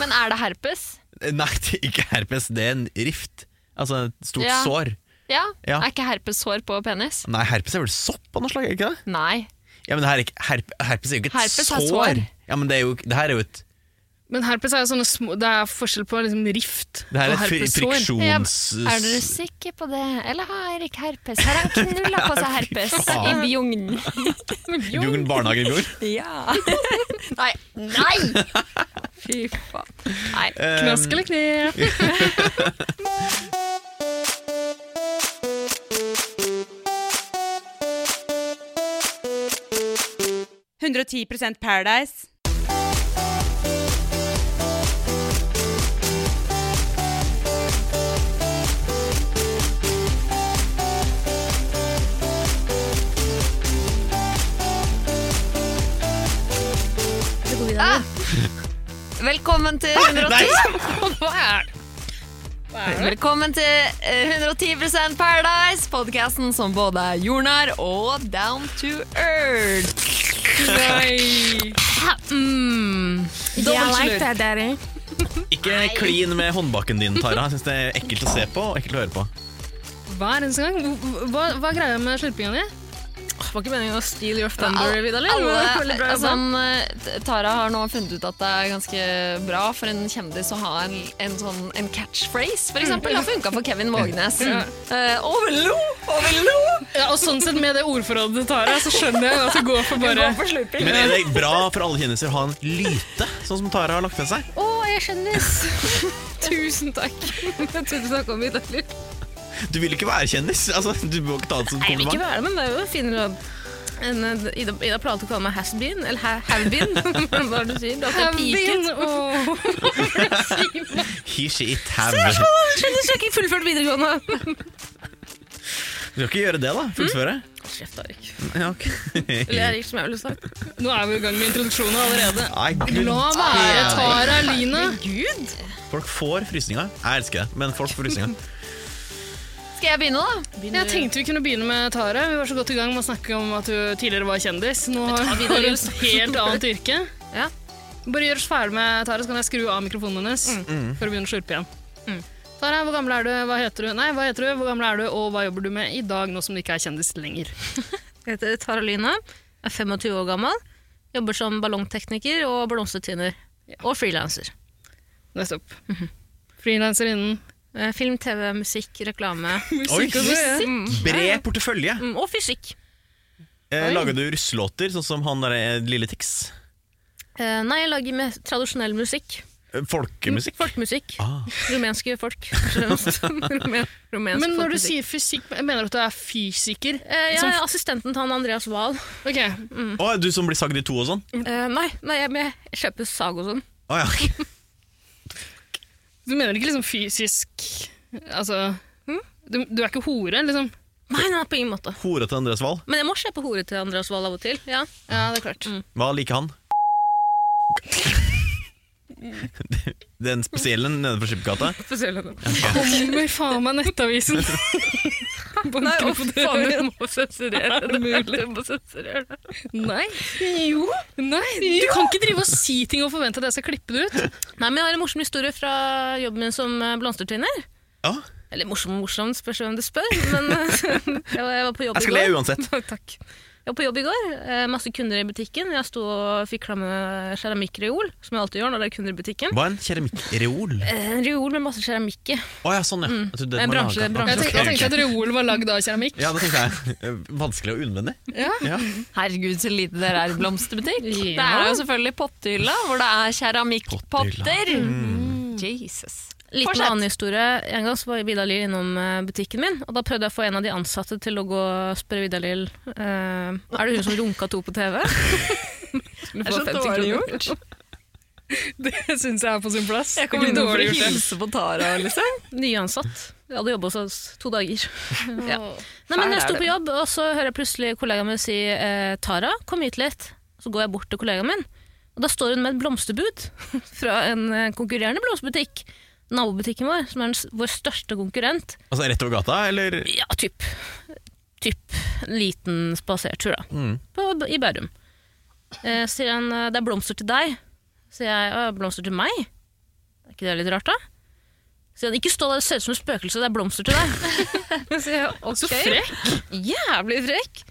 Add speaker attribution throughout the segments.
Speaker 1: Men er det herpes?
Speaker 2: Nei, det er ikke herpes, det er en rift. Altså et stort
Speaker 1: Ja.
Speaker 2: sår.
Speaker 1: Ja.
Speaker 2: Ja.
Speaker 1: Er ikke herpes hår på penis?
Speaker 2: Nei, herpes er vel sopp av noe slag? er det ikke det?
Speaker 1: Nei.
Speaker 2: Ja, men det her er ikke, herp, herpes er jo ikke et
Speaker 1: Herpes er
Speaker 2: sår.
Speaker 1: sår.
Speaker 2: Ja, men det, er jo, det her er jo et
Speaker 3: Men herpes er jo sånne små Det er forskjell på liksom rift
Speaker 2: Det her er
Speaker 3: og
Speaker 2: et fri-
Speaker 3: herpessår.
Speaker 1: Ja,
Speaker 2: friksjons...
Speaker 1: er dere sikre på det? Eller har Erik herpes? Her har han knulla på seg herpes i
Speaker 2: faen.
Speaker 1: bjugnen.
Speaker 2: Jugend barnehage i fjor.
Speaker 1: Ja. Nei! Nei! Fy faen. Nei.
Speaker 2: Eh,
Speaker 3: Knask eller kne?
Speaker 1: Velkommen til 110
Speaker 3: Hva er det?
Speaker 1: Velkommen til eh, 110 Paradise, podkasten som både er jordnær og down to earth.
Speaker 3: Nei.
Speaker 1: Mm.
Speaker 3: Dobbeltslør.
Speaker 2: Ikke klin med håndbaken din, Tara. Jeg synes det er ekkelt å se på og ekkelt å høre på.
Speaker 3: Hver eneste gang. Hva- Hva, hva er greia med slurpinga di? Var ikke meningen å steal your thunder, Vidar? eller? Det var
Speaker 1: Alle,
Speaker 3: veldig bra
Speaker 1: altså,
Speaker 3: jobba.
Speaker 1: eh, Tara har nå funnet ut at det er ganske bra for en kjendis å ha en, en, sånn, en catchphrase, for eksempel. Det
Speaker 3: Mm.
Speaker 1: har funka for Kevin Vågenes. Eh, over lo, over lo!
Speaker 3: Ja, og sånn sett, med det ordforrådet til Tara, så skjønner jeg at du går for bare
Speaker 1: Gå for slurping.
Speaker 2: Men er det bra for alle kjendiser å ha en lyte, sånn som Tara har lagt med seg?
Speaker 3: Å, jeg er kjendis! Tusen takk. Jeg trodde du snakka om mitt heller.
Speaker 2: Du vil ikke være kjendis. Altså, du må ikke ta det som et
Speaker 3: Nei, jeg vil ikke
Speaker 2: kompliment.
Speaker 3: være det, men det er jo finere å enn, eh, Ida, Ida pleier å kalle meg has-been, eller ha- have-been. Hva er det du sier? Du har alltid piket.
Speaker 2: He, she, it, have. Du
Speaker 3: Skjønner du, så har jeg ikke fullført videregående.
Speaker 2: skal ikke gjøre det, da. Fullføre.
Speaker 3: Mm. Kjeft, Arik.
Speaker 2: Ja, ok.
Speaker 3: Eller Erik, som jeg ville sagt. Nå er vi i gang med introduksjonen allerede.
Speaker 2: Nei, gud.
Speaker 3: La være,
Speaker 2: Erik.
Speaker 3: Tara Line.
Speaker 2: Folk får frysninger. Jeg elsker det, men folk får frysninger.
Speaker 1: Skal jeg begynne, da?
Speaker 3: Jeg tenkte vi kunne begynne med Tara. Vi var så godt i gang med å snakke om at du tidligere var kjendis. Nå har du et helt annet yrke.
Speaker 1: Ja.
Speaker 3: Bare gjør oss ferdig med Tara, så kan jeg skru av mikrofonen hennes før du begynner å slurpe igjen. Mm. Tara, hvor gammel er du? Hva heter du? Nei, hva heter du? Hvor gammel er du, og hva jobber du med i dag, nå som du ikke er kjendis lenger?
Speaker 4: Jeg heter Tara Lyna, er 25 år gammel, jobber som ballongtekniker og blomstertvinner. Og frilanser.
Speaker 3: Nettopp. Frilanser innen
Speaker 4: Eh, Film, TV, musikk, reklame
Speaker 2: Oi,
Speaker 3: musikk og så, ja.
Speaker 2: bred portefølje.
Speaker 4: mm, og fysikk.
Speaker 2: Eh, lager du russelåter, sånn som han der eh, Lille Tix?
Speaker 4: Eh, nei, jeg lager med tradisjonell musikk.
Speaker 2: Eh, Folkemusikk?
Speaker 4: Folkemusikk.
Speaker 2: Ah.
Speaker 4: Rumenske folk. Rumen, rumensk
Speaker 3: Men når du
Speaker 4: folkemusikk.
Speaker 3: sier fysikk, mener du at du er fysiker?
Speaker 4: Eh, Jeg
Speaker 3: som-
Speaker 4: er assistenten til han Andreas Wahl.
Speaker 3: Ok,
Speaker 2: Å, er du som blir sagd i to og sånn?
Speaker 4: Eh, nei, nei, jeg, men jeg kjøper sag og sånn.
Speaker 2: Å ja.
Speaker 3: Du mener ikke liksom fysisk Altså du, du er ikke hore, liksom?
Speaker 4: Nei, nei, på ingen måte.
Speaker 2: Hora til Andreas Wahl.
Speaker 4: Men jeg må kjøpe hore til Andreas Wahl av og til. Ja.
Speaker 3: Ja, det er klart.
Speaker 2: Hva liker han? Den spesielle nede fra Skippergata?
Speaker 3: Kommer faen meg nettavisen! Nei,
Speaker 4: å, faen, du
Speaker 3: må sensurere det. mulig? Nei. Jo. Nei, du kan ikke drive og si ting og forvente at jeg skal klippe det ut.
Speaker 4: Nei, men jeg har en morsom historie fra jobben min som eh, blomstertvinner.
Speaker 2: Ja,
Speaker 4: Eller morsom og morsom, spørs hvem du spør. Men jeg, var, jeg var på jobb
Speaker 2: jeg
Speaker 4: i
Speaker 2: skal le
Speaker 4: går.
Speaker 2: uansett.
Speaker 4: Takk. Jeg var på jobb i går. eh, Masse kunder i butikken. Jeg sto og fikla med keramikkreol, som jeg alltid gjør når det er kunder i butikken.
Speaker 2: Hva er en keramikkreol?
Speaker 4: Eh, En reol med masse keramikk i.
Speaker 2: Å ja, sånn ja.
Speaker 3: Mm.
Speaker 2: Jeg trodde
Speaker 4: En
Speaker 2: var
Speaker 4: bransje-
Speaker 2: laget.
Speaker 4: bransje-
Speaker 3: Jeg tenkte, jeg tenkte at reolen var lagd av keramikk.
Speaker 2: Ja, det tenkte jeg. Eh, Vanskelig og unødvendig.
Speaker 1: Herregud, så lite dere er i blomsterbutikk.
Speaker 3: Ja.
Speaker 1: Det er jo selvfølgelig pottehylla, hvor det er keramikkpotter. Mm.
Speaker 5: Mm.
Speaker 1: Jesus.
Speaker 4: Liten
Speaker 1: Fortsett.
Speaker 4: annen historie. En gang så var Vidalil innom eh, butikken min, og da prøvde jeg å få en av de ansatte til å gå og spørre Vidalil eh, Er det hun som runka to på TV?
Speaker 1: Det er så dårlig gjort.
Speaker 3: Det syns jeg er på sin plass.
Speaker 5: Jeg kommer
Speaker 3: Ikke
Speaker 5: innom for
Speaker 3: dårlig
Speaker 5: å
Speaker 3: gjort, det.
Speaker 5: hilse på Tara, liksom.
Speaker 4: Nyansatt. Jeg hadde jobba hos oss to dager. Ja. Nei,
Speaker 5: Fæl
Speaker 4: men Jeg
Speaker 5: er
Speaker 4: sto
Speaker 5: du.
Speaker 4: på jobb, og så hører jeg plutselig kollegaen min si eh, 'Tara, kom hit litt'. Så går jeg bort til kollegaen min, og da står hun med et blomsterbud fra en eh, konkurrerende blomsterbutikk. Nabobutikken vår, som er den, s- vår største konkurrent.
Speaker 2: Altså rett over gata, eller?
Speaker 4: Ja, typ. Typ. En liten spasertur, da.
Speaker 2: Mm.
Speaker 4: På, I Bærum. Eh, sier han eh, 'det er blomster til deg'. Sier jeg «Å, 'blomster til meg'? Er ikke det litt rart, da? Sier han 'ikke stå der og se ut som et spøkelse, det er blomster til deg'. sier jeg, ok.
Speaker 3: Så frekk!
Speaker 4: Jævlig frekk.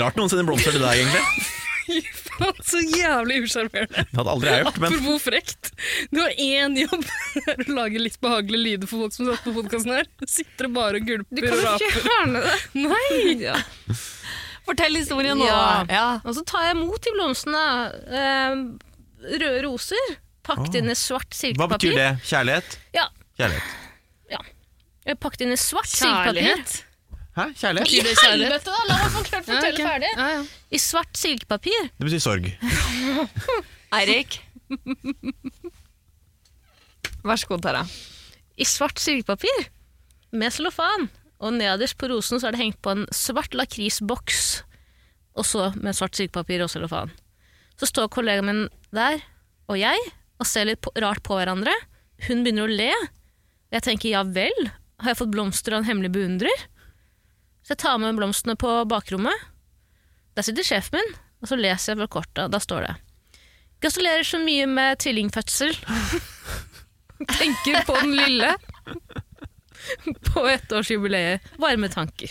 Speaker 2: Rart noen sender blomster til deg, egentlig.
Speaker 3: Faen, Så jævlig usjarmerende.
Speaker 2: Det hadde aldri jeg gjort, men
Speaker 3: Apropos frekt. Du har én jobb. Du lager litt behagelige lyder for folk som satt på podkasten her. Du sitter og bare og gulper og raper.
Speaker 4: fjerne det.
Speaker 3: Nei!
Speaker 5: Fortell historien nå.
Speaker 4: Ja.
Speaker 5: Ja.
Speaker 4: Og så tar jeg imot de blomstene. Eh, røde roser pakket inn i svart
Speaker 2: Ah. hva betyr
Speaker 4: silkepapir.
Speaker 2: det? Kjærlighet?
Speaker 4: Ja.
Speaker 2: Kjærlighet.
Speaker 4: Eh, Pakket inn i svart silkepapir.
Speaker 3: Kjærlighet.
Speaker 2: Hæ? Kjærlighet?
Speaker 3: Betyr det kjærlighet?
Speaker 4: Helvete, da! La meg få klart fortelle
Speaker 3: ok.
Speaker 4: ferdig.
Speaker 3: Ja, ja.
Speaker 4: I svart silkepapir.
Speaker 2: Det betyr sorg.
Speaker 5: Eirik. Vær så god, Tara.
Speaker 4: I svart silkepapir med cellofan. Og nederst på rosen så er det hengt på en svart lakrisboks, og så med svart silkepapir og cellofan. Så står kollegaen min der, og jeg, og ser litt på, rart på hverandre. Hun begynner å le. Jeg tenker ja vel, har jeg fått blomster av en hemmelig beundrer? Så jeg tar med blomstene på bakrommet. Der sitter sjefen min, og så leser jeg fra kortet. Da står det Gratulerer så mye med tvillingfødsel. Tenker på den lille. På ettårsjubileet. Varme tanker.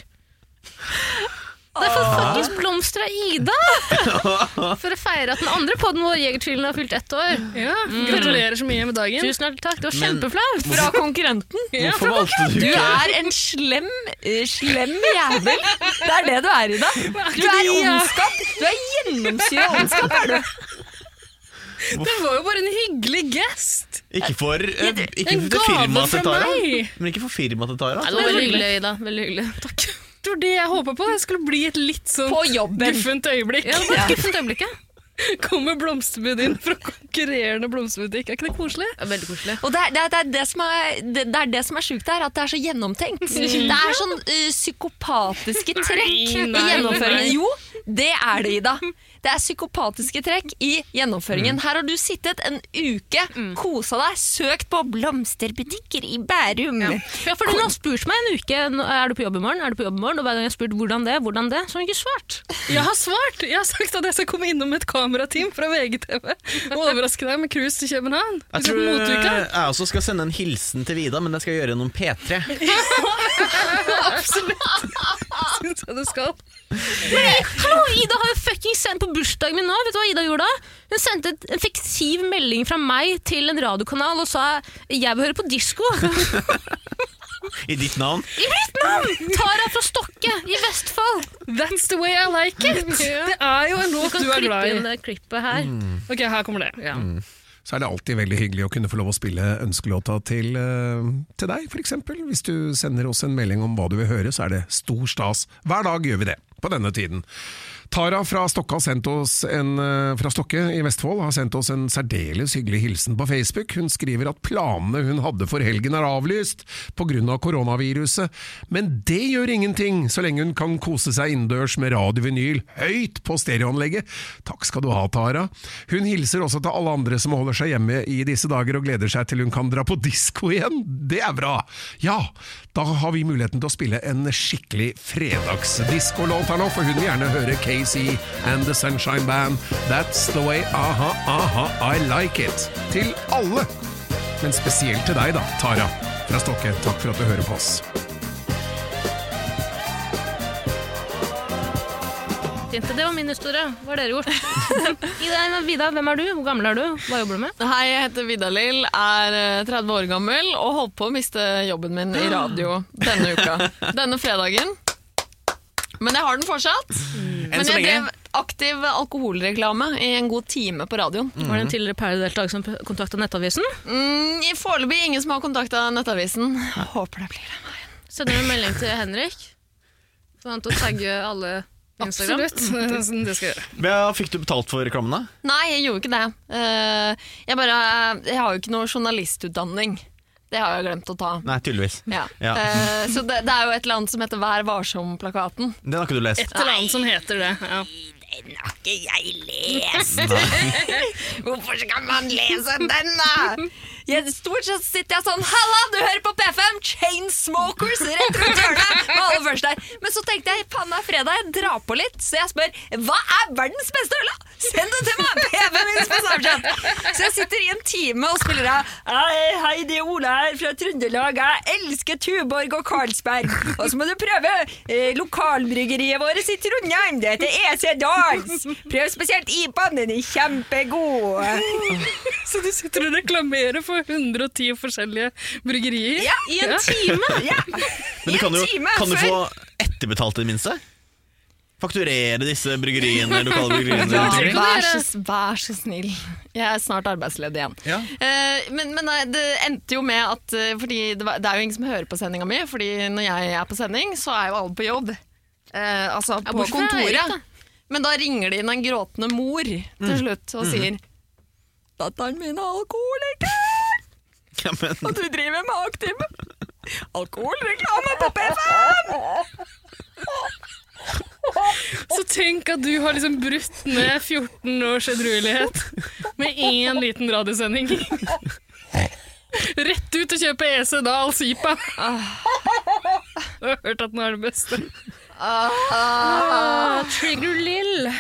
Speaker 4: Det er fått fuckings blomster av Ida! For å feire at den andre podden vår, Jegertvillen, har fylt ett år.
Speaker 3: Ja, gratulerer så mye med dagen.
Speaker 4: Tusen hjertelig takk, det var
Speaker 2: Men-
Speaker 4: kjempeflaut!
Speaker 5: Fra konkurrenten.
Speaker 2: Hvorfor valgte du
Speaker 5: Du
Speaker 2: ikke
Speaker 5: er en slem, eh, slem jævel. Det er det du er, Ida. Du er ondskap. Du er gjennomsyra ondskap. er du.
Speaker 3: Det var jo bare en hyggelig gest.
Speaker 2: Ikke for, eh, ikke
Speaker 3: En
Speaker 2: for det
Speaker 3: gave
Speaker 2: firmaet til
Speaker 3: fra
Speaker 2: Tara.
Speaker 3: meg.
Speaker 2: Men ikke for firmaet til Tara.
Speaker 4: Det var veldig hyggelig, Ida. Veldig hyggelig. Takk.
Speaker 3: Det var det jeg håpa på. Det skulle bli et litt sånn
Speaker 5: På jobben.
Speaker 3: guffent øyeblikk.
Speaker 4: Ja, det var et guffent øyeblikk. ja.
Speaker 3: Kommer blomsterbud inn fra konkurrerende blomsterbutikk. Er ikke det koselig?
Speaker 4: Ja, Veldig koselig.
Speaker 5: Og det er det, er- det, er det, som er, det, det er det som er sjukt her, at det er så gjennomtenkt. Det er sånn eh, psykopatiske trekk
Speaker 3: Mm. Nei, nei,
Speaker 5: i gjennomføringen.
Speaker 3: nei.
Speaker 5: Jo, det er det, Ida. Det er psykopatiske trekk i gjennomføringen.
Speaker 3: Mm.
Speaker 5: Her har du sittet en uke, kosa deg, søkt på blomsterbutikker i Bærum.
Speaker 4: Ja, fordi Hun har spurt meg en uke nå er du på jobb i morgen, er du på jobb i morgen? og hver gang jeg har spurt hvordan det, hvordan det, så har hun ikke svart.
Speaker 3: Jeg har svart! Jeg har sagt at jeg skal komme innom et kamerateam fra VGTV og overraske deg med cruise til København.
Speaker 2: Jeg tror
Speaker 3: Vi
Speaker 2: eh,
Speaker 3: skal på motuka.
Speaker 2: jeg også skal sende en hilsen til Vida, men det skal jeg gjøre gjennom P3.
Speaker 3: Absolutt.
Speaker 4: eh,
Speaker 3: Syns jeg du skal.
Speaker 4: Hallo, Ida har jo fucking sendt på bursdagen min nå. Vet du hva Ida gjorde da? Hun sendte et- en fiktiv melding fra meg til en radiokanal og sa 'jeg vil høre på disko'.
Speaker 2: I ditt navn.
Speaker 4: I mitt navn! Tara fra Stokke i Vestfold.
Speaker 3: That's the way I like it! Det er jo en låt
Speaker 4: Kan
Speaker 3: du er
Speaker 4: klippe
Speaker 3: glad
Speaker 4: inn
Speaker 3: i.
Speaker 4: det klippet her.
Speaker 3: Ok, her kommer det. Mm.
Speaker 6: så er det alltid veldig hyggelig å kunne få lov å spille ønskelåta til, eh, til deg, f.eks. Hvis du sender oss en melding om hva du vil høre, så er det stor stas. Hver dag gjør vi det, på denne tiden. Tara fra Stokke, har sendt oss en, eh, fra Stokke i Vestfold har sendt oss en særdeles hyggelig hilsen på Facebook. Hun skriver at planene hun hadde for helgen er avlyst pga. Av koronaviruset, men det gjør ingenting så lenge hun kan kose seg innendørs med radiovinyl høyt på stereoanlegget. Takk skal du ha, Tara. Hun hilser også til alle andre som holder seg hjemme i disse dager og gleder seg til hun kan dra på disko igjen. Det er bra! Ja, da har vi muligheten til å spille en skikkelig fredagsdiskolåt her nå, for hun vil gjerne høre KC and The Sunshine Band. That's the way, aha, aha, I like it. Til alle! Men spesielt til deg da, Tara fra Stokke. Takk for at du hører på oss.
Speaker 4: Jente, det var min historie. Hva har dere gjort? Ida, Vida, hvem er du? Hvor gammel er du? Hva jobber du med?
Speaker 5: Hei, jeg heter Vidalil, er eh, 30 år gammel og holdt på å miste jobben min i radio denne uka. Denne fredagen. Men jeg har den fortsatt.
Speaker 2: Enn
Speaker 5: Men
Speaker 2: så
Speaker 5: jeg
Speaker 2: lenge.
Speaker 5: drev aktiv alkoholreklame i en god time på radioen.
Speaker 4: Var
Speaker 2: Mm.
Speaker 4: det en tidligere Paradise-deltaker som kontakta Nettavisen?
Speaker 5: Mm, i Foreløpig ingen som har kontakta Nettavisen. Jeg håper det blir det.
Speaker 4: Sender en melding til Henrik. For han til å tagge alle Instagram. Mm.
Speaker 3: Absolutt. Det er sånn det skal jeg gjøre.
Speaker 2: Hva fikk du betalt for reklamen, da?
Speaker 1: Nei, jeg gjorde ikke det. Eh, Jeg, bare,
Speaker 5: eh,
Speaker 1: jeg har jo ikke noe journalistutdanning. Det har jeg glemt å ta.
Speaker 2: Nei, tydeligvis.
Speaker 1: Ja.
Speaker 2: Ja.
Speaker 1: Eh, så det, det er jo et eller annet som heter Vær varsom-plakaten.
Speaker 2: Den har ikke du lest.
Speaker 3: Et eller annet som heter det. Ja.
Speaker 1: Hvorfor skal man lese den, da? Jeg, stort sett sitter jeg sånn Halla, du hører på P5! Chainsmokers rett rundt hjørnet! Med alle først der. Men så tenkte jeg faen, det er fredag, jeg drar på litt. Så jeg spør hva er verdens beste øl? da? Send det til meg! P5 min på Snapchat! Så jeg sitter i en time og spiller av Hei, hei, det er Ola her fra Trøndelag. Jeg elsker Tuborg og Carlsberg. Og så må du prøve eh, lokalbryggeriet vårt i Trondheim. Det heter EC Dals. Prøv spesielt IPA-en, den er kjempegod.
Speaker 3: Så du sitter og reklamerer for 110 forskjellige bryggerier?
Speaker 1: Ja,
Speaker 4: I en time!
Speaker 1: Ja.
Speaker 2: Men du kan jo
Speaker 1: time
Speaker 2: kan du
Speaker 1: før.
Speaker 2: få etterbetalt i det minste? Fakturere disse bryggeriene, lokale bryggeriene?
Speaker 1: Ja,
Speaker 2: rundt omkring?
Speaker 1: vær, så, vær så snill. Jeg er snart arbeidsledig igjen.
Speaker 2: Ja.
Speaker 1: Eh, men men nei, det endte jo med at eh, Fordi det, var, det er jo ingen som hører på sendinga mi, Fordi når jeg er på sending, så er jo alle på jobb. Eh, altså på
Speaker 4: bortsett fra
Speaker 1: kontoret.
Speaker 4: Erik, da.
Speaker 1: men da ringer det inn en gråtende mor
Speaker 2: Mm.
Speaker 1: til slutt og
Speaker 2: Mm-hmm.
Speaker 1: sier Datteren min er alkoholiker,
Speaker 2: Ja, men,
Speaker 1: og du driver med aktiv alkoholreklame på P5!
Speaker 3: Så tenk at du har liksom brutt ned 14 års edruelighet med én liten radiosending. Rett ut og kjøpe E EC Dahls IPA. Du har hørt at den er det beste. Ah, Trigger Lill.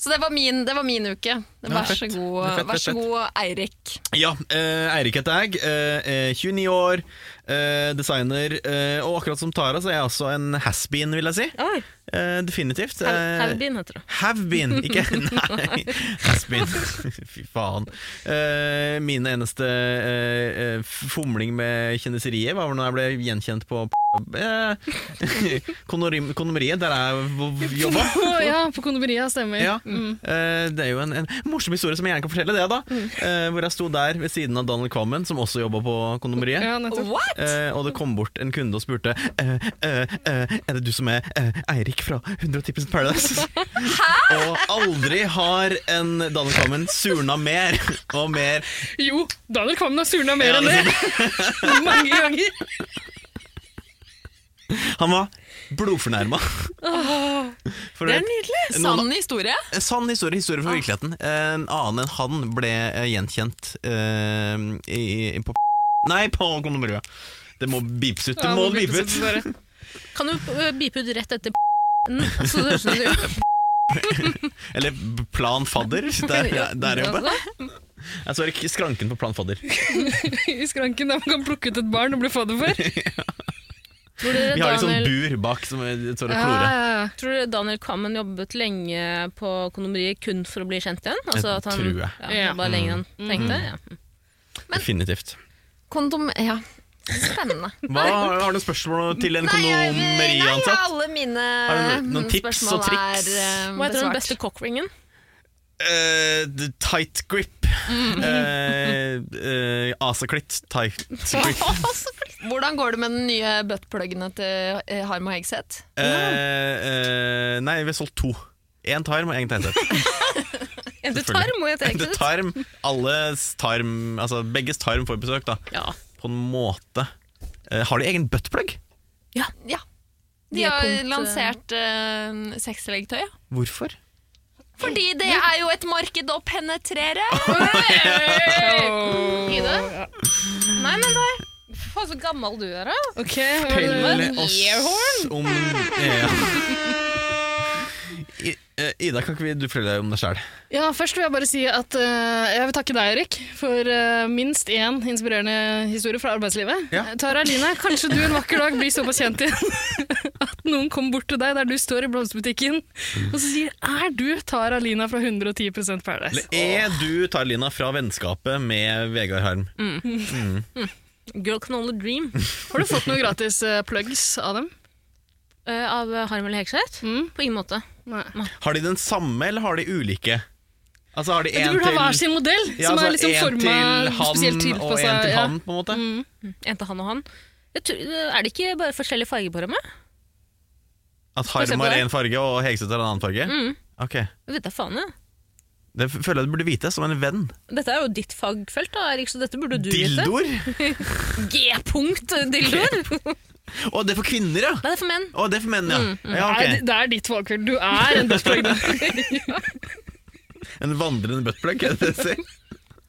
Speaker 1: Så det var min, det var min uke. Vær så
Speaker 2: fett.
Speaker 1: god,
Speaker 2: Det er fett,
Speaker 1: vær
Speaker 2: fett,
Speaker 1: så
Speaker 2: fett.
Speaker 1: god Eirik.
Speaker 2: ja eh, Eirik heter jeg. eh, eh, 29 år, eh, designer. eh, og akkurat som Tara, så er jeg også en has-been, vil jeg si.
Speaker 4: Oi.
Speaker 2: Eh, definitivt.
Speaker 4: Hal-
Speaker 2: Eh,
Speaker 4: Halbin heter det.
Speaker 2: Have been, ikke Nei, has been. Fy faen. Eh, min eneste eh, eh, fomling med kjendiseriet var vel når jeg ble gjenkjent på eh, konorim- Kondomeriet, der jeg jobba.
Speaker 3: ja, på kondomeriet stemmer.
Speaker 2: Ja. Eh, det er jo en, en morsom historie som jeg gjerne kan fortelle, det, da. Eh, hvor jeg sto der ved siden av Daniel Kvammen, som også jobba på Kondomeriet.
Speaker 3: Ja, nettopp.
Speaker 1: What?
Speaker 2: Eh, og det kom bort en kunde og spurte eh, eh, eh, Er det du som er eh, Eirik fra 110 Paradise? og aldri har en Daniel Kvammen surna mer og mer.
Speaker 3: Jo, Daniel Kvammen har surna
Speaker 2: Ja,
Speaker 3: mer enn det. Mange ganger.
Speaker 2: Han var blodfornærma.
Speaker 1: Det er nydelig.
Speaker 2: Noen-
Speaker 1: Sann historie.
Speaker 2: En sann historie, historie fra virkeligheten. En annen enn han ble eh, gjenkjent eh, i, i, på Nei, på kondomeriet. Det må beepes ut! Det
Speaker 3: Ja,
Speaker 2: må
Speaker 3: nå blir
Speaker 2: beepes ut!
Speaker 3: det sånn bare.
Speaker 4: Kan du øh, bipe ut rett etter p***en? Så det høres ut som du gjør
Speaker 2: Eller Plan Fadder. Der, der jobber
Speaker 4: det.
Speaker 2: jeg. så ikke skranken på Plan Fadder.
Speaker 3: I skranken der man kan plukke ut et barn og bli fadder for.
Speaker 4: Tror dere
Speaker 2: Vi har litt sånn
Speaker 4: Daniel,
Speaker 2: bur bak som er- står og klorer.
Speaker 3: Ja,
Speaker 4: tror dere Daniel Kvammen jobbet lenge på kondomeriet kun for å bli kjent igjen? Altså at han
Speaker 2: tror jeg. Mm.
Speaker 4: ja, jobba lenger enn han tenkte? Ja.
Speaker 2: Definitivt.
Speaker 1: Kondom... Ja. Spennende.
Speaker 2: Hva, har du noen spørsmål til en
Speaker 1: nei, ja,
Speaker 2: kondomeriansatt?
Speaker 1: alle mine mm,
Speaker 2: Har du noen tips og
Speaker 1: spørsmål
Speaker 2: triks?
Speaker 1: er eh,
Speaker 4: Hva heter den
Speaker 1: besvart.
Speaker 4: beste cockringen?
Speaker 2: Eh, the tight grip. Eh, eh, Asaklitt tight grip.
Speaker 1: Hvordan går det med den nye buttpluggen til eh, Harm og Hegseth?
Speaker 2: Eh, eh, nei, vi har solgt to. Én tarm og én tegnset.
Speaker 4: En til
Speaker 2: Selvfølgelig.
Speaker 4: tarm og et
Speaker 2: Det er
Speaker 4: eget.
Speaker 2: tarm, alles tarm Altså begges tarm får besøk da
Speaker 4: Ja.
Speaker 2: På en måte Eh, Har de egen buttplug?
Speaker 1: Ja. De
Speaker 4: Det
Speaker 1: har
Speaker 4: punktet-
Speaker 1: lansert uh, sexlegetøy. ja.
Speaker 2: Hvorfor?
Speaker 1: Fordi det er jo et marked å penetrere!
Speaker 4: Ida? Nei, men nei. Faen, så gammel du er, da.
Speaker 3: Ok, hva er det?
Speaker 4: Pelle oss Earhorn?
Speaker 2: om eh, ja. I, eh, Ida, kan ikke vi, du fortelle deg om deg selv?
Speaker 3: Ja, først vil jeg bare si at eh, jeg vil takke deg, Erik, for eh, minst én inspirerende historie fra arbeidslivet.
Speaker 2: Ja.
Speaker 3: Eh, Tara Line, kanskje du en vakker dag blir såpass kjent igjen at noen kommer bort til deg der du står i blomsterbutikken og så sier 'Er du Tara Lina fra 110 Paradise?'
Speaker 2: Eller er du, Tarlina, fra vennskapet med Vegard Harm?
Speaker 4: Girl can only dream.
Speaker 3: Har du fått noen gratis eh, plugs av dem?
Speaker 4: Eh, av Harm eller Hegseth?
Speaker 3: Mm.
Speaker 4: På ingen måte.
Speaker 3: Nei.
Speaker 2: Har de den samme, eller har de ulike? Altså, har de
Speaker 3: Du
Speaker 2: en
Speaker 3: burde ha
Speaker 2: til...
Speaker 3: hver sin modell,
Speaker 2: Ja,
Speaker 3: som
Speaker 2: altså,
Speaker 3: er liksom
Speaker 2: en
Speaker 3: forma
Speaker 2: til han,
Speaker 3: spesielt
Speaker 2: og
Speaker 3: tilpassa.
Speaker 2: en til
Speaker 3: ja. Mm.
Speaker 2: han, på en måte.
Speaker 4: En til han og han. Jeg tror, er det ikke bare forskjellige farger på dem?
Speaker 2: At harm
Speaker 4: eksempel
Speaker 2: har
Speaker 4: det.
Speaker 2: én farge, og hegsete har en annen farge?
Speaker 4: Mm.
Speaker 2: Ok,
Speaker 4: Jeg vet da faen, jeg.
Speaker 2: Det f- føler jeg du burde vite, som en venn.
Speaker 4: Dette er jo ditt fagfelt, da, Erik, så dette burde du vite.
Speaker 2: Dildoer!
Speaker 4: G-punkt eh, dildoer!
Speaker 2: Å, det er for kvinner, ja!
Speaker 4: Nei, det er for menn.
Speaker 2: Å, det er for menn, ja. ja
Speaker 3: Mm, Nei,
Speaker 2: ok.
Speaker 3: det er ditt valgkveld. Du er en dødsplagg.
Speaker 2: En vandrende buttplug, er det det du sier?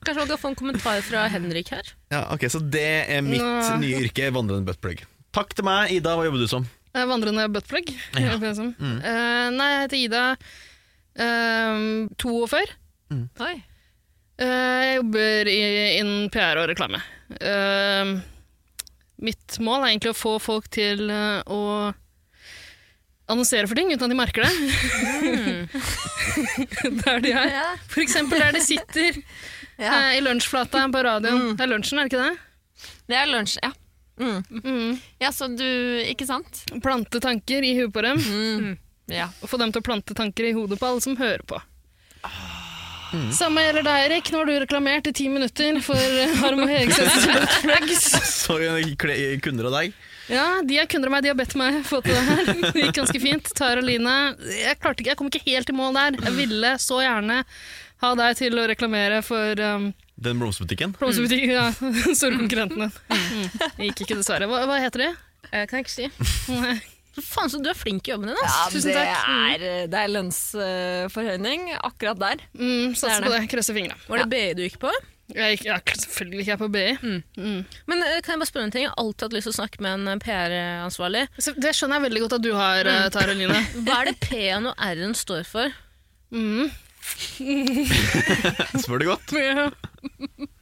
Speaker 4: Kanskje man kan få en kommentar fra Henrik her.
Speaker 2: Ja, ok, Så det er mitt
Speaker 3: Nå.
Speaker 2: nye yrke, vandrende buttplug. Takk til meg. Ida, hva jobber du som?
Speaker 3: Eh, Vandrende buttplug.
Speaker 2: Ja.
Speaker 3: Ja. nei, jeg heter Ida. eh, 42.
Speaker 4: Oi.
Speaker 3: Eh, jeg jobber i- innen PR og reklame. Eh, mitt mål er egentlig å få folk til eh, å annonsere for ting uten at de merker det. Der de er.
Speaker 1: Mm. Ja.
Speaker 3: For eksempel der de sitter
Speaker 1: Ja. Mm.
Speaker 3: eh, i lunsjflata på radioen. Det er lunsjen, er det ikke det?
Speaker 1: Det er lunsj, ja. Mm.
Speaker 3: Mm.
Speaker 1: Ja, så du Ikke sant?
Speaker 3: Plante tanker i huet på dem,
Speaker 1: Mm.
Speaker 3: Mm.
Speaker 1: Ja.
Speaker 3: og få dem til å plante tanker i hodet på alle som hører på.
Speaker 1: Ah.
Speaker 3: Mm. Samme gjelder deg, Erik. Nå har du reklamert i ti minutter for eh, Harm og Hegseth.
Speaker 2: Så eh, kle- kunder av deg.
Speaker 3: Ja, de er kunder av meg, de har bedt meg få til det her. Det gikk ganske fint. Tara Line, jeg klarte ikke, jeg kom ikke helt i mål der. Jeg ville så gjerne ha deg til å reklamere for um,
Speaker 2: Den blomsterbutikken.
Speaker 1: Mm.
Speaker 3: blomsterbutikken, ja, store konkurrentene. Mm. Det gikk ikke, dessverre. Hva, hva heter Mm, de?
Speaker 4: Jeg Eh, kan ikke si.
Speaker 3: Nei.
Speaker 4: Faen, så du er flink i jobben din, ass.
Speaker 1: Ja,
Speaker 3: Tusen
Speaker 1: det
Speaker 3: takk.
Speaker 1: Er, det er lønnsforhøyning akkurat der.
Speaker 3: Mm, Satser
Speaker 1: Det er
Speaker 3: på det, krøsser fingra.
Speaker 4: Var det BI du gikk på?
Speaker 3: Jeg gikk, ja, selvfølgelig gikk jeg på BI.
Speaker 4: Men eh, kan jeg bare spørre en ting? Jeg har alltid hatt lyst til å snakke med en eh, PR-ansvarlig.
Speaker 3: Så det skjønner jeg veldig godt at du har, eh, Tara Line.
Speaker 4: Hva er det P-en og R-en står for?
Speaker 3: Mm.
Speaker 2: Spør du godt.
Speaker 3: Ja.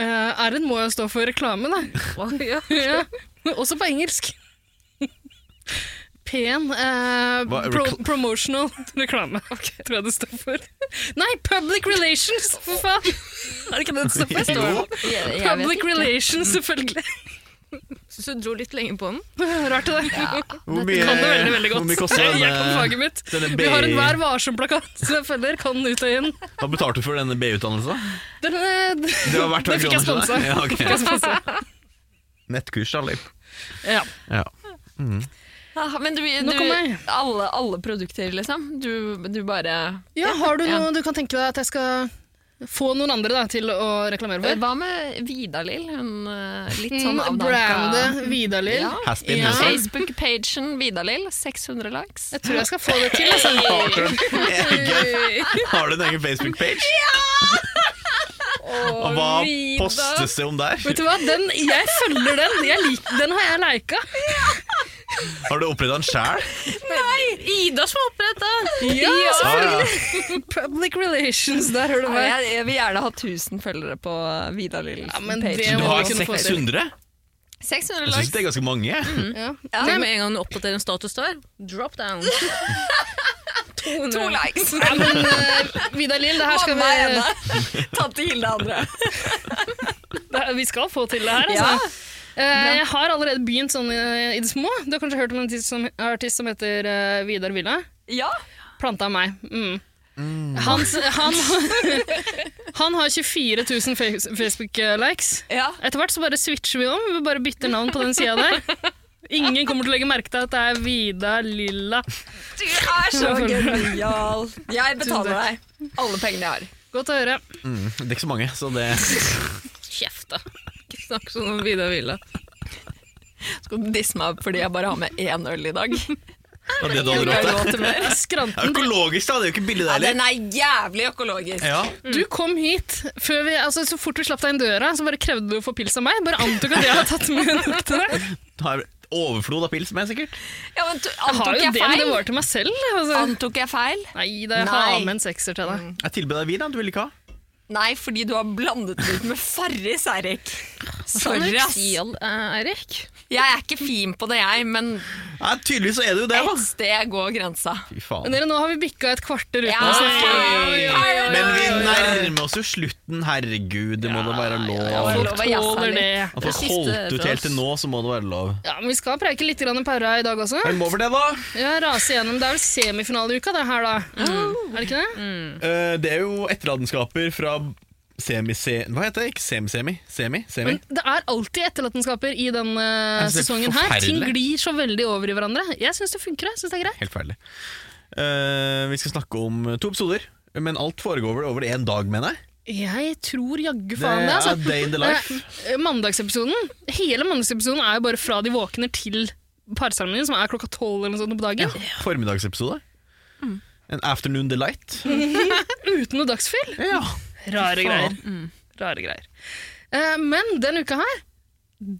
Speaker 3: Eh, R-en må jo stå for reklame, da.
Speaker 4: ja.
Speaker 3: ja. Også på engelsk. Pen eh,
Speaker 2: Hva er
Speaker 3: pro
Speaker 2: rekl-
Speaker 3: promotional reklame, tror jeg det står for. Nei, public relations, for faen! Er det ikke det det står for? Står det?
Speaker 1: Jeg, jeg vet
Speaker 3: Public
Speaker 1: ikke.
Speaker 3: relations, selvfølgelig.
Speaker 4: Syns du dro litt lenge på den?
Speaker 3: Rart det der.
Speaker 2: Hvor
Speaker 3: Du
Speaker 2: mye,
Speaker 3: kan det veldig, veldig
Speaker 2: hvor mye
Speaker 3: godt.
Speaker 2: koster
Speaker 3: Jeg
Speaker 2: denne,
Speaker 3: kan faget mitt.
Speaker 2: denne
Speaker 3: Vi har en Vær
Speaker 2: BI?
Speaker 3: varsom-plakat som jeg følger. Kan ut og inn.
Speaker 2: Hva betalte du for denne BI-utdannelsen?
Speaker 3: Den, eh,
Speaker 2: Det var verdt
Speaker 3: det fikk jeg
Speaker 2: kroner
Speaker 3: sponsa.
Speaker 2: til deg. Ja, ok.
Speaker 3: Fikk jeg sponsa.
Speaker 2: Nettkurs, Alip.
Speaker 3: Ja.
Speaker 2: Ja.
Speaker 1: Ja, men du,
Speaker 3: Nok om
Speaker 1: du
Speaker 3: meg.
Speaker 1: alle, alle produkter, liksom. Du, du bare
Speaker 3: ja, har du noe du kan tenke deg at jeg skal få noen andre da, til å reklamere for?
Speaker 1: Eh, Hva med Vidalil? Hun eh, litt sånn
Speaker 3: Mm,
Speaker 1: avdanka
Speaker 3: Brande Vidalil.
Speaker 1: Ja.
Speaker 2: Has been,
Speaker 3: Ja.
Speaker 2: has been.
Speaker 1: Facebook-pagen Vidalil, 600 likes.
Speaker 3: Jeg tror jeg skal få det til. Altså.
Speaker 2: Har du en egen Facebook-page? Og hva postes det om der?
Speaker 3: Vet du hva, den, jeg følger den. Jeg lik, den har jeg lika.
Speaker 2: Har du oppretta en sjæl?
Speaker 4: Nei! Ida som har oppretta!
Speaker 3: Ja, altså,
Speaker 2: Ja, ja.
Speaker 3: Public relations, der hører du
Speaker 1: Ja,
Speaker 3: meg.
Speaker 1: jeg, jeg vil gjerne ha 1000 følgere på Vidalils
Speaker 3: Ja, men
Speaker 1: page.
Speaker 3: det Mm.
Speaker 2: Du
Speaker 3: må
Speaker 2: har
Speaker 3: vi kunne få til.
Speaker 2: 600?
Speaker 1: 600
Speaker 2: Jeg syns
Speaker 1: likes.
Speaker 2: det er ganske mange.
Speaker 3: Ja.
Speaker 1: Ja,
Speaker 4: Nei, med en gang du oppdaterer en status der, drop down.
Speaker 1: to
Speaker 4: 200.
Speaker 1: likes.
Speaker 3: Ja, men eh, Vidar Lill, det her skal
Speaker 1: Mamma er
Speaker 3: vi,
Speaker 1: ene. Tante Hilde er andre.
Speaker 3: det, her- vi skal få til det her. Altså. Eh, jeg har allerede begynt sånn eh, i det små. Du har kanskje hørt om en artist som, artist som heter eh, Vidar Villa?
Speaker 1: Ja.
Speaker 3: Planta meg. Mm. Hans, han, han har 24 000 fe- Facebook-likes.
Speaker 1: ja.
Speaker 3: Etter hvert så bare switcher vi om. Vi bare bytter navn på den sida der. Ingen kommer til å legge merke til at det er Vida Lilla.
Speaker 1: Du er så genial. Jeg betaler deg alle pengene jeg har.
Speaker 3: Godt å høre.
Speaker 2: Det er ikke så mange, så det
Speaker 4: Kjeft, da. Ikke snakk sånn om Vidar Villa.
Speaker 1: Skal du disse meg fordi jeg bare har med én øl i dag?
Speaker 2: var det du hadde
Speaker 1: Jeg
Speaker 2: råd
Speaker 1: har
Speaker 2: til.
Speaker 1: råd til mer.
Speaker 2: Det er
Speaker 3: Skranten.
Speaker 2: Økologisk, da. Det er jo ikke billig, det
Speaker 1: Ja,
Speaker 2: heller.
Speaker 1: den er jævlig økologisk.
Speaker 2: Ja.
Speaker 3: Du kom hit før vi, altså, så fort vi slapp deg inn døra, så bare krevde du å få pils av meg. Bare antok at jeg hadde tatt med nok til deg.
Speaker 2: Du har overflod av pils med, sikkert.
Speaker 1: Ja, men to-
Speaker 3: Jeg har
Speaker 1: antok
Speaker 3: jo
Speaker 1: jeg
Speaker 3: det, men det
Speaker 1: feil?
Speaker 3: var til meg selv. Altså.
Speaker 1: Antok jeg feil?
Speaker 3: Nei, da jeg har
Speaker 1: Nei.
Speaker 3: med en sekser til deg.
Speaker 2: Jeg tilbød deg vin, da. Du ville ikke ha.
Speaker 1: Nei, fordi du har blandet det ut med Farris, Erik. Sorry, ass.
Speaker 4: Anoreksi, eh, Eirik.
Speaker 1: Jeg er ikke fin på det, jeg, men
Speaker 2: Nei, tydeligvis så er det jo det, da.
Speaker 1: et sted går grensa.
Speaker 2: Fy
Speaker 3: Men
Speaker 2: faen.
Speaker 3: dere, nå har vi bikka et kvarter uten
Speaker 1: Ja,
Speaker 3: å
Speaker 1: oi, oi, oi,
Speaker 3: snakke.
Speaker 1: oi.
Speaker 2: Men vi nærmer oss jo slutten. Herregud, det må da være lov.
Speaker 1: lov å
Speaker 3: Folk
Speaker 1: jazze
Speaker 3: tåler
Speaker 1: litt.
Speaker 3: det.
Speaker 2: At folk
Speaker 4: Det siste
Speaker 2: holdt ut
Speaker 4: fra
Speaker 2: helt til
Speaker 4: oss.
Speaker 2: nå, så må det være lov.
Speaker 3: Ja, men vi skal preike litt grann para i dag også.
Speaker 2: Men må for det, da.
Speaker 3: Ja, rase gjennom. Det er vel
Speaker 2: Mm.
Speaker 3: semifinaleuka det her, da. Er det ikke det?
Speaker 2: Eh, Det er jo etterlatenskaper fra Semi-se... Hva heter det? Ikke semi-semi? Semi? Semi?
Speaker 3: Men det er alltid etterlatenskaper i denne
Speaker 2: det er
Speaker 3: sesongen her. Ting
Speaker 2: forferdelig.
Speaker 3: glir så veldig over i hverandre. Jeg syns det funker. jeg synes det er greit.
Speaker 2: Helt ferdig. Eh, vi skal snakke om to episoder, men alt foregår vel over én dag, mener jeg.
Speaker 3: Jeg tror jaggu
Speaker 2: Det
Speaker 3: faen det. altså.
Speaker 2: er day in the life.
Speaker 3: Eh, Mandagsepisoden Hele mandagsepisoden er jo bare fra de våkner til parseremonien, som er klokka tolv eller noe sånt på dagen.
Speaker 2: Formiddagsepisode.
Speaker 3: Mm.
Speaker 2: En afternoon delight.
Speaker 3: Uten noe dagsfyll.
Speaker 2: Ja.
Speaker 3: Rare greier. Rare greier. Eh, men den uka her,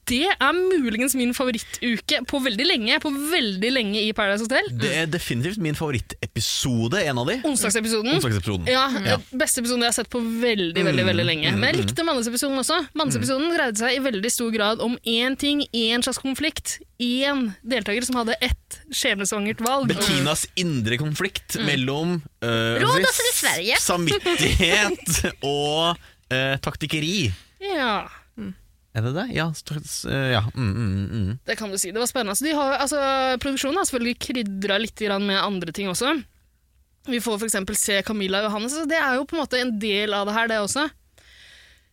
Speaker 3: det er muligens min favorittuke på veldig lenge. På veldig lenge i Paradise Hotel.
Speaker 2: Det er definitivt min favorittepisode, en av de.
Speaker 3: Onsdagsepisoden.
Speaker 2: Onsdagsepisoden.
Speaker 3: Ja, Beste episoden jeg har sett på veldig veldig, veldig lenge. Men jeg likte mannsepisoden også. Mannsepisoden dreide seg i veldig stor grad om én ting, én slags konflikt. Én deltaker som hadde ett skjebnesvangert valg.
Speaker 2: Bettinas indre konflikt
Speaker 3: Mm.
Speaker 2: mellom øh,
Speaker 4: Rådhuset i
Speaker 2: s-
Speaker 4: Sverige.
Speaker 2: samvittighet og øh, taktikkeri.
Speaker 3: Ja,
Speaker 2: Er det det? Ja. st- s- øh, ja. Mm, mm, mm.
Speaker 3: det kan du si. Det var spennende. Så de har, altså, produksjonen har selvfølgelig krydra litt grann med andre ting også. Vi får f.eks. se Camilla og Johannes. Så det er jo på en måte en del av det her, det også.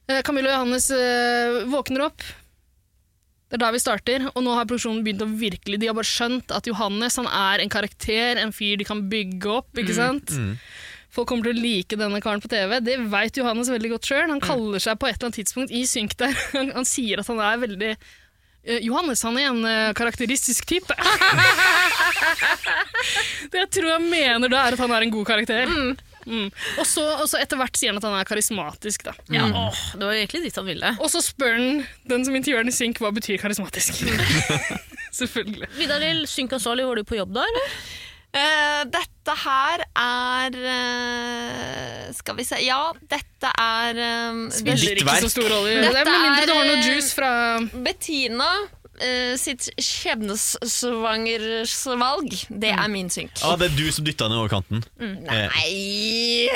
Speaker 3: Eh, Camilla og Johannes eh, våkner opp. Det er der vi starter, og nå har produksjonen begynt å virkelig De har bare skjønt at Johannes han er en karakter, en fyr de kan bygge opp. ikke sant?
Speaker 2: mm.
Speaker 3: Folk kommer til å like denne karen på TV. Det veit Johannes veldig godt sjøl.
Speaker 2: Mm.
Speaker 3: Han kaller seg på et eller annet tidspunkt i synk der. Han, han sier at han er veldig eh, Johannes han er en eh, karakteristisk type. det jeg tror han mener da, er at han er en god karakter. Mm. Og så og så etter hvert sier han at han er karismatisk, da.
Speaker 4: Ja, åh, det var egentlig dit han ville.
Speaker 3: Og så spør han den som intervjuer han i synk, hva betyr karismatisk?
Speaker 5: Mm.
Speaker 3: Selvfølgelig.
Speaker 4: Vidar-Lill, Synkansvarlig, var du på jobb da, eller?
Speaker 5: Eh, dette her er eh, Skal vi se Ja, dette er eh,
Speaker 3: Spiller
Speaker 2: Ditt
Speaker 3: ikke
Speaker 2: verk.
Speaker 3: så stor rolle.
Speaker 5: Dette
Speaker 3: Det er Med mindre du har
Speaker 5: er,
Speaker 3: noe
Speaker 5: eh,
Speaker 3: juice fra
Speaker 5: Bettina eh, sitt skjebnesvangersvalg, det
Speaker 3: Mm.
Speaker 5: er min synk.
Speaker 2: Ah, det er du som dytta henne over kanten. Eh,
Speaker 5: Nei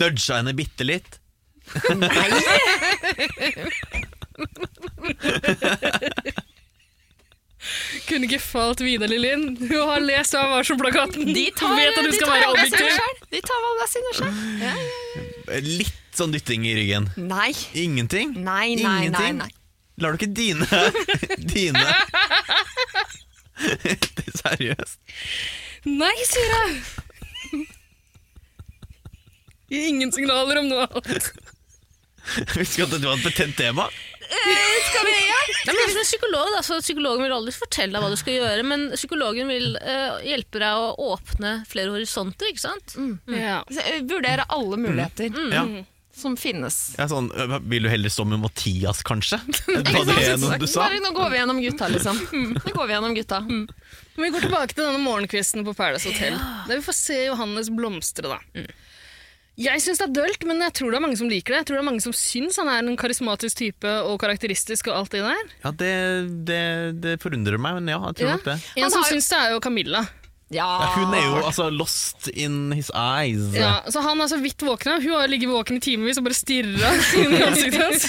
Speaker 2: Nudga henne bitte litt.
Speaker 3: Kunne ikke falt Vidar Lillin. Hun har lest av Varselplakaten.
Speaker 5: De tar,
Speaker 3: Vet at du
Speaker 5: de
Speaker 3: skal
Speaker 5: tar
Speaker 3: være
Speaker 5: valgene
Speaker 3: objektiv.
Speaker 5: sine selv. De tar valgene sine sjøl.
Speaker 2: Eh, Litt sånn dytting i ryggen.
Speaker 5: Nei.
Speaker 2: Ingenting.
Speaker 5: Nei, nei, nei,
Speaker 2: Ingenting.
Speaker 5: nei.
Speaker 2: Lar du ikke dine Dine Det er Seriøst?
Speaker 3: Nei, sier jeg. Gir ingen signaler om noe annet.
Speaker 2: Jeg visste ikke at det var et betent tema.
Speaker 4: Nei, men det er som en psykolog, da, så Psykologen vil aldri fortelle deg hva du skal gjøre, men psykologen vil eh, hjelpe deg å åpne flere horisonter. ikke sant?
Speaker 3: Ja.
Speaker 5: Så jeg eh, Vurderer alle muligheter
Speaker 2: Mm.
Speaker 3: Mm.
Speaker 2: Ja.
Speaker 5: som finnes.
Speaker 2: Ja, sånn, øh, vil du heller stå med Mathias, kanskje? Hva det er noe du sa?
Speaker 5: Bare nå går vi gjennom gutta, liksom. Nå går vi gjennom gutta.
Speaker 3: Mm. Men vi går tilbake til denne morgenkvisten på Paradise Hotel. Der vi får se Johannes blomstre, da.
Speaker 5: Mm.
Speaker 3: Jeg syns det er dølt, men jeg tror det er mange som liker det. Jeg tror det er mange som syns han er en karismatisk type og karakteristisk og alt det der.
Speaker 2: Ja, det, det, det forundrer meg, men ja, jeg tror
Speaker 3: Ja.
Speaker 2: nok det.
Speaker 3: En
Speaker 5: Han
Speaker 3: som
Speaker 5: har jo-
Speaker 3: syns det er jo Camilla.
Speaker 5: Ja.
Speaker 2: Ja, hun er
Speaker 5: Ah.
Speaker 2: jo altså lost in his eyes.
Speaker 3: Ja, så han er så vidt våkna. Hun har jo ligget våken i timevis og bare stirra inn i ansiktet hans.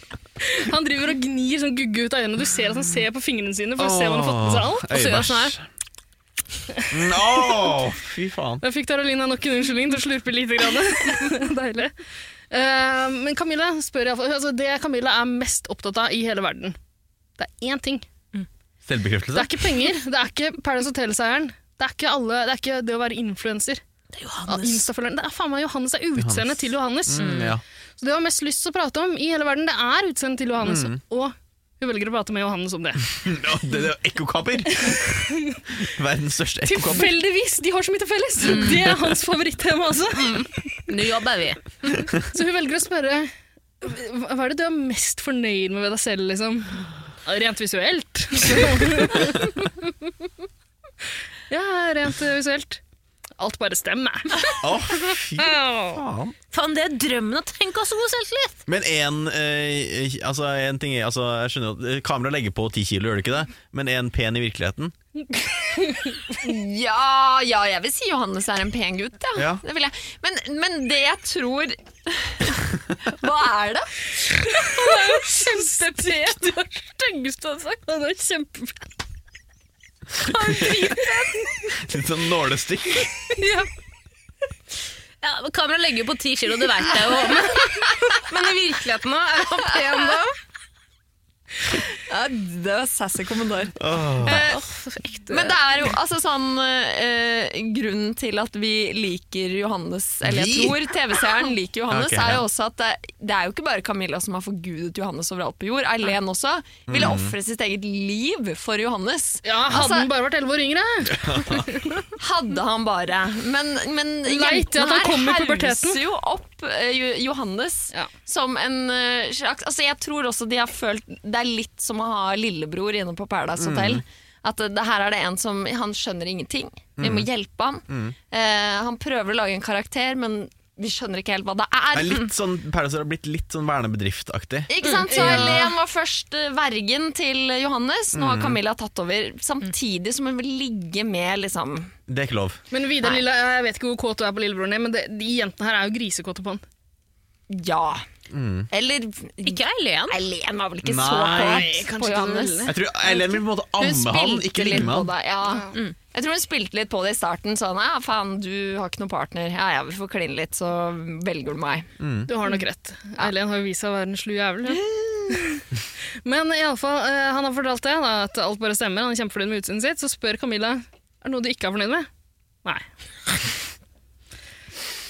Speaker 3: Han driver og gnir sånn gugge ut av øynene, og du ser at han ser på fingrene sine for å se om han har fått med seg alt. Og så gjør han sånn her.
Speaker 2: Øyebæsj. Nå, fy faen.
Speaker 3: Da fikk Taralina nok en unnskyldning til å slurpe lite grann. Deilig. Eh, men Camilla spør i alle fall- altså Det Camilla er mest opptatt av i hele verden, det er én ting. Det
Speaker 2: Selvbekreftelse?
Speaker 3: er ikke penger, det er ikke Paradise Hotel-seieren, det er ikke alle, det er ikke det å være influenser.
Speaker 4: Det
Speaker 3: Ja,
Speaker 4: er Johannes.
Speaker 3: Insta-følgeren. Det er faen meg Johannes, det er
Speaker 2: Johannes.
Speaker 3: utseendet til Johannes.
Speaker 2: Mm, ja.
Speaker 3: Så det hun har mest lyst til å prate om i hele verden, det er utseendet til Johannes.
Speaker 2: Mm.
Speaker 3: Og hun velger å prate med Johannes om det.
Speaker 2: Ja, det det er ekkokabber! Verdens største ekkokabber.
Speaker 3: Tilfeldigvis! De har så mye til felles!
Speaker 2: Mm.
Speaker 3: Det er hans favorittema også.
Speaker 4: Ny jobb er vi.
Speaker 3: Så hun velger å spørre Hva hva er det du er mest fornøyd med ved deg selv, liksom? Rent visuelt. ja, rent visuelt. Ah, Alt bare stemmer.
Speaker 2: Å, fy faen.
Speaker 4: Faen, det er drømmen å tenke oss så god selvtillit!
Speaker 2: Men en, eh, altså, en ting er altså, Jeg skjønner at eh, kamera legger på ti kilo, gjør det ikke det? Men en pen i virkeligheten?
Speaker 5: Ja, ja, jeg vil si Johannes er en pen gutt, ja.
Speaker 2: Ja.
Speaker 5: Det vil jeg. Men, men det jeg tror Hva er det?
Speaker 3: Kjempepen! Du er styggest du har sagt. Han er kjempepen.
Speaker 2: Litt sånn nålestikk.
Speaker 3: Ja.
Speaker 4: Ja, men Kameraet legger jo på ti kilo, det veit jeg jo. Men,
Speaker 1: Men i virkeligheten nå, er han pen da?
Speaker 5: Ja, det var sassy kommentar.
Speaker 4: ekte.
Speaker 1: Men det er jo altså sånn eh, Grunnen til at vi liker Johannes, eller jeg
Speaker 2: Vi?
Speaker 1: tror TV-seeren liker Johannes,
Speaker 2: Ok, ja.
Speaker 1: er jo også at det, det er jo ikke bare Camilla som har forgudet Johannes overalt på jord. Eileen også
Speaker 2: Mm.
Speaker 1: ville ofre sitt eget liv for Johannes.
Speaker 3: Ja, Hadde
Speaker 1: Altså-
Speaker 3: han bare vært elleve år yngre!
Speaker 1: Hadde han bare. Men, men
Speaker 3: Leit til at han kom i puberteten.
Speaker 1: hauser jo opp eh, Jo- Johannes
Speaker 3: Ja.
Speaker 1: som en eh, slags Altså Jeg tror også de har følt Det er litt som å ha lillebror inne på Paradise
Speaker 2: Mm.
Speaker 1: Hotel. At eh, det her er det en som Han skjønner ingenting. Vi
Speaker 2: Mm.
Speaker 1: må hjelpe han. Eh, han prøver å lage en karakter, men vi skjønner ikke helt hva det er.
Speaker 2: Det er litt sånn, Paradise har blitt litt sånn vernebedriftaktig.
Speaker 1: Ikke sant? Så Helen var først eh, vergen til Johannes. Nå
Speaker 2: Mm.
Speaker 1: har Camilla tatt over, samtidig som hun vil ligge med liksom
Speaker 2: Det er ikke lov.
Speaker 3: Men Vidar Lille, jeg vet ikke hvor kåt du er på lillebroren din, men det, de jentene her er jo grisekåte på han.
Speaker 1: Ja. Eller
Speaker 4: Ikke Eileen.
Speaker 1: Eileen var vel ikke
Speaker 2: Mm. Nei,
Speaker 1: så kåt på Johannes.
Speaker 2: Jeg tror Eileen vil på en måte amme han, ikke
Speaker 1: litt
Speaker 2: ligge med
Speaker 1: på
Speaker 2: han.
Speaker 1: det. Ja. Mm. Jeg tror hun spilte litt på det i starten. Sånn, ja, faen, du har ikke noen partner. Ja, ja, vi får kline litt, så velger du meg.
Speaker 3: Du har nok rett. Eileen har jo vist seg å være en slu jævel. ja. Men i alle fall, eh, han har fortalt det, da, at alt bare stemmer. Han er kjempefornøyd med utseendet sitt. Så spør Camilla er det noe du ikke er fornøyd med. Nei.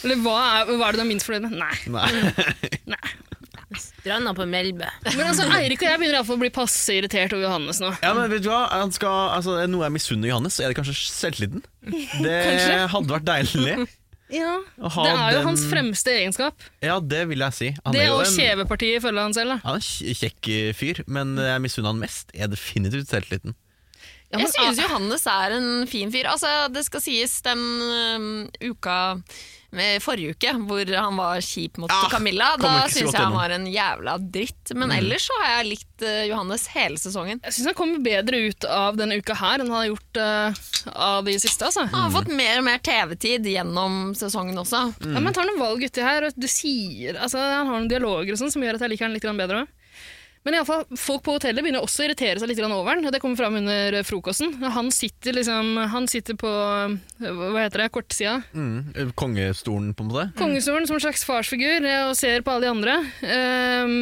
Speaker 3: Eller hva er, hva er det du er minst fornøyd med? Nei.
Speaker 2: Nei.
Speaker 3: Nei.
Speaker 4: Stranda på Melbu.
Speaker 3: Men altså, Eirik og jeg begynner i alle fall å bli passe irritert over Johannes nå.
Speaker 2: Ja, men vet du hva? Han skal, altså, er det noe jeg misunner Johannes, så er det kanskje selvtilliten. Det hadde vært deilig.
Speaker 3: Ja.
Speaker 2: Å ha
Speaker 3: Det er jo
Speaker 2: den-
Speaker 3: hans fremste egenskap.
Speaker 2: Ja, det vil jeg si. Han
Speaker 3: Det
Speaker 2: er jo
Speaker 3: og
Speaker 2: en-
Speaker 3: kjevepartiet følger han selv. da.
Speaker 2: Han er en kj- kjekk eh, fyr, men det jeg misunner han mest, er definitivt selvtilliten.
Speaker 3: Ja, men, ah.
Speaker 1: jeg synes Johannes er en fin fyr. Altså, det skal sies den øhm, uka eh, Forrige uke, hvor han var kjip mot
Speaker 2: Ah,
Speaker 1: Camilla. Da
Speaker 2: kommer ikke så
Speaker 1: syns
Speaker 2: godt
Speaker 1: jeg han
Speaker 2: gjennom. Mm.
Speaker 1: var en jævla dritt. Men ellers så har jeg likt eh, Johannes hele sesongen.
Speaker 3: Jeg syns han kommer bedre ut av denne uka her enn han har gjort eh, av de siste. altså.
Speaker 1: Han har fått mer og mer TV-tid gjennom sesongen også.
Speaker 3: Ja, men tar noen valg uti her, og du sier, altså, han har noen dialoger og sånn som gjør at jeg liker han litt grann bedre. også. Men i alle fall, folk på hotellet begynner også å irritere seg litt grann over han, og det kommer fram under eh, frokosten. Han sitter, liksom, han sitter på eh, hva heter det, kortsida.
Speaker 2: Mm. eh, Kongestolen, på en måte.
Speaker 3: Kongestolen som en slags farsfigur eh, og ser på alle de andre. ehm,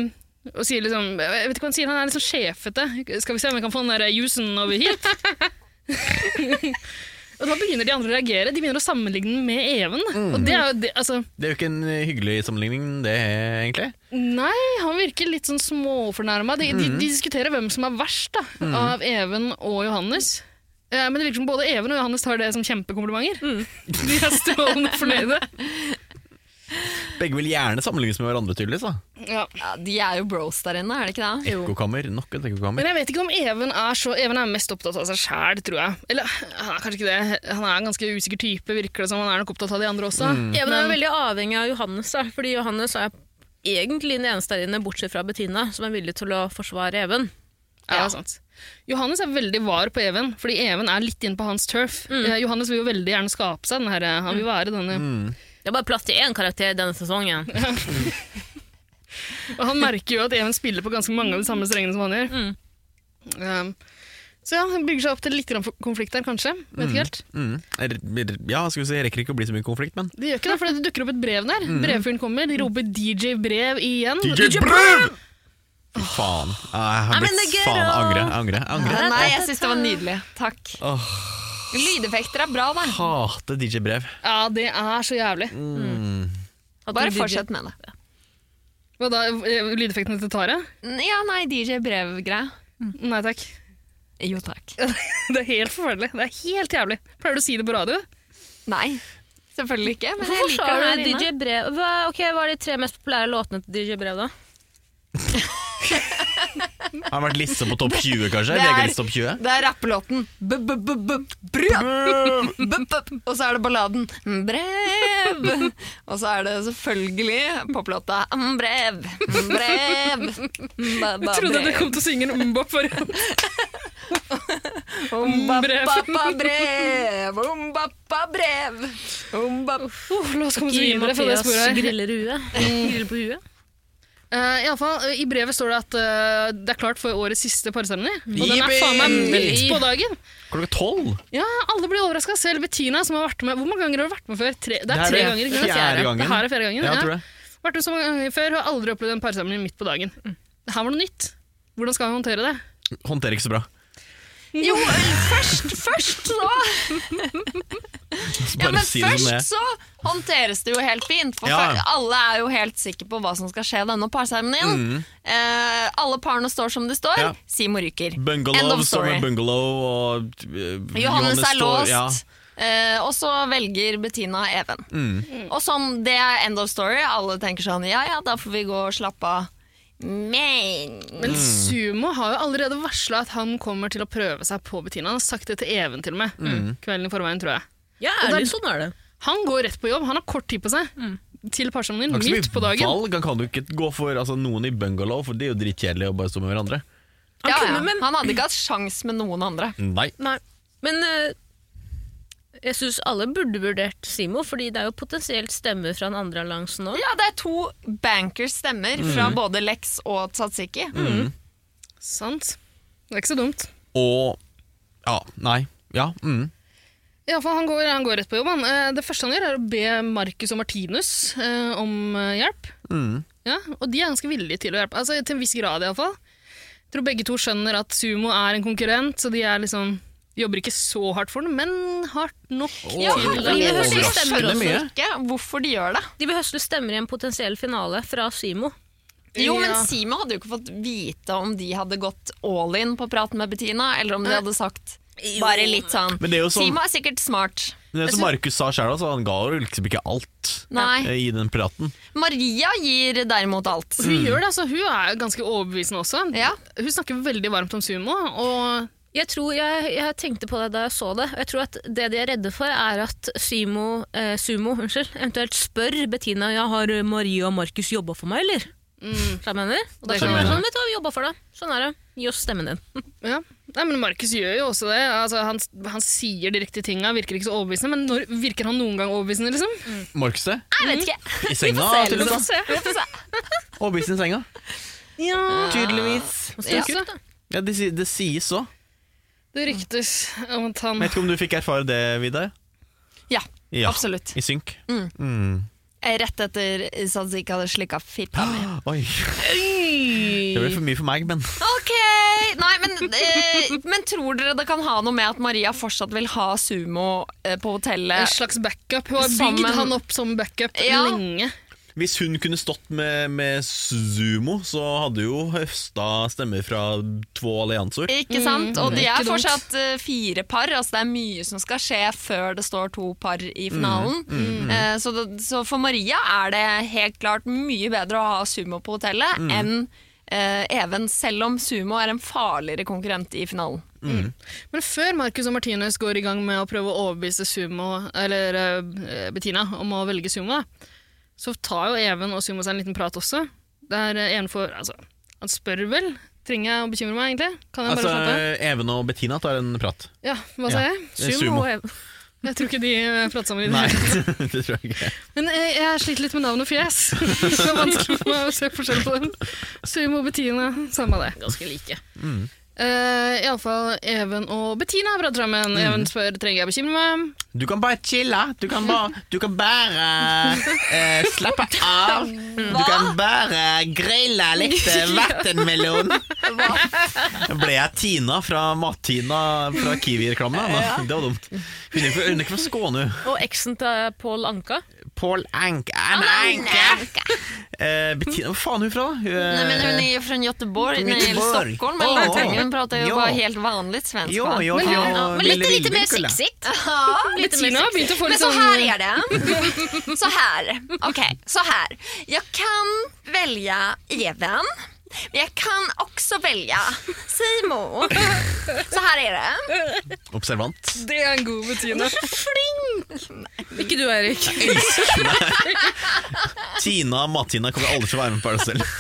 Speaker 3: og sier liksom Jeg vet ikke hva han sier, han er litt sånn sjefete. Skal vi se om vi kan få den der jusen over hit? og da begynner de andre å reagere. De begynner å sammenligne den med Even. da. Og det er jo det, altså
Speaker 2: Det er jo ikke en eh, hyggelig sammenligning, det, eh, egentlig.
Speaker 3: Nei, han virker litt sånn småfornærma. De, de, de diskuterer hvem som er verst da, av Even og Johannes. Eh, men det virker som både Even og Johannes tar det som kjempekomplimenter. De er strålende fornøyde.
Speaker 2: Begge vil gjerne sammenlignes med hverandre, tydeligvis. da.
Speaker 3: Ja.
Speaker 1: Ja, de er jo bros der inne, er det ikke det?
Speaker 2: Ekkokammer, nok et ekkokammer.
Speaker 3: Men jeg vet ikke om Even er så Even er mest opptatt av seg sjæl, tror jeg. Eller han er kanskje ikke det. Han er en ganske usikker type, virker det som. Han er nok opptatt av de andre også.
Speaker 4: Ja, men det er veldig avhengig av Johannes, da. fordi Johannes er egentlig den eneste der inne, bortsett fra Bettina, som er villig til å forsvare Even.
Speaker 3: Ja, det er sant. Johannes er veldig var på Even, fordi Even er litt inne på hans turf. Eh, Johannes vil jo veldig gjerne skape seg den her, eh, han vil være denne
Speaker 4: Det er bare plass til én karakter denne sesongen.
Speaker 3: Og han merker jo at Even spiller på ganske mange av de samme strengene som han gjør.
Speaker 1: Mm.
Speaker 3: Um, så ja, han bygger seg opp til litt grann konflikt der, kanskje. Vet ikke helt.
Speaker 2: Mm. Er- er- Ja, skal vi si, rekker ikke å bli så mye konflikt, men
Speaker 3: Det gjør ikke det, for det dukker opp et brev der. Brevfyren kommer, de roper DJ Brev igjen.
Speaker 2: Mm. Brev! Fy faen. Ah, Jeg har
Speaker 4: I'm in
Speaker 2: blitt
Speaker 4: the
Speaker 2: faen
Speaker 4: ghetto.
Speaker 2: angre. angre, angre.
Speaker 1: Nei, jeg syns det var nydelig. Takk.
Speaker 2: Åh.
Speaker 1: Lydeffekter er bra, da.
Speaker 2: Hater DJ-brev.
Speaker 3: Ja, det er så jævlig.
Speaker 4: At
Speaker 1: Bare
Speaker 4: du-
Speaker 1: fortsett med det.
Speaker 3: Hva da, eh, lydeffektene til Tare?
Speaker 1: Ja, nei, DJ Brev-greia.
Speaker 3: Nei takk.
Speaker 1: Jo takk.
Speaker 3: Det er helt forferdelig. Det er helt jævlig. Pleier du å si det på radio?
Speaker 1: Nei, selvfølgelig ikke. Men jeg
Speaker 4: Hvorfor
Speaker 1: liker det
Speaker 4: sa
Speaker 1: her
Speaker 4: du
Speaker 1: inne.
Speaker 4: DJ Brev? Hva, ok, hva er de tre mest populære låtene til DJ Brev, da?
Speaker 2: Har vært lista på topp 20, kanskje?
Speaker 1: Det er-
Speaker 2: VG-lista topp 20?
Speaker 1: Det er rappelåten B-b-b-b-brød. Og så er det balladen Mm, Brev. Og så er det selvfølgelig poplåta Mm, Brev. Mm, Brev. Mm, ba, ba,
Speaker 3: Trodde du
Speaker 1: brev.
Speaker 3: kom til å synge en umbop for
Speaker 1: Om, ba,
Speaker 3: brev.
Speaker 1: ba, ba, brev. Om, ba, ba, brev. Om, ba-
Speaker 3: La oss komme oss videre fra det sporet her.
Speaker 4: griller huet. Griller på huet.
Speaker 3: Eh, i, alle fall, eh, I brevet står det at eh, det er klart for årets siste parseremoni. Og den er
Speaker 2: Yippee!
Speaker 3: faen meg midt på dagen!
Speaker 2: Klokka tolv?
Speaker 3: Ja, Alle blir overraska, selv Bettina, som har vært med Hvor mange ganger har du vært med før? Tre, det
Speaker 2: Det
Speaker 3: er
Speaker 2: er
Speaker 3: tre
Speaker 2: det
Speaker 3: ganger. ikke sant?
Speaker 2: fjerde gangen.
Speaker 3: Det her er fjerde gangen,
Speaker 2: Ja,
Speaker 3: ja.
Speaker 2: jeg tror det.
Speaker 3: Vært med så mange ganger før, har aldri opplevd en parseremoni midt på dagen. Det her var noe nytt. Hvordan skal vi håndtere det?
Speaker 2: Håndterer ikke så bra.
Speaker 1: Jo, først, først så
Speaker 2: Så
Speaker 1: Ja,
Speaker 2: bare
Speaker 1: men
Speaker 2: si det som det er.
Speaker 1: først så håndteres det jo helt fint. For
Speaker 2: Ja.
Speaker 1: før- alle er jo helt sikre på hva som skal skje denne parseremonien. Eh, alle parene står som de står.
Speaker 2: Mm. Ja.
Speaker 1: Simo ryker. End
Speaker 2: Bungalow
Speaker 1: of
Speaker 2: som
Speaker 1: story.
Speaker 2: er bungalow, og eh,
Speaker 1: Johannes er
Speaker 2: står-
Speaker 1: låst.
Speaker 2: Ja.
Speaker 1: eh, og så velger Bettina Even.
Speaker 2: Mm.
Speaker 1: Og sånn, det er end of story. Alle tenker sånn ja ja, da får vi gå og slappe av. Men
Speaker 2: Mm.
Speaker 3: Men Sumo har jo allerede varsla at han kommer til å prøve seg på Bettina. Han har sagt det til Even til og med.
Speaker 2: Mm.
Speaker 3: Mm. Kvelden i forveien, tror jeg.
Speaker 4: Ja, ærlig, sånn er det.
Speaker 3: Han går rett på jobb, han har kort tid på seg. Til parseremonien,
Speaker 2: Har ikke så
Speaker 3: midt
Speaker 2: mye
Speaker 3: på dagen.
Speaker 2: Valg. Han kan jo ikke gå for altså, noen i bungalow, for det er jo dritkjedelig å bare stå med hverandre.
Speaker 1: ja,
Speaker 4: Han
Speaker 1: ja.
Speaker 4: kunne, men-
Speaker 1: han hadde ikke hatt sjans med noen andre.
Speaker 2: Nei.
Speaker 4: Nei. Men eh, jeg syns alle burde vurdert Simo, fordi det er jo potensielt stemmer fra den andre alliansen òg.
Speaker 1: Ja, det er to bankers stemmer
Speaker 2: Mm.
Speaker 1: fra både Lex og Tsatsiki.
Speaker 3: Sant. Det er ikke så dumt.
Speaker 2: Og Ja, nei. Ja. Mm.
Speaker 3: Ja, for han, går, han går rett på jobb. Han. Eh, Det første han gjør, er å be Marcus og Martinus eh, om eh, hjelp. Ja, og de er ganske villige til å hjelpe. Altså, til en viss grad, iallfall. Jeg tror begge to skjønner at Sumo er en konkurrent, så de er liksom de jobber ikke så hardt for den, men hardt nok.
Speaker 1: Ja,
Speaker 3: til
Speaker 1: fordi jeg
Speaker 3: at-
Speaker 1: hører- jeg
Speaker 4: Overraskende
Speaker 1: skjønner
Speaker 2: mye.
Speaker 1: også ikke hvorfor de gjør det.
Speaker 4: De vil høsle stemmer i en potensiell finale fra Simo.
Speaker 1: Jo, men
Speaker 3: Ja.
Speaker 1: Simo hadde jo ikke fått vite om de hadde gått all in på praten med Bettina, eller om de hadde sagt bare litt sånn.
Speaker 2: Men det er jo sånn-
Speaker 1: Simo er sikkert smart.
Speaker 2: Men det som Markus sa sjøl, altså, han ga jo liksom ikke alt eh,
Speaker 1: Nei.
Speaker 2: i den praten.
Speaker 1: Maria gir derimot alt.
Speaker 3: Hun gjør det, altså. Hun er jo ganske overbevisende også.
Speaker 1: Mm. Ja.
Speaker 3: Hun snakker veldig varmt om sumo, og
Speaker 4: Jeg tror jeg, jeg tenkte på det da jeg så det, og jeg tror at det de er redde for, er at Simo, eh, Sumo unnskyld, eventuelt spør Bettina ja, har Maria og Markus jobba for meg, eller? Mm. Jeg mener. Og da
Speaker 3: Det
Speaker 4: kan
Speaker 2: kan
Speaker 4: hun være
Speaker 2: jeg.
Speaker 4: sånn, vet du hva, vi jobba for deg. Sånn er det. Gi oss stemmen din.
Speaker 3: Ja. Nei, men Markus gjør jo også det. Altså, han, han sier de riktige tinga, virker ikke så overbevisende, men når, virker han noen gang overbevisende, liksom?
Speaker 2: Markus det?
Speaker 1: Jeg vet
Speaker 4: Mm.
Speaker 1: ikke.
Speaker 2: I senga?
Speaker 1: Ah, se,
Speaker 2: til og
Speaker 1: liksom.
Speaker 2: med. Overbevist i senga? Ja. Tydeligvis.
Speaker 4: Det er
Speaker 1: Ja.
Speaker 4: kult, da.
Speaker 2: Ja, det, si- det sies så.
Speaker 3: Det ryktes om at han
Speaker 2: Vet ikke om du fikk erfare det, Vidar?
Speaker 1: Ja,
Speaker 2: Ja.
Speaker 1: absolutt.
Speaker 2: I synk? Mm.
Speaker 1: Rett etter Sazik hadde slikka fitta mi.
Speaker 2: Oi. Det ble for mye for meg, men
Speaker 1: Ok! Nei, men, eh, men tror dere det kan ha noe med at Maria fortsatt vil ha Sumo eh, på
Speaker 3: En
Speaker 1: hotellet?
Speaker 3: slags backup. Hun har
Speaker 1: Sammen-
Speaker 3: bygd han opp som backup
Speaker 1: Ja.
Speaker 3: lenge.
Speaker 2: Hvis hun kunne stått med, med Sumo, så hadde jo høsta stemmer fra to allianser.
Speaker 1: Ikke sant? Og de
Speaker 3: Mm. ikke
Speaker 1: er
Speaker 3: dumt.
Speaker 1: fortsatt eh, fire par. Altså det er mye som skal skje før det står to par
Speaker 3: Mm.
Speaker 1: i finalen. Eh, så, det, så for Maria er det helt klart mye bedre å ha Sumo på hotellet
Speaker 3: Mm.
Speaker 1: enn eh, Even, selv om Sumo er en farligere konkurrent i finalen.
Speaker 3: Men før Marcus og Martinus går i gang med å prøve å overbevise Sumo, eller eh, Bettina om å velge Sumo, da, så tar jo Even og Sumo seg en liten prat også. Der eh, Even får Altså, han spør vel. Trenger jeg å bekymre meg, egentlig? Kan jeg bare
Speaker 2: Altså,
Speaker 3: slappe av?
Speaker 2: Even og Bettina tar en prat.
Speaker 3: Ja, hva sa
Speaker 2: ja.
Speaker 3: jeg?
Speaker 2: Det er Sumo.
Speaker 4: og Eva.
Speaker 3: Jeg tror ikke de eh, prater sammen i det
Speaker 2: Nei,
Speaker 3: hele tatt.
Speaker 2: det tror jeg ikke.
Speaker 3: Men jeg, jeg sliter litt med navn og fjes. Det er vanskelig for meg å se forskjell på dem. Sumo og Bettina, samme det.
Speaker 4: Ganske like.
Speaker 3: Uh, Iallfall Even og Bettina har pratet sammen. Even spør trenger jeg bekymre meg.
Speaker 2: Du kan bare chille. Du kan bare, du kan bare eh, slappe av. Du kan bare grille litt eh, vattenmelon. Ble jeg Tina fra Mat-Tina fra Kiwi-reklame? Ja. Det var dumt. Hun er ikke- hun er ikke fra Skåne.
Speaker 4: Og eksen til Pål Anka.
Speaker 2: Paul Ank Anne Anke. Eh, Bettina, hvor faen er hun fra? da? Hun, er-
Speaker 1: Nei, men hun er jo fra Göteborg, nei, eller
Speaker 2: Eh, Göteborg.
Speaker 1: Stockholm, eller
Speaker 2: Å,
Speaker 1: noe. Hun prater jo
Speaker 2: ja.
Speaker 1: bare helt vanlig svensk.
Speaker 2: Jo,
Speaker 1: da.
Speaker 2: jo,
Speaker 3: Men-
Speaker 2: jo,
Speaker 4: Ja, men litt,
Speaker 2: Lille
Speaker 4: litt mer
Speaker 2: Vinkel, da.
Speaker 4: sikt-sikt. Litt mer
Speaker 3: Bettina har begynt å få
Speaker 1: Men
Speaker 3: litt
Speaker 1: så
Speaker 3: sånn
Speaker 1: här är det. Så här. Okej, så här. Jag kan välja Even. Men jag kan också välja Simo. Så här är det.
Speaker 2: Observant.
Speaker 3: Det er en god Bettina.
Speaker 4: Ikke du, Eirik.
Speaker 2: Tina Matina kommer aldri til å være med på det selv.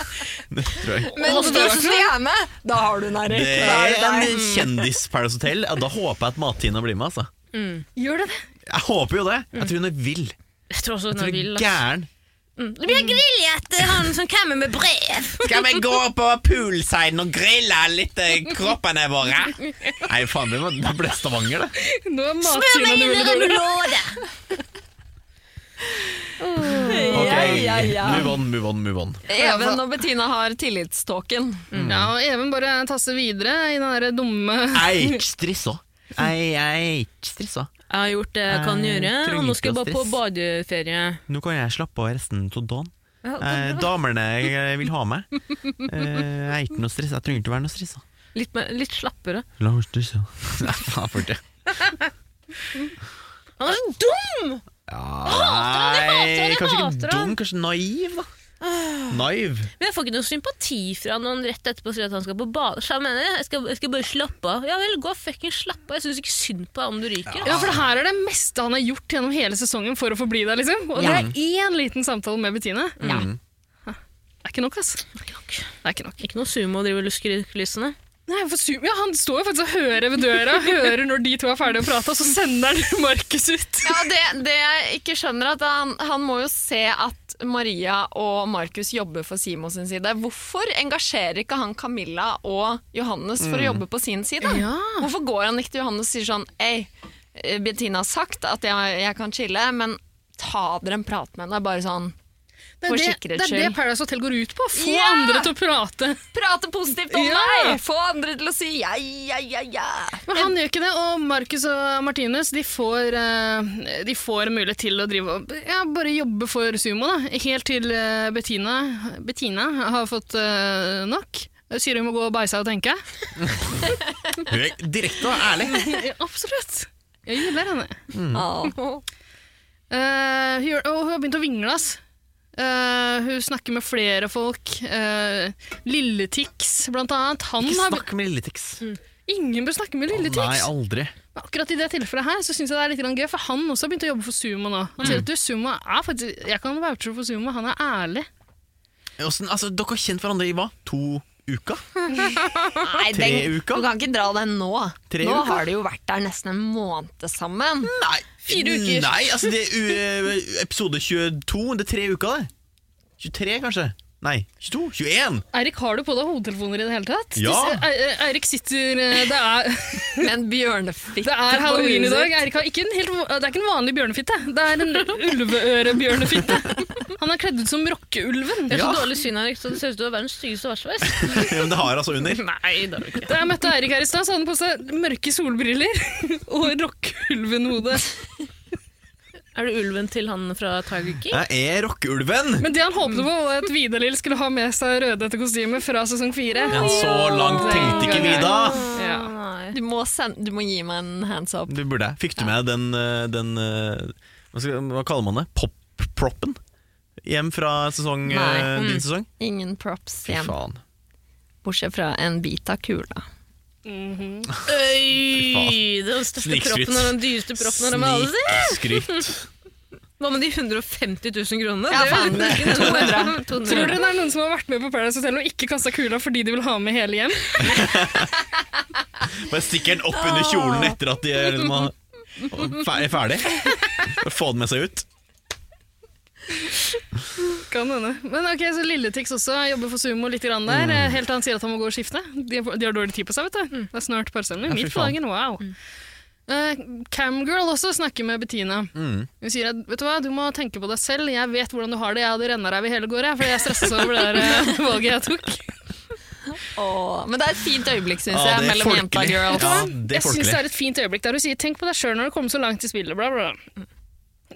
Speaker 2: Det tror jeg.
Speaker 1: Men om du systemet, då har du den
Speaker 2: Det er en kjendis Paradise Hotel. Ja, da håper jeg at Matina blir med. Altså.
Speaker 3: Gjør det det?
Speaker 2: Jeg håper jo det. Jeg tror hun er vill.
Speaker 4: Jeg tror også hun
Speaker 2: Jeg
Speaker 4: er
Speaker 2: tror hun
Speaker 4: vill.
Speaker 2: er
Speaker 4: ass.
Speaker 2: gæren.
Speaker 4: Det blir grilljet! eh, Han som kommer med brev.
Speaker 2: Skal vi gå på poolsiden og grille litt eh, kroppene våre? Nei, faen, det, var, det ble Stavanger, det.
Speaker 3: Nå er
Speaker 4: Spør meg
Speaker 3: matsynet
Speaker 4: under
Speaker 3: dårlig.
Speaker 4: remulade!
Speaker 2: Ok, Move on, move on, move on.
Speaker 1: Even og Bettina har tillitståken.
Speaker 3: Ja, og Even bare tasser videre i den der dumme
Speaker 2: Eik strissa. Eik strissa.
Speaker 4: Jeg har gjort det jeg kan gjøre, og nå skal jeg bare på badeferie.
Speaker 2: Nå kan jeg slappe av resten av dagen. Eh, damene jeg vil ha med. Eh, jeg er ikke noe stressa. Jeg trenger ikke være noe stressa.
Speaker 4: Litt, mer, litt slappere.
Speaker 2: La oss stressa. Nei, faen for det.
Speaker 4: Han er så dum!
Speaker 2: Nei,
Speaker 4: jeg hater han, jeg
Speaker 2: kanskje
Speaker 4: hater Ah.
Speaker 2: ikke
Speaker 4: han.
Speaker 2: dum, kanskje naiv, da. Naiv.
Speaker 4: Men jeg får ikke noe sympati fra han når han rett etterpå sier at han skal på bade. Så jeg mener, jeg skal, jeg skal bare slappe av. Ja vel, gå og fucking slappe av. Jeg syns ikke synd på deg om du ryker.
Speaker 3: Ja, for det her er det meste han har gjort gjennom hele sesongen for å forbli der, liksom. Og det er én liten samtale med Bettine. Hæ, Det er ikke nok, ass. Det er ikke nok.
Speaker 4: Ikke noe sumo å drive og luske i kulissene.
Speaker 3: Nei, for Zoom- ja, han står jo faktisk og hører ved døra, hører når de to er ferdige å prate, og så sender han Markus ut.
Speaker 1: Ja, det, det jeg ikke skjønner, er at han, han må jo se at Maria og Markus jobber for Simo sin side. Hvorfor engasjerer ikke han Camilla og Johannes
Speaker 2: Mm.
Speaker 1: for å jobbe på sin side? Hvorfor går han ikke til Johannes og sier sånn Ei, eh, Bettina har sagt at jeg, jeg kan chille, men ta dere en prat med henne. Bare sånn
Speaker 3: Det
Speaker 1: For
Speaker 3: er det, det
Speaker 1: sikkerhets
Speaker 3: er det
Speaker 1: skyld.
Speaker 3: Paradise Hotel går ut på. Få
Speaker 1: Ja!
Speaker 3: andre til å prate.
Speaker 1: Prate positivt om
Speaker 3: Ja!
Speaker 1: deg! Få andre til å si ja, ja, ja, ja.
Speaker 3: Men han gjør ikke det, og Markus og Martinus de får, eh, de får en mulighet til å drive og ja, bare jobbe for sumo, da. Helt til eh, Bettina, Bettina har fått eh, nok. Sier hun må gå og beise og tenke.
Speaker 2: Direkte og ærlig.
Speaker 4: Mm.
Speaker 3: Ja, Absolutt. Jeg gilder henne.
Speaker 2: Mm.
Speaker 1: Ja.
Speaker 3: Eh, hun, gjør- og hun har begynt å vingle, ass. Eh, hun snakker med flere folk. Eh, Lille Tix, blant annet. Han
Speaker 2: Ikke
Speaker 3: har,
Speaker 2: snakk med Lilletix.
Speaker 3: ingen bør snakke med Lille
Speaker 2: Nei,
Speaker 3: Tix.
Speaker 2: aldri.
Speaker 3: Men akkurat i det tilfellet her, så synes jeg det er litt grann gøy, for han også har begynt å jobbe for Sumo nå. Han
Speaker 2: Mm.
Speaker 3: sier at du, Sumo er faktisk Jeg kan vouche for Sumo, han er ærlig.
Speaker 2: Åssen- altså, dere har kjent hverandre i hva? To uker? Tre
Speaker 1: Nei, den,
Speaker 2: uker?
Speaker 1: Du kan ikke dra den nå.
Speaker 2: Tre
Speaker 1: nå
Speaker 2: uker? Mm.
Speaker 1: har de jo vært der nesten en måned sammen.
Speaker 2: Nei.
Speaker 1: Fire uker.
Speaker 2: Nei, altså, det er u- episode 22. Det er tre uker, det. 23, kanskje? Nei, 22? 21?
Speaker 3: Eirik, har du på deg hodetelefoner i det hele tatt?
Speaker 2: Ja.
Speaker 3: Du ser- Ei- Eirik sitter eh, Det er,
Speaker 1: Med en bjørnefitte
Speaker 3: det er halloween i dag. Eirik har ikke en helt, det er ikke en vanlig bjørnefitte. Det er en ulveørebjørnefitte. Han er kledd ut som rockeulven.
Speaker 4: Det er
Speaker 2: Ja.
Speaker 4: så dårlig syn, Erik, så det ser ut til å være den styggeste varsveis.
Speaker 2: Ja, Men det har altså under.
Speaker 4: Nei, det er det ikke.
Speaker 3: Da jeg møtte Eirik her i stad, så hadde han på seg mørke solbriller og rockeulvenhode.
Speaker 4: Er det ulven til han fra Tiger King?
Speaker 2: Jeg er rockeulven.
Speaker 3: Men det han håpet på, var at Vidar-Lill skulle ha med seg rødhette kostyme fra sesong fire.
Speaker 2: Men så langt tenkte ikke vi da.
Speaker 3: Ja.
Speaker 4: Nei.
Speaker 1: Du må, send, du må gi meg en hands up.
Speaker 2: Du burde. Fikk du med den, eh, den eh, hva, skal, hva kaller man det? Pop-proppen? Hjem fra sesong, eh,
Speaker 1: Nei. Mm.
Speaker 2: din sesong?
Speaker 1: Ingen props
Speaker 2: Fy
Speaker 1: igjen,
Speaker 2: faen.
Speaker 1: bortsett fra en bit av kula.
Speaker 4: Øy, den største
Speaker 2: Snikskryt.
Speaker 4: proppen og den dyreste proppen av dem alle.
Speaker 2: Snikskryt.
Speaker 4: Hva med de 150 000 kronene?
Speaker 1: Ja,
Speaker 4: Det er jo
Speaker 1: faen, det er 200.
Speaker 4: 200.
Speaker 3: Tror dere det er noen som har vært med på Paradise Hotel og ikke kasta kula fordi de vil ha med hele hjem?
Speaker 2: Bare stikker den opp under kjolen etter at de er liksom har- er ferdig. Bare Få den med seg ut.
Speaker 3: Kan hende. Men ok, så Lilletix også jobber for Sumo litt grann der,
Speaker 2: Mm.
Speaker 3: eh, helt til han sier at han må gå og skifte. De, har- de har dårlig tid på seg, vet du. Det er snart parsemne.
Speaker 2: Ja, fy
Speaker 3: Midt på
Speaker 2: faen. Mm.
Speaker 3: dagen, wow. Eh, Camgirl også snakker med Bettina.
Speaker 2: Mm.
Speaker 3: Hun sier at vet du hva, du må tenke på deg selv. Jeg vet hvordan du har det. Jeg hadde rennaræv i hele går, jeg, fordi jeg stresset over det der eh, valget jeg tok.
Speaker 1: Åh, men det er et fint øyeblikk, syns
Speaker 2: Ja,
Speaker 1: jeg,
Speaker 2: det er
Speaker 1: mellom jenta
Speaker 2: folkelig.
Speaker 1: og girls.
Speaker 2: Ja, det er
Speaker 3: jeg syns
Speaker 2: folkelig.
Speaker 3: det er et fint øyeblikk der hun sier 'tenk på deg sjøl når du kommer så langt i spillet', bla, bla. bla.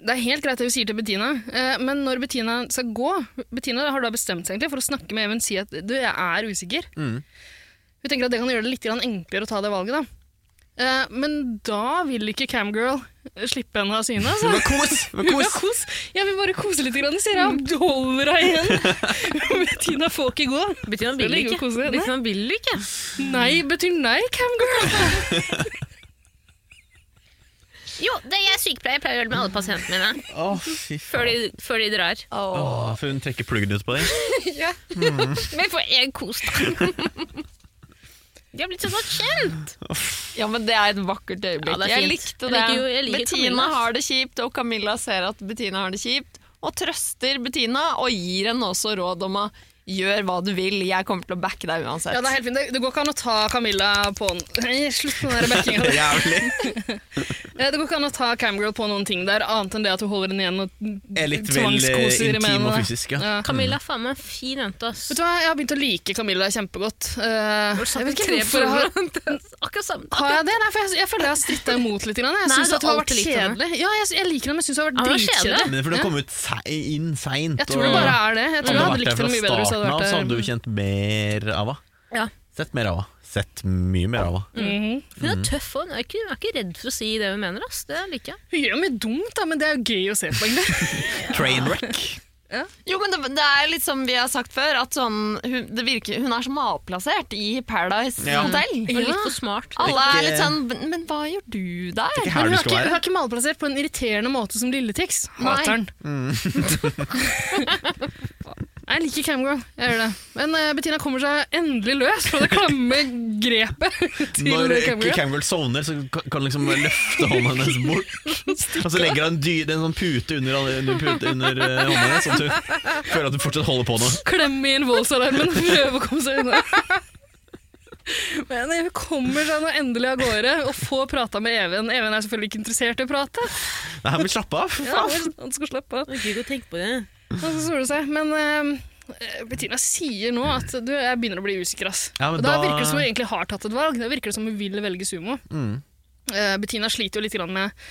Speaker 3: Det er helt greit det hun sier til Bettina, eh, men når Bettina skal gå Bettina har da bestemt seg egentlig for å snakke med Even og si at 'du, jeg er usikker'.
Speaker 2: Mm.
Speaker 3: Hun tenker at det kan gjøre det litt grann enklere å ta det valget, da. Eh, Men da vil ikke Camgirl slippe henne av syne. Altså.
Speaker 2: Men kos! Men
Speaker 3: Hun vil
Speaker 2: kos.
Speaker 3: ha kos. Jeg vil bare kose litt, grann, sier hun. Du holder deg igjen. Bettina får ikke gå.
Speaker 4: Bettina
Speaker 3: Skal
Speaker 4: vil
Speaker 3: ligge og
Speaker 4: ikke.
Speaker 3: kose. Nei.
Speaker 4: Bettina vil ikke.
Speaker 3: Nei betyr nei, Camgirl.
Speaker 4: Jo, det er jeg sykepleier pleier å gjøre det med alle pasientene mine.
Speaker 2: Å, fy
Speaker 4: Før
Speaker 2: faen.
Speaker 4: de, før de drar.
Speaker 1: Åh.
Speaker 2: Å, for hun trekker pluggen ut på deg.
Speaker 4: Men for en kos, da. De har blitt så godt kjent!
Speaker 1: Ja, men det er et vakkert øyeblikk.
Speaker 4: Ja, det er
Speaker 1: jeg
Speaker 4: fint.
Speaker 1: likte
Speaker 4: Jeg
Speaker 1: det.
Speaker 4: liker jo- jeg liker
Speaker 1: Bettina
Speaker 4: Camilla, ass.
Speaker 1: har det kjipt, og Camilla ser at Bettina har det kjipt. og trøster Bettina og gir henne også råd om å gjøre hva du vil, jeg kommer til å backe deg uansett.
Speaker 3: Ja, det er helt fint. Det, det går ikke an å ta Camilla på en Nei, Slutt med den backinga.
Speaker 2: Jævlig.
Speaker 3: Det går ikke an å ta Camgirl på noen ting der, annet enn det at hun holder den igjen og
Speaker 2: Er litt vel eh,
Speaker 3: tvangskoser med
Speaker 2: intim og
Speaker 3: henne.
Speaker 2: fysisk, ja.
Speaker 4: Camilla er faen meg en fin jente, ass.
Speaker 3: Vet du hva, Jeg har begynt å like Camilla kjempegodt. Eh, jeg vet ikke hvorfor jeg har
Speaker 4: Akkurat samme.
Speaker 3: har jeg det? Nei, for jeg, jeg føler jeg har stritta imot litt. Grann. Jeg
Speaker 4: Nei,
Speaker 3: syns
Speaker 4: du
Speaker 3: at hun har
Speaker 4: har
Speaker 3: vært
Speaker 4: alltid likt henne.
Speaker 3: kjedelig. Ja, jeg, jeg liker henne, men jeg syns hun har
Speaker 4: Ja, hun
Speaker 3: vært
Speaker 4: er kjedelig.
Speaker 3: dritkjedelig.
Speaker 2: Men det er fordi
Speaker 3: Ja.
Speaker 2: hun kom ut sei- inn seint.
Speaker 3: Jeg tror det bare er det. Jeg tror
Speaker 2: Hadde
Speaker 3: jeg
Speaker 2: hun
Speaker 3: hadde
Speaker 2: vært
Speaker 3: likt
Speaker 2: der fra
Speaker 3: henne mye bedre hvis jeg
Speaker 2: starten av, så
Speaker 3: hadde
Speaker 2: hadde
Speaker 3: vært eh,
Speaker 2: du
Speaker 3: der.
Speaker 2: kjent mer av henne.
Speaker 4: Ja.
Speaker 2: Sett mer av henne. Sett mye mer av henne.
Speaker 3: Mhm.
Speaker 4: Hun er tøff og hun er ikke, hun er ikke redd for å si det hun mener. Ass. Det liker jeg.
Speaker 3: Hun gjør jo mye dumt, da, men det er jo gøy å se på, egentlig.
Speaker 2: Trainwreck.
Speaker 1: Jo, men det, det er litt som vi har sagt før, at sånn, hun, det virker, hun er så malplassert i Paradise
Speaker 2: Ja.
Speaker 1: Hotel.
Speaker 4: Hun er litt for smart.
Speaker 1: Alle er
Speaker 2: Ikke-
Speaker 1: litt sånn Men men hva gjør du der?
Speaker 2: Ikke
Speaker 3: Men
Speaker 2: her
Speaker 3: hun
Speaker 2: du
Speaker 3: er
Speaker 2: skal
Speaker 3: ikke, hun
Speaker 2: være.
Speaker 3: er ikke malplassert på en irriterende måte som Lilletix.
Speaker 1: Nei.
Speaker 3: Hater den.
Speaker 2: Mm.
Speaker 3: Nei, Jeg liker Camgirl, jeg gjør det. Men eh, Bettina kommer seg endelig løs fra det klamme grepet til
Speaker 2: Når
Speaker 3: Camgirl.
Speaker 2: Camgirl sovner, så kan- kan liksom løfte hånda hennes bort. Og så legger hun en, dy, en sånn pute under, under, pute under eh, hånda hennes, sånn at hun føler at hun fortsatt holder på noe.
Speaker 3: klemme inn voldsalarmen og prøve å komme seg unna. Men eh, hun kommer seg nå endelig av gårde og får prata med Even. Even er selvfølgelig ikke interessert i å prate.
Speaker 2: Nei, men slapp av. for
Speaker 3: Ja,
Speaker 2: faen.
Speaker 3: han skal slappe av.
Speaker 4: Gidder ikke å tenke på det.
Speaker 3: Og så soler det seg. Men eh, Bettina sier nå at du, jeg begynner å bli usikker. ass.
Speaker 2: Ja, men
Speaker 3: og da,
Speaker 2: da-
Speaker 3: virker det som hun egentlig har tatt et valg. Da virker det som hun vil velge sumo.
Speaker 2: Mm.
Speaker 3: Eh, Bettina sliter jo litt grann med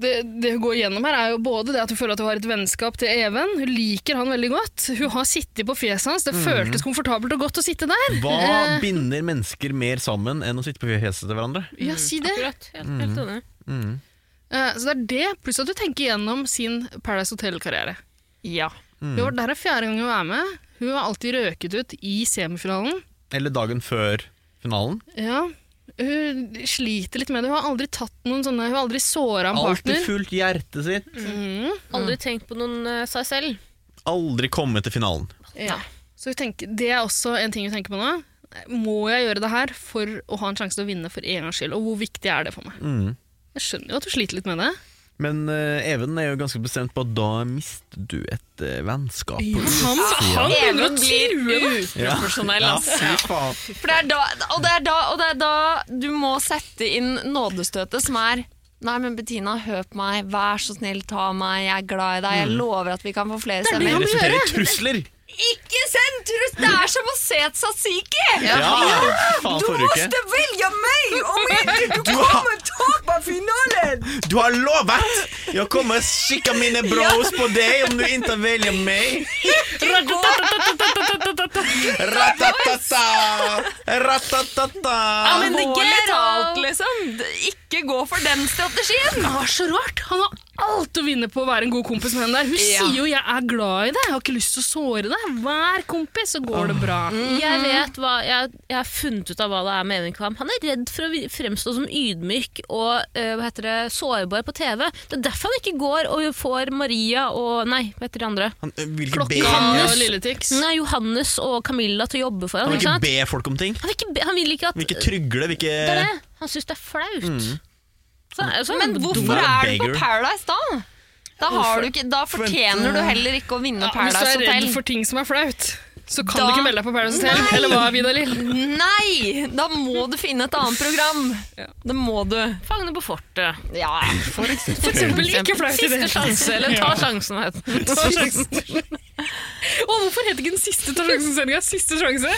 Speaker 3: det, det hun går gjennom her, er jo både det at hun føler at hun har et vennskap til Even. Hun liker han veldig godt. Hun har sittet på fjeset hans. Det
Speaker 2: Mhm.
Speaker 3: føltes komfortabelt og godt å sitte der.
Speaker 2: Hva
Speaker 3: Eh.
Speaker 2: binder mennesker mer sammen enn å sitte på fjeset til hverandre?
Speaker 3: Ja, si det. Mm.
Speaker 4: Akkurat. Helt, helt enig.
Speaker 3: Eh, Så det er det, pluss at hun tenker gjennom sin Paradise Hotel-karriere.
Speaker 1: Ja.
Speaker 2: Mm.
Speaker 3: Hun var der er fjerde gang hun er med. Hun har alltid røket ut i semifinalen.
Speaker 2: Eller dagen før finalen?
Speaker 3: Ja. Hun sliter litt med det. Hun har aldri tatt noen sånne Hun har aldri såra en
Speaker 2: Alltid
Speaker 3: partner.
Speaker 2: fullt hjertet sitt.
Speaker 4: Aldri tenkt på noen eh, seg selv.
Speaker 2: Aldri komme til finalen.
Speaker 3: Ja. Så hun tenker, det er også en ting hun tenker på nå. Må jeg gjøre det her for å ha en sjanse til å vinne for en gangs skyld? Og hvor viktig er det for meg?
Speaker 2: Mm.
Speaker 3: Jeg skjønner jo at hun sliter litt med det.
Speaker 2: Men eh, Even er jo ganske bestemt på at da mister du et eh, vennskap.
Speaker 3: Han, han begynner å
Speaker 1: Even blir
Speaker 3: true henne!
Speaker 1: uprofesjonell,
Speaker 2: Ja,
Speaker 1: altså.
Speaker 2: fy faen.
Speaker 1: For det er da, og, det er da, og det er da du må sette inn nådestøtet, som er Nei, men Bettina, hør på meg. Vær så snill, ta meg. Jeg er glad i deg.
Speaker 2: Mm.
Speaker 1: Jeg lover at vi kan få flere
Speaker 2: Det
Speaker 1: stemmer.
Speaker 2: resulterer i trusler!
Speaker 1: Ikke send trus! Det er som å se et satsiki!
Speaker 2: Ja, fy faen forrige uke.
Speaker 1: velge meg om ikke
Speaker 2: Du har,
Speaker 1: tar på finalen!
Speaker 2: du har lovet! Jeg kommer skikka mine bros på deg om du ikke velger meg! Ratatata! Ratatata!
Speaker 1: Alvorlig talt, liksom. Ikke gå for den strategien!
Speaker 3: Det var så rart. Han har alt å vinne på å være en god kompis med henne der. Hun
Speaker 1: Ja.
Speaker 3: sier jo 'jeg er glad i deg', jeg har ikke lyst til å såre deg. Vær kompis, så går det bra.
Speaker 4: Jeg vet hva, jeg, jeg har funnet ut av hva det er med Even Kvam. Han er redd for å vi- fremstå som ydmyk og eh, hva heter det, sårbar på TV. Det er derfor han ikke går og får Maria og Nei, hva heter de andre?
Speaker 2: Han eh, vil ikke be,
Speaker 3: Klokka og
Speaker 2: han
Speaker 3: Lilletix.
Speaker 4: Nei, Johannes og Camilla til å jobbe for ham.
Speaker 2: vil
Speaker 4: Ikke
Speaker 2: ikke
Speaker 4: sant?
Speaker 2: be folk om ting.
Speaker 4: Han, vil ikke be, han vil ikke at
Speaker 2: Han vil ikke trygle, vil ikke
Speaker 4: Det er Mm. det. Han syns det er flaut. Så, så,
Speaker 1: Men hvorfor
Speaker 2: er
Speaker 1: er du på
Speaker 2: beggar.
Speaker 1: Paradise, da? Da, har du ikke, da fortjener du heller ikke å vinne
Speaker 3: Ja, hvis du
Speaker 1: Paradise
Speaker 3: er
Speaker 1: Hotel.
Speaker 3: redd for ting som er flaut, så kan
Speaker 1: Da-
Speaker 3: du ikke melde deg på Paradise Hotel.
Speaker 1: Nei.
Speaker 3: Eller hva, Vidar Lill?
Speaker 1: Nei! Da må du finne et annet program. Det må du.
Speaker 4: Fangene på fortet.
Speaker 1: Ja, for
Speaker 3: For eksempel ikke flaut i det
Speaker 4: Siste sjanse, eller ta sjansen. Vet. du.
Speaker 3: Ta sjansen. Å, hvorfor heter ikke den siste Ta sjansen-sendinga Siste sjanse?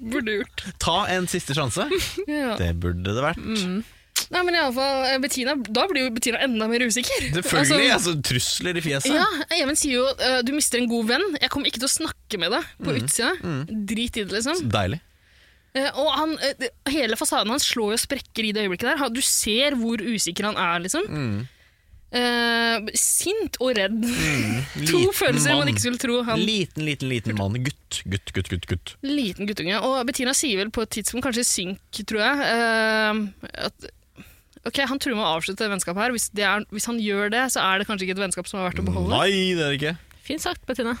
Speaker 3: Burde gjort.
Speaker 2: Ta en siste sjanse.
Speaker 3: Ja.
Speaker 2: Det burde det vært.
Speaker 3: Nei, men i alle fall, eh, Bettina, Da blir jo Bettina enda mer usikker.
Speaker 2: Selvfølgelig.
Speaker 3: Altså,
Speaker 2: altså Trusler i fjeset.
Speaker 3: Ja, Even sier jo eh, du mister en god venn. Jeg kommer ikke til å snakke med deg på
Speaker 2: Mm.
Speaker 3: utsida. Drit i det, liksom.
Speaker 2: Deilig.
Speaker 3: Eh, og han, eh, det- hele fasaden hans slår jo sprekker i det øyeblikket der. Han- Du ser hvor usikker han er, liksom.
Speaker 2: Mm.
Speaker 3: Eh, sint og redd. to
Speaker 2: Mm. Liten
Speaker 3: følelser man
Speaker 2: mann.
Speaker 3: ikke skulle tro. Han
Speaker 2: Liten, liten, liten mann. Gutt, gutt, gutt, gutt. gutt.
Speaker 3: liten guttunge. Og Bettina sier vel på et tidspunkt, kanskje i synk, tror jeg, eh, at ok, han truer med å avslutte det vennskapet her. Hvis, det er, hvis han gjør det, så er det kanskje ikke et vennskap som er verdt å beholde.
Speaker 2: Nei, det er det ikke.
Speaker 4: Fint sagt, Bettina.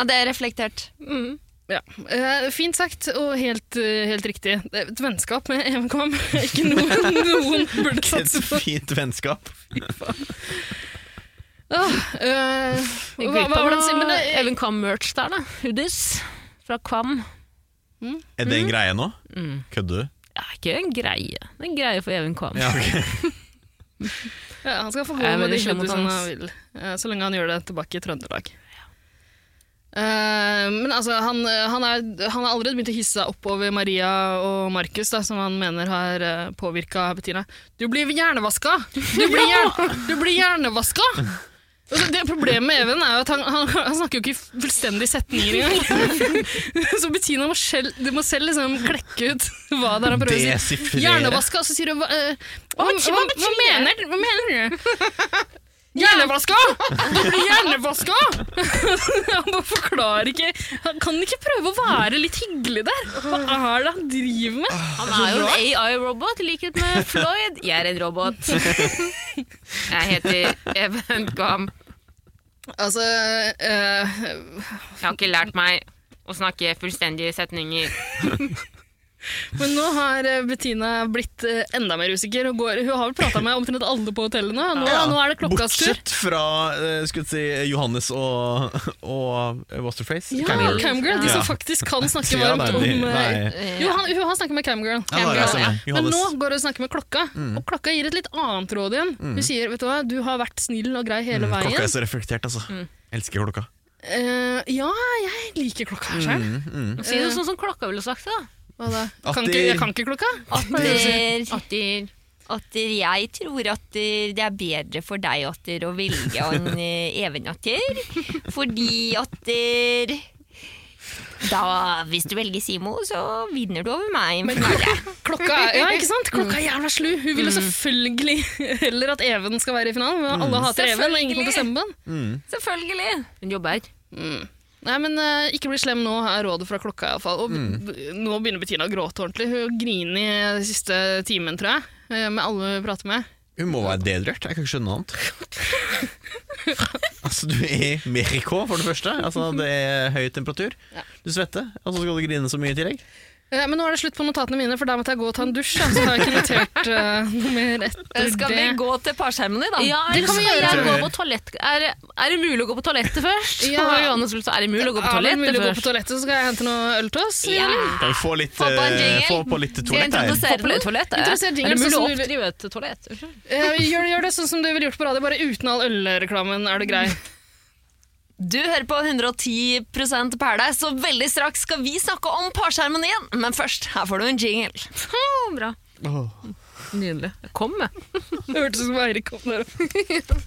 Speaker 1: Ja, det er reflektert.
Speaker 4: Mm.
Speaker 3: Ja. eh, fint sagt, og helt, eh, helt riktig. Det er Et vennskap med EMKM. Ikke noe noen burde
Speaker 2: Et
Speaker 3: satse på.
Speaker 2: fint vennskap.
Speaker 3: Åh, øh,
Speaker 4: Jeg
Speaker 3: hva, hva
Speaker 4: glipper
Speaker 3: var det han
Speaker 4: noe
Speaker 3: sier? Men det,
Speaker 4: Even Kvam-merch der, da. Hoodies fra Kvam.
Speaker 2: Er
Speaker 3: Mm.
Speaker 2: det en greie nå? Kødder du?
Speaker 4: Ja, ikke en greie. Det er en greie for Even Kvam.
Speaker 2: Ja, ok.
Speaker 3: ja, han skal få gå
Speaker 4: Jeg er
Speaker 3: med de
Speaker 4: veldig slem mot
Speaker 3: kjendisene
Speaker 4: hans.
Speaker 3: han vil, eh, så lenge han gjør det tilbake i Trøndelag. Eh, men altså, han, han, er, han har allerede begynt å hisse seg opp over Maria og Markus, da, som han mener har uh, påvirka Bettina. Du blir hjernevaska! Du blir, hjern, du blir hjernevaska! Altså, det Problemet med Even er jo at han, han, han snakker jo ikke i fullstendige setninger engang. så Bettina må selv, du må selv liksom klekke ut hva det er han prøver å si.
Speaker 2: Desifrere.
Speaker 3: Hjernevaska, og så sier hun hva, eh, hva, hva, hva, mener, hva mener du? Hjernevaska! Du blir hjernevaska! Han bare forklarer ikke Han kan ikke prøve å være litt hyggelig der? Hva er det han driver med?
Speaker 4: Han er jo en AI-robot, i likhet med Floyd. Jeg er en robot. Jeg heter Even Kvam.
Speaker 3: Altså eh,
Speaker 4: Jeg har ikke lært meg å snakke fullstendige setninger.
Speaker 3: Men nå har eh, Bettina blitt eh, enda mer usikker. Og går, hun har vel prata med omtrent alle på hotellet nå. Nå, nå er det klokkas tur.
Speaker 2: Bortsett fra eh, skulle jeg si, Johannes og, og eh, What's Her Face?
Speaker 3: Ja,
Speaker 2: Camgirl.
Speaker 3: Camgirl. De
Speaker 2: Ja.
Speaker 3: som faktisk kan snakke
Speaker 2: Ja,
Speaker 3: varmt
Speaker 2: nei,
Speaker 3: om
Speaker 2: de-
Speaker 3: eh,
Speaker 2: nei.
Speaker 3: Jo, han, hun har snakket med Camgirl.
Speaker 2: Ja, det er det samme.
Speaker 3: Men
Speaker 2: Johannes.
Speaker 3: nå går hun og snakker med klokka,
Speaker 2: Mm.
Speaker 3: og klokka gir et litt annet råd igjen. Hun sier vet du hva, du har vært snill og grei hele
Speaker 2: Mm,
Speaker 3: veien. Mm.
Speaker 2: Klokka er så reflektert, altså. Elsker klokka.
Speaker 3: Eh, ja, jeg liker klokka sjøl.
Speaker 2: Mm, mm.
Speaker 4: Si det sånn som klokka ville sagt det.
Speaker 3: Hva da?
Speaker 2: At
Speaker 3: Kan
Speaker 2: de-
Speaker 3: ikke, jeg kan ikke klokka?
Speaker 1: Atter,
Speaker 4: da. Atter.
Speaker 1: atter, jeg tror at eh, det er bedre for deg, Atter, å velge en eh, Even, Atter. Fordi, Atter da, Hvis du velger Simo, så vinner du over meg. Nei,
Speaker 3: Klokka er, ja, ikke sant?
Speaker 2: Mm.
Speaker 3: Klokka er jævla slu. Hun vil jo selvfølgelig heller at Even skal være i finalen. men
Speaker 2: Mm.
Speaker 3: Alle hater Even, og ingen kommer til å stemme på han.
Speaker 1: Selvfølgelig.
Speaker 4: Hun jobber her.
Speaker 3: Nei, men eh, Ikke bli slem nå, er rådet fra klokka. i alle fall. Og
Speaker 2: Mm.
Speaker 3: b- Nå begynner Bettina å gråte ordentlig. Hun griner i den siste timen, tror jeg, eh, med alle hun prater med.
Speaker 2: Hun må være dedrørt. Jeg kan ikke skjønne noe annet. altså, du er i Mexico, for det første. Altså, det er høy temperatur. Du svetter, og så skal du grine så mye i tillegg.
Speaker 3: Eh, Men nå er det slutt på notatene mine, for da måtte jeg gå og ta en dusj. da, Så har jeg ikke notert eh, noe mer etter
Speaker 1: Skal vi
Speaker 3: det.
Speaker 1: gå til parskjermene, da?
Speaker 4: Ja, det kan vi
Speaker 3: skal
Speaker 4: gjøre.
Speaker 2: jeg
Speaker 4: Gå
Speaker 2: gjøre.
Speaker 4: på toalett. Er, er det mulig å gå på toalettet først?
Speaker 3: Ja.
Speaker 4: Og Johannes lurte, er det mulig å gå på
Speaker 3: Ja, det er
Speaker 4: toalettet
Speaker 3: mulig å gå på
Speaker 4: først?
Speaker 3: toalettet, så skal jeg hente noe øl til oss.
Speaker 1: Ja.
Speaker 2: Kan vi få litt,
Speaker 1: Få på en
Speaker 2: eh,
Speaker 1: jingle.
Speaker 2: få på litt
Speaker 1: Skal jeg
Speaker 2: toalett her?
Speaker 1: introdusere noe?
Speaker 4: toalettet?
Speaker 3: Interessert jingle,
Speaker 4: Er det
Speaker 3: sånn
Speaker 4: mulig å
Speaker 3: som du-
Speaker 4: oppdrive et toalett? Unnskyld.
Speaker 3: Eh, gjør, gjør det sånn som du ville gjort på radio, bare uten all ølreklamen. Er du grei?
Speaker 1: Du hører på 110 Paradise, så veldig straks skal vi snakke om parskjermen igjen. Men først, her får du en jingle.
Speaker 4: Bra.
Speaker 2: Åh.
Speaker 4: Nydelig. Kom med.
Speaker 3: Det hørtes ut som Eirik kom der opp.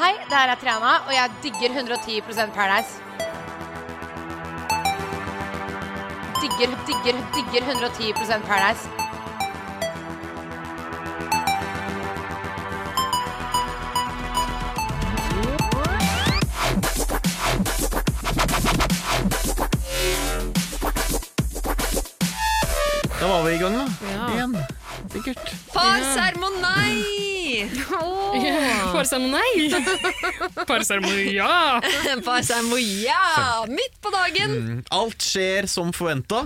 Speaker 7: Hei, det her er Triana, og jeg digger 110 Paradise. Digger, digger, digger 110 Paradise.
Speaker 2: Da var vi i gang, da. Igjen. Sikkert.
Speaker 1: Parsermonei!
Speaker 3: Parseremoni! Parseremoni, ja!
Speaker 1: Parsermoia! Midt på dagen!
Speaker 2: Mm, Alt skjer som forventa.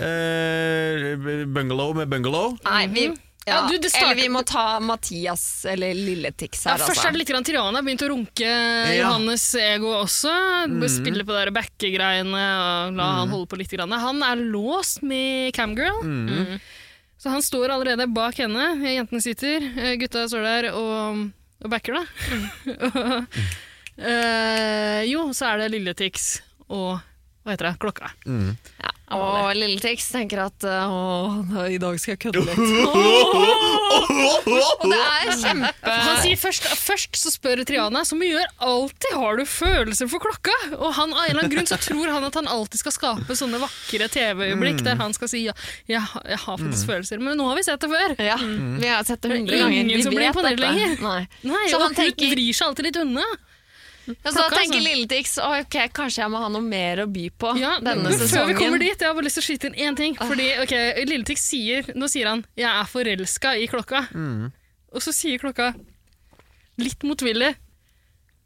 Speaker 2: Eh, bungalow med bungalow.
Speaker 1: Nei, vi Mhm. ja.
Speaker 3: Ja, du, det starter-
Speaker 1: Eller vi må ta Mathias eller Lilletix
Speaker 3: Ja,
Speaker 1: her, altså.
Speaker 3: først er det litt grann Tirana har begynt å runke Johannes ego også. Bare Spille på de der backe-greiene og la han holde på litt. Grann. Han er låst med camgirl. Mm. Så han står allerede bak henne. Jentene sitter, eh, gutta står der og, og backer, da. Eh, jo, så er det Lilletix og hva heter det? Klokka.
Speaker 1: Og Lilletix tenker at eh, åh, da- i dag skal jeg kødde litt. Og det er kjempe
Speaker 3: Han sier først, først så spør Triana, som vi gjør alltid, har du følelser for klokka? Og han, av en eller annen grunn så tror han at han alltid skal skape sånne vakre TV-øyeblikk der han skal si ja, jeg, har- jeg har faktisk følelser, men nå har vi sett det før.
Speaker 1: ja, Mm. Vi har sett det hundre
Speaker 3: Ingen
Speaker 1: ganger. Vi
Speaker 3: som blir
Speaker 1: vet
Speaker 3: imponert
Speaker 1: dette.
Speaker 3: lenger.
Speaker 1: Nei.
Speaker 3: Nei,
Speaker 1: Så han
Speaker 3: og hun
Speaker 1: tenker-
Speaker 3: vrir seg alltid litt unna.
Speaker 1: Ja, så da
Speaker 3: Klokka,
Speaker 1: tenker
Speaker 3: altså.
Speaker 1: Lilletix ok, kanskje jeg må ha noe mer å by
Speaker 4: Ah,
Speaker 1: på
Speaker 3: Ja,
Speaker 1: denne
Speaker 3: men Før vi
Speaker 1: sesongen.
Speaker 3: kommer dit, jeg har bare lyst til å skyte inn én ting. Fordi, ok, Lilletix sier Nå sier han 'jeg er forelska i klokka'. Og så sier klokka, litt motvillig,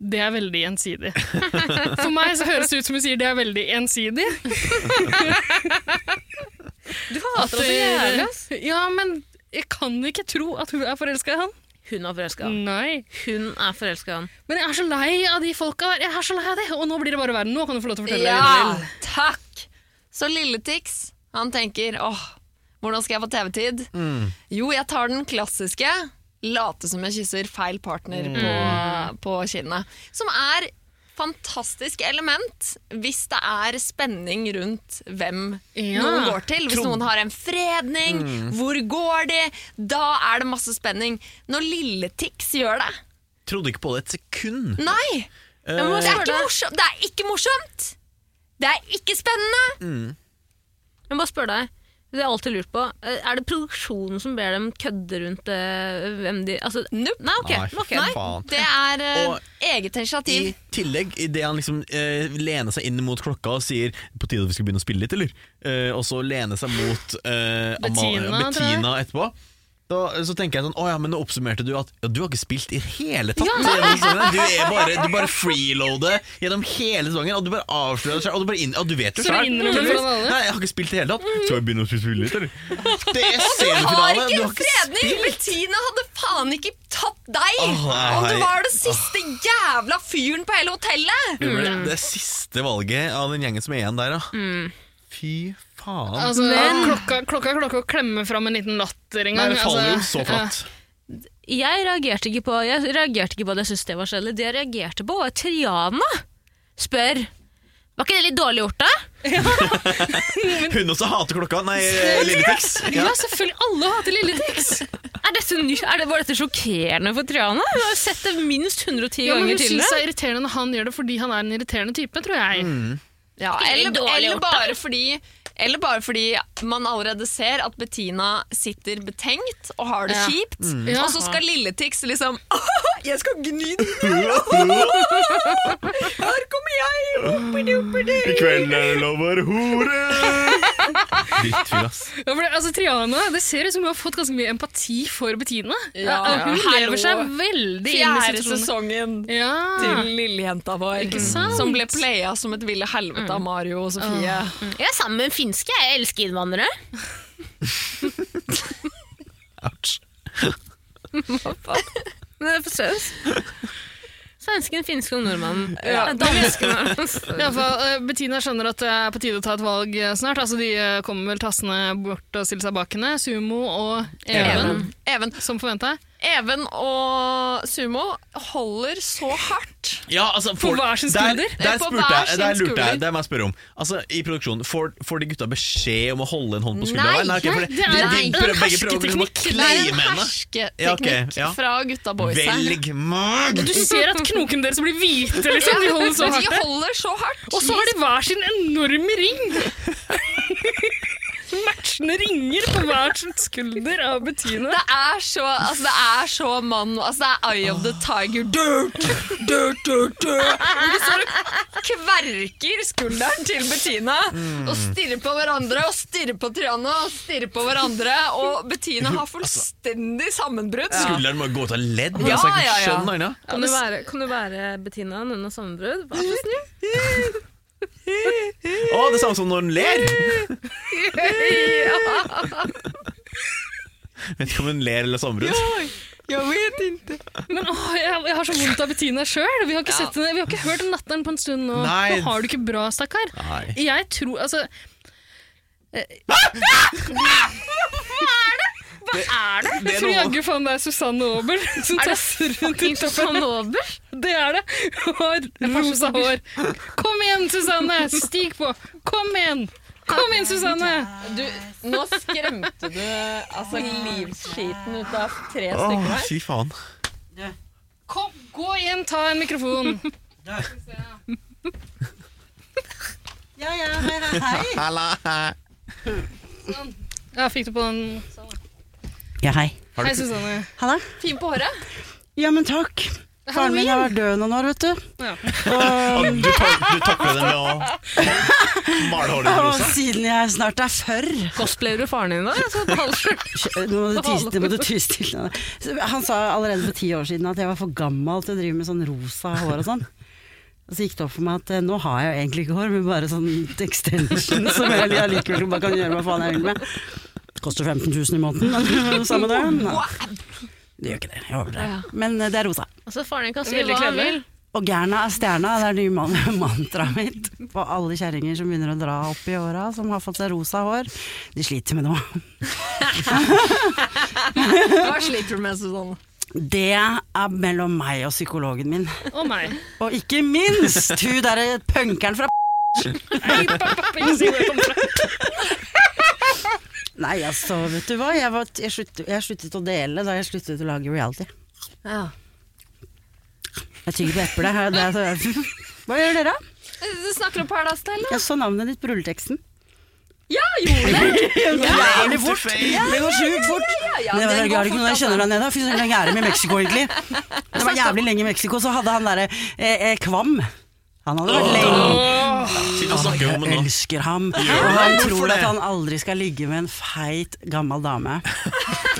Speaker 3: Det er veldig gjensidig. For meg så høres det ut som hun sier det er veldig ensidig.
Speaker 4: Du hater oss så jævlig, ass.
Speaker 3: Ja, men jeg kan ikke tro at hun er forelska i han.
Speaker 4: Hun er forelska i han.
Speaker 3: Nei.
Speaker 4: Hun er forelska i han.
Speaker 3: Men jeg er så lei av de folka her. Jeg er så lei av det. Og nå blir det bare verre. Nå kan du få lov til å fortelle
Speaker 1: Ja,
Speaker 3: det.
Speaker 1: takk! Så Lilletix, han tenker åh, hvordan skal jeg få TV-tid? Jo, jeg tar den klassiske. Late som jeg kysser feil partner på, på kinnet. Som er fantastisk element hvis det er spenning rundt hvem
Speaker 3: Ja.
Speaker 1: noen går til. Hvis noen har en fredning, hvor går de? Da er det masse spenning. Når Lilletix gjør det
Speaker 2: Trodde ikke på det et sekund.
Speaker 1: Nei! Eh, det, er ikke morsom, det er ikke morsomt! Det er ikke spennende!
Speaker 4: Men bare spør deg, det har jeg alltid lurt på, eh, er det produksjonen som ber dem kødde rundt eh, hvem de altså,
Speaker 1: Nope.
Speaker 4: Nei, ok.
Speaker 2: Nei,
Speaker 4: ok.
Speaker 2: fy faen.
Speaker 1: Det er eh,
Speaker 2: Og-
Speaker 1: eget initiativ.
Speaker 2: I tillegg, idet han liksom eh, lener seg inn mot klokka og sier 'på tide at vi skal begynne å spille litt', eller? Eh, og så lener seg mot eh, Amalie-
Speaker 3: Bettina, tror jeg.
Speaker 2: Bettina etterpå. Da, så tenker jeg sånn, å ja, men nå oppsummerte du at ja, du har ikke spilt i hele tatt. gjennom sesongen. Du er bare, du bare freeloader gjennom hele sesongen, og du bare avslører deg selv, og du bare inn, ja, du vet jo
Speaker 3: Så du
Speaker 2: selv.
Speaker 3: innrømmer det foran alle?
Speaker 2: Nei, jeg har ikke spilt i hele tatt. Skal vi begynne å spille litt, eller? Det er
Speaker 1: Du har
Speaker 2: semifinale,
Speaker 1: ikke
Speaker 2: du
Speaker 1: en
Speaker 2: har ikke
Speaker 1: fredning!
Speaker 2: spilt!
Speaker 1: Bettina hadde faen ikke tatt deg!
Speaker 2: Åh, nei.
Speaker 1: og du var den siste jævla fyren på hele hotellet!
Speaker 2: Det ble det siste valget av den gjengen som er igjen der, da.
Speaker 3: Mm.
Speaker 2: Fy faen.
Speaker 3: Altså, klokka, klokka, klokka klemmer fram en liten latter en
Speaker 2: Nei,
Speaker 3: gang.
Speaker 2: det faller jo
Speaker 3: altså.
Speaker 2: så flatt.
Speaker 4: Jeg reagerte ikke på Jeg reagerte ikke på at jeg syntes det var kjedelig. Det jeg reagerte på, var at Triana spør Var ikke det litt dårlig gjort, da?
Speaker 2: Hun også hater klokka. Nei, eh, Lilletex.
Speaker 3: Ja.
Speaker 2: Ja.
Speaker 3: ja, selvfølgelig. Alle hater Lilletix.
Speaker 4: Er dette ny, er det, var dette sjokkerende for Triana? Hun har jo sett det minst 110
Speaker 3: Ja, men
Speaker 4: ganger
Speaker 3: hun syns det
Speaker 4: tidligere.
Speaker 3: er irriterende når han gjør det fordi han er en irriterende type, tror jeg.
Speaker 2: Mm.
Speaker 1: Ja, eller, eller, bare fordi, eller bare fordi man allerede ser at Bettina sitter betenkt og har det
Speaker 3: Ja.
Speaker 1: kjipt,
Speaker 3: Ja.
Speaker 1: og så skal Lilletix liksom Mm. Jeg skal gni den Her kommer jeg! Hoppidi-hoppidi!
Speaker 2: I kveld er det lov å være hore. Drittfyr, ass.
Speaker 3: Ja, for det, altså, Triana, det ser ut som hun har fått ganske mye empati for Bettina.
Speaker 1: Ja.
Speaker 3: og hun
Speaker 1: Ja. Hallo.
Speaker 3: lever seg veldig inn i
Speaker 1: Fjerde
Speaker 3: situasjonen.
Speaker 1: sesongen.
Speaker 3: Ja.
Speaker 1: til lillejenta vår.
Speaker 3: sant?
Speaker 1: Mm. Som ble playa som et ville helvete av Mario og Sofie.
Speaker 3: Ah.
Speaker 4: Jeg er sammen med en finske. Jeg elsker innvandrere.
Speaker 2: Ouch.
Speaker 4: Men det er for søs. Svensken, finsken og nordmannen. Ja. Dansken og
Speaker 3: I alle fall, eh, Bettina skjønner at det er på tide å ta et valg eh, snart. Altså, de eh, kommer vel tassende bort og stiller seg bak henne. Sumo og Even,
Speaker 1: Even. Even.
Speaker 3: som forventa.
Speaker 1: Even og Sumo holder så hardt.
Speaker 2: Ja, altså, får-
Speaker 3: hver sin
Speaker 2: Der,
Speaker 3: skulder?
Speaker 2: der,
Speaker 1: På
Speaker 2: spurte
Speaker 1: hver
Speaker 2: jeg,
Speaker 1: sin
Speaker 2: der lurte
Speaker 1: skulder.
Speaker 2: jeg. Det må jeg spørre om. Altså, I produksjonen, får, får de gutta beskjed om å holde en hånd på skuldra?
Speaker 1: Nei,
Speaker 2: ok, for
Speaker 3: nei, det er-
Speaker 2: de- de
Speaker 3: nei, det er
Speaker 2: prøver-
Speaker 3: en
Speaker 2: begge prøver å liksom å
Speaker 3: hersketeknikk.
Speaker 1: Det er
Speaker 2: kleie
Speaker 1: en
Speaker 2: med henne.
Speaker 1: hersketeknikk
Speaker 2: Ja, ok, ja.
Speaker 1: fra gutta boys her.
Speaker 2: Velg mag!
Speaker 3: Du ser at knokene deres blir hvite, liksom. De holder så
Speaker 1: Men de
Speaker 3: hardt. der.
Speaker 1: holder så hardt.
Speaker 3: Og så har de hver sin enorme ring! Matchende ringer på hver sin skulder av Bettina.
Speaker 1: Det er så, altså, det er så mann altså, Det er Eye of the Tiger. Dirt, dirt, dirt, dirt. Og de står og kverker skulderen til Bettina og stirrer på hverandre og stirrer på Triana og stirrer på hverandre. Og Bettina har fullstendig sammenbrudd.
Speaker 2: Skulderen må gå ut av ledd.
Speaker 1: Ja,
Speaker 2: altså, jeg
Speaker 1: ja, ja.
Speaker 2: skjønner han, ja.
Speaker 4: Kan du være, kan du være Bettina under sammenbrudd? Vær så snill.
Speaker 2: Å, det er samme som når hun ler! Vet ikke om hun ler eller sammenbrudd.
Speaker 1: Jeg vet ikke.
Speaker 3: Men åh, jeg, jeg har så vondt av Bettina sjøl. Vi, har ikke sett henne- vi har ikke hørt om latteren på en stund nå.
Speaker 2: Nei.
Speaker 3: Nå har du ikke bra, stakkar.
Speaker 2: Nei.
Speaker 3: Jeg tror Altså eh,
Speaker 2: Det
Speaker 3: Jeg
Speaker 2: er
Speaker 3: tror
Speaker 2: noe-
Speaker 3: jaggu faen det er Susanne Aabel som tasser rundt i toppen. Det er det! Hår, rosa hår. Kom igjen, Susanne! Stig på! Kom igjen! Kom igjen, Susanne!
Speaker 1: nå skremte du altså livsskiten ut av tre
Speaker 2: Å, fy faen.
Speaker 3: Kom, gå igjen, ta en mikrofon.
Speaker 8: Ja, ja, hei, hei, hei.
Speaker 3: Sånn. Ja, fikk du på den?
Speaker 8: Ja, hei.
Speaker 3: Hei, Susanne.
Speaker 8: Halla.
Speaker 1: Fin på håret.
Speaker 8: Ja, men takk. Faren min har vært død noen år, vet du.
Speaker 3: Ja.
Speaker 8: Og,
Speaker 2: Du, tak, du takler det med å maler håret ditt
Speaker 4: Å,
Speaker 2: rosa.
Speaker 4: siden jeg snart er 40.
Speaker 3: Cosplayer du faren din da? Jeg skal ta halvskjørt.
Speaker 4: Nå må du ty- det må du ty stille. nå. Så Han sa allerede for ti år siden at jeg var for gammel til å drive med sånn rosa hår og sånn. Og så gikk det opp for meg at eh, nå har jeg jo egentlig ikke hår, men bare sånn extension som jeg allikevel bare kan gjøre hva faen jeg vil med. Det koster 15 000 i måneden, samme det. Nei, Det gjør ikke det, jeg overdrev. Men eh, det er rosa.
Speaker 9: Altså, faren din kan si
Speaker 3: Veldig
Speaker 9: hva han
Speaker 3: kledelig.
Speaker 9: vil.
Speaker 4: Og gærna er stjerna, det er det nye man- mantraet mitt. På alle kjerringer som begynner å dra opp i åra, som har fått seg rosa hår. De sliter med noe.
Speaker 1: Hva sliter du med, Susanne?
Speaker 4: Det er mellom meg og psykologen min.
Speaker 3: Å meg.
Speaker 4: Og ikke minst hun derre punkeren fra
Speaker 3: Nei, pappa, ikke si hvor jeg kommer fra.
Speaker 4: Nei, altså, vet du hva. Jeg, var, jeg, sluttet, jeg sluttet å dele da jeg sluttet å lage reality.
Speaker 1: Ja.
Speaker 4: Jeg tygger på eplet. her, det er så- Hva gjør dere? da?
Speaker 1: Du snakker om Paradise Hotel, da?
Speaker 4: Jeg så navnet ditt på rulleteksten.
Speaker 1: Ja, gjorde det!
Speaker 4: Jævlig fort! Det går sjukt fort.
Speaker 1: ja,
Speaker 4: Men det var
Speaker 1: den
Speaker 4: jeg
Speaker 1: går
Speaker 4: har ikke
Speaker 1: fort,
Speaker 4: noe jeg
Speaker 1: altså.
Speaker 4: kjenner deg ned da. Fy søren, jeg er med i Mexico, egentlig. Det var jævlig lenge i Mexico, så hadde han derre eh, eh, Kvam. Han hadde vært lenge.
Speaker 2: Sitt og snakke om
Speaker 4: Jeg
Speaker 2: det nå.
Speaker 4: elsker ham.
Speaker 2: Gjør
Speaker 4: Og han
Speaker 2: det. Hvorfor
Speaker 4: tror at
Speaker 2: det?
Speaker 4: han aldri skal ligge med en feit, gammel dame.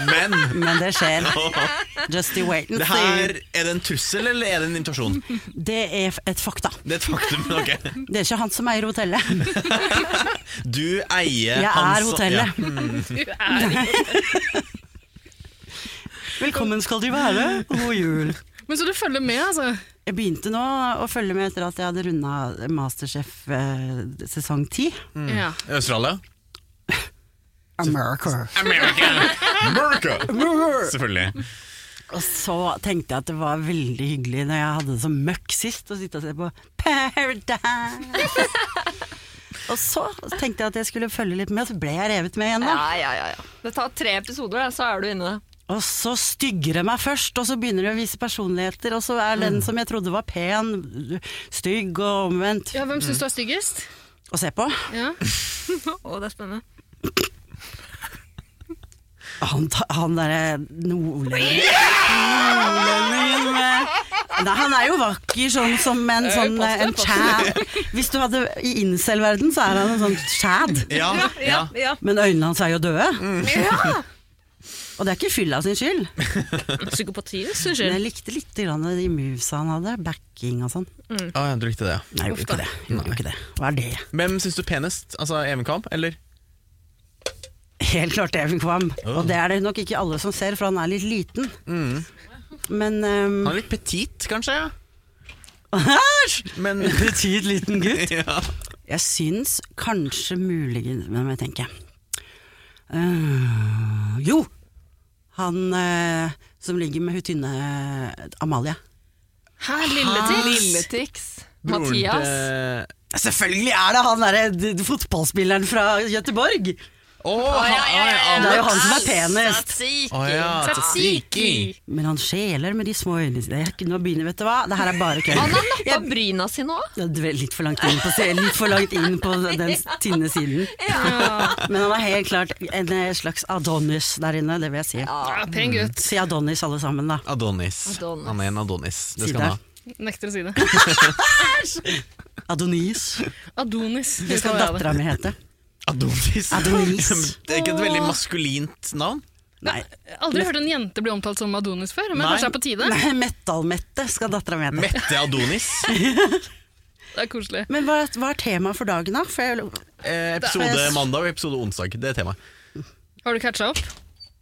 Speaker 2: Men
Speaker 4: Men det skjer. Just you wait and
Speaker 2: det
Speaker 4: see.
Speaker 2: her, er det en trussel eller er det en invitasjon?
Speaker 4: Det er f- et fakta.
Speaker 2: Det er et faktum. ok
Speaker 4: Det er ikke han som eier hotellet.
Speaker 2: Du eier
Speaker 4: Jeg
Speaker 2: hans-
Speaker 4: er hotellet.
Speaker 3: Du er-
Speaker 4: Velkommen skal du være, og god jul.
Speaker 3: Men så du følger med, altså.
Speaker 4: Jeg begynte nå å følge med etter at jeg hadde runda Masterchef eh, sesong ti.
Speaker 3: Ja.
Speaker 2: Ja. Australia?
Speaker 4: America.
Speaker 2: America! Selvfølgelig.
Speaker 4: Og så tenkte jeg at det var veldig hyggelig når jeg hadde det som møkk sist, å sitte og se på Paradise. og så tenkte jeg at jeg skulle følge litt med, og så ble jeg revet med igjen. da.
Speaker 1: Ja, ja, ja, ja. Det tar tre episoder, da, så er du inne.
Speaker 4: Og så stygger det meg først, og så begynner det å vise personligheter, og så er
Speaker 2: Mm.
Speaker 4: den som jeg trodde var pen, stygg og omvendt.
Speaker 3: ja, hvem syns du er styggest?
Speaker 4: Å se på.
Speaker 3: Ja.
Speaker 9: Å, det er spennende.
Speaker 4: Han, ta- han derre nordlendingen Nordlendingen med Nei, han er jo vakker sånn som en sånn eh, en chad. Hvis du hadde I incel-verden så er han en sånn chad,
Speaker 2: Ja, ja.
Speaker 4: men øynene hans er jo døde. Og det er ikke fylla sin skyld.
Speaker 9: Psykopati, syns
Speaker 4: Men
Speaker 9: jeg.
Speaker 4: jeg likte litt grann de movesa han hadde, backing og sånn.
Speaker 2: Å, ja, du likte det, ja.
Speaker 4: Nei, jeg gjorde ikke det. Jeg Gjorde ikke det. Hva er det?
Speaker 2: Hvem syns du penest? Altså Even Kamp, eller?
Speaker 4: Helt klart Even Kvam. Og det er det nok ikke alle som ser, for han er litt liten. Mm. Men um,
Speaker 2: Han er litt petit, kanskje? ja? Men
Speaker 4: Petit liten gutt.
Speaker 2: ja.
Speaker 4: Jeg syns kanskje muligens Men må jeg tenke. Eh, jo! Han eh, som ligger med hun tynne eh, Amalie.
Speaker 3: Her, lille
Speaker 1: Lilletix. Mathias.
Speaker 4: Selvfølgelig er det han derre d- d- fotballspilleren fra Gøteborg!
Speaker 2: Å, ja, ja, ja.
Speaker 4: Det er jo han som er penest.
Speaker 2: Å, ja. Tzatziki.
Speaker 4: Men han skjeler med de små øynene sine. Jeg- Nå begynner, vet du hva. Det her er bare
Speaker 1: Han
Speaker 4: kødd.
Speaker 1: har nappa bryna sine òg.
Speaker 4: Jeg dvel- Litt for langt inn på, se- litt for langt inn på den s- tynne siden. Men han er helt klart en eh, slags Adonis der inne, det vil jeg si.
Speaker 3: Ja, pen gutt.
Speaker 4: Si Adonis alle sammen, da.
Speaker 2: Adonis.
Speaker 1: Adonis.
Speaker 2: Han er en Adonis. Det
Speaker 4: Si
Speaker 2: skal han ha.
Speaker 3: Nekter å si det.
Speaker 4: Adonis.
Speaker 3: Adonis.
Speaker 4: Det skal dattera mi hete.
Speaker 2: Adonis.
Speaker 4: Adonis.
Speaker 2: det er ikke et veldig maskulint navn.
Speaker 4: Nei,
Speaker 3: Aldri hørt en jente bli omtalt som Adonis før, men
Speaker 2: Nei.
Speaker 3: kanskje det er på tide?
Speaker 4: nei Metal-Mette skal dattera mi hete.
Speaker 2: Mette Adonis.
Speaker 3: Det er koselig.
Speaker 4: Men hva, hva er temaet for dagen, da? For jeg,
Speaker 2: Eh, episode mandag og episode onsdag. Det er temaet.
Speaker 3: Mm, Har du catcha opp?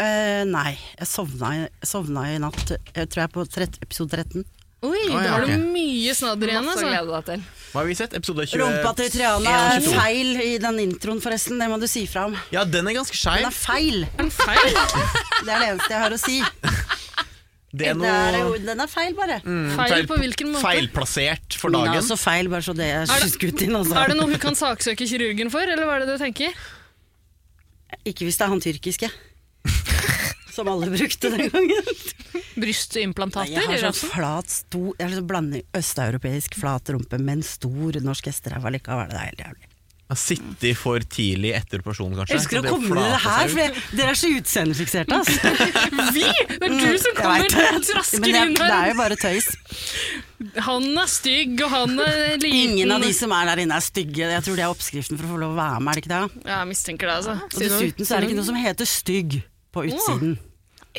Speaker 4: Eh, nei, jeg sovna, i- sovna i natt, jeg tror jeg, på trett, episode 13.
Speaker 3: Oi,
Speaker 2: Å,
Speaker 3: da
Speaker 2: Ah, ja,
Speaker 3: har
Speaker 2: ok.
Speaker 3: du mye snadder igjen,
Speaker 1: Masse å
Speaker 3: altså.
Speaker 1: glede deg til.
Speaker 2: Hva har vi sett? Episode 20...
Speaker 4: Rumpa til Triana er
Speaker 2: 22.
Speaker 4: feil i den introen, forresten. Det må du si fra om.
Speaker 2: Ja, den er ganske
Speaker 4: Den
Speaker 2: skeiv.
Speaker 4: er feil!
Speaker 3: En feil,
Speaker 4: Det er det eneste jeg har å si.
Speaker 2: Det er
Speaker 4: Det er,
Speaker 2: noe
Speaker 4: jo- den er feil, bare.
Speaker 3: Mm, feil på hvilken måte?
Speaker 2: feilplassert for
Speaker 4: Min er
Speaker 2: dagen.
Speaker 4: også feil, bare så det er
Speaker 3: Er det-
Speaker 4: skutt inn. Altså.
Speaker 3: Er det noe hun kan saksøke kirurgen for, eller hva er det du tenker?
Speaker 4: Ikke hvis det er han tyrkiske. Som alle brukte den gangen. Nei,
Speaker 3: Brystimplantater?
Speaker 4: jeg har
Speaker 3: eller
Speaker 4: sånn flat, stor Jeg liksom blander østeuropeisk flat rumpe med en stor norsk hesteræv allikevel. Det er helt jævlig.
Speaker 2: Har sittet for tidlig etter personen, kanskje.
Speaker 4: Jeg elsker
Speaker 2: så
Speaker 4: å
Speaker 2: det
Speaker 4: komme med det
Speaker 2: flater
Speaker 4: her,
Speaker 2: seg
Speaker 4: for jeg, dere er så utseendefikserte, ass.
Speaker 3: Vi! Det er du som
Speaker 4: Jeg
Speaker 3: kommer
Speaker 4: vet det.
Speaker 3: og trasker
Speaker 4: Men det,
Speaker 3: inn
Speaker 4: det er
Speaker 3: her.
Speaker 4: jo bare tøys.
Speaker 3: Han er stygg, og han er liten.
Speaker 4: Ingen av de som er der inne er stygge. Jeg tror det er oppskriften for å få lov å være med, er det ikke det?
Speaker 3: Ja, jeg mistenker det, altså.
Speaker 4: Og dessuten så er det ikke noe som heter stygg på utsiden.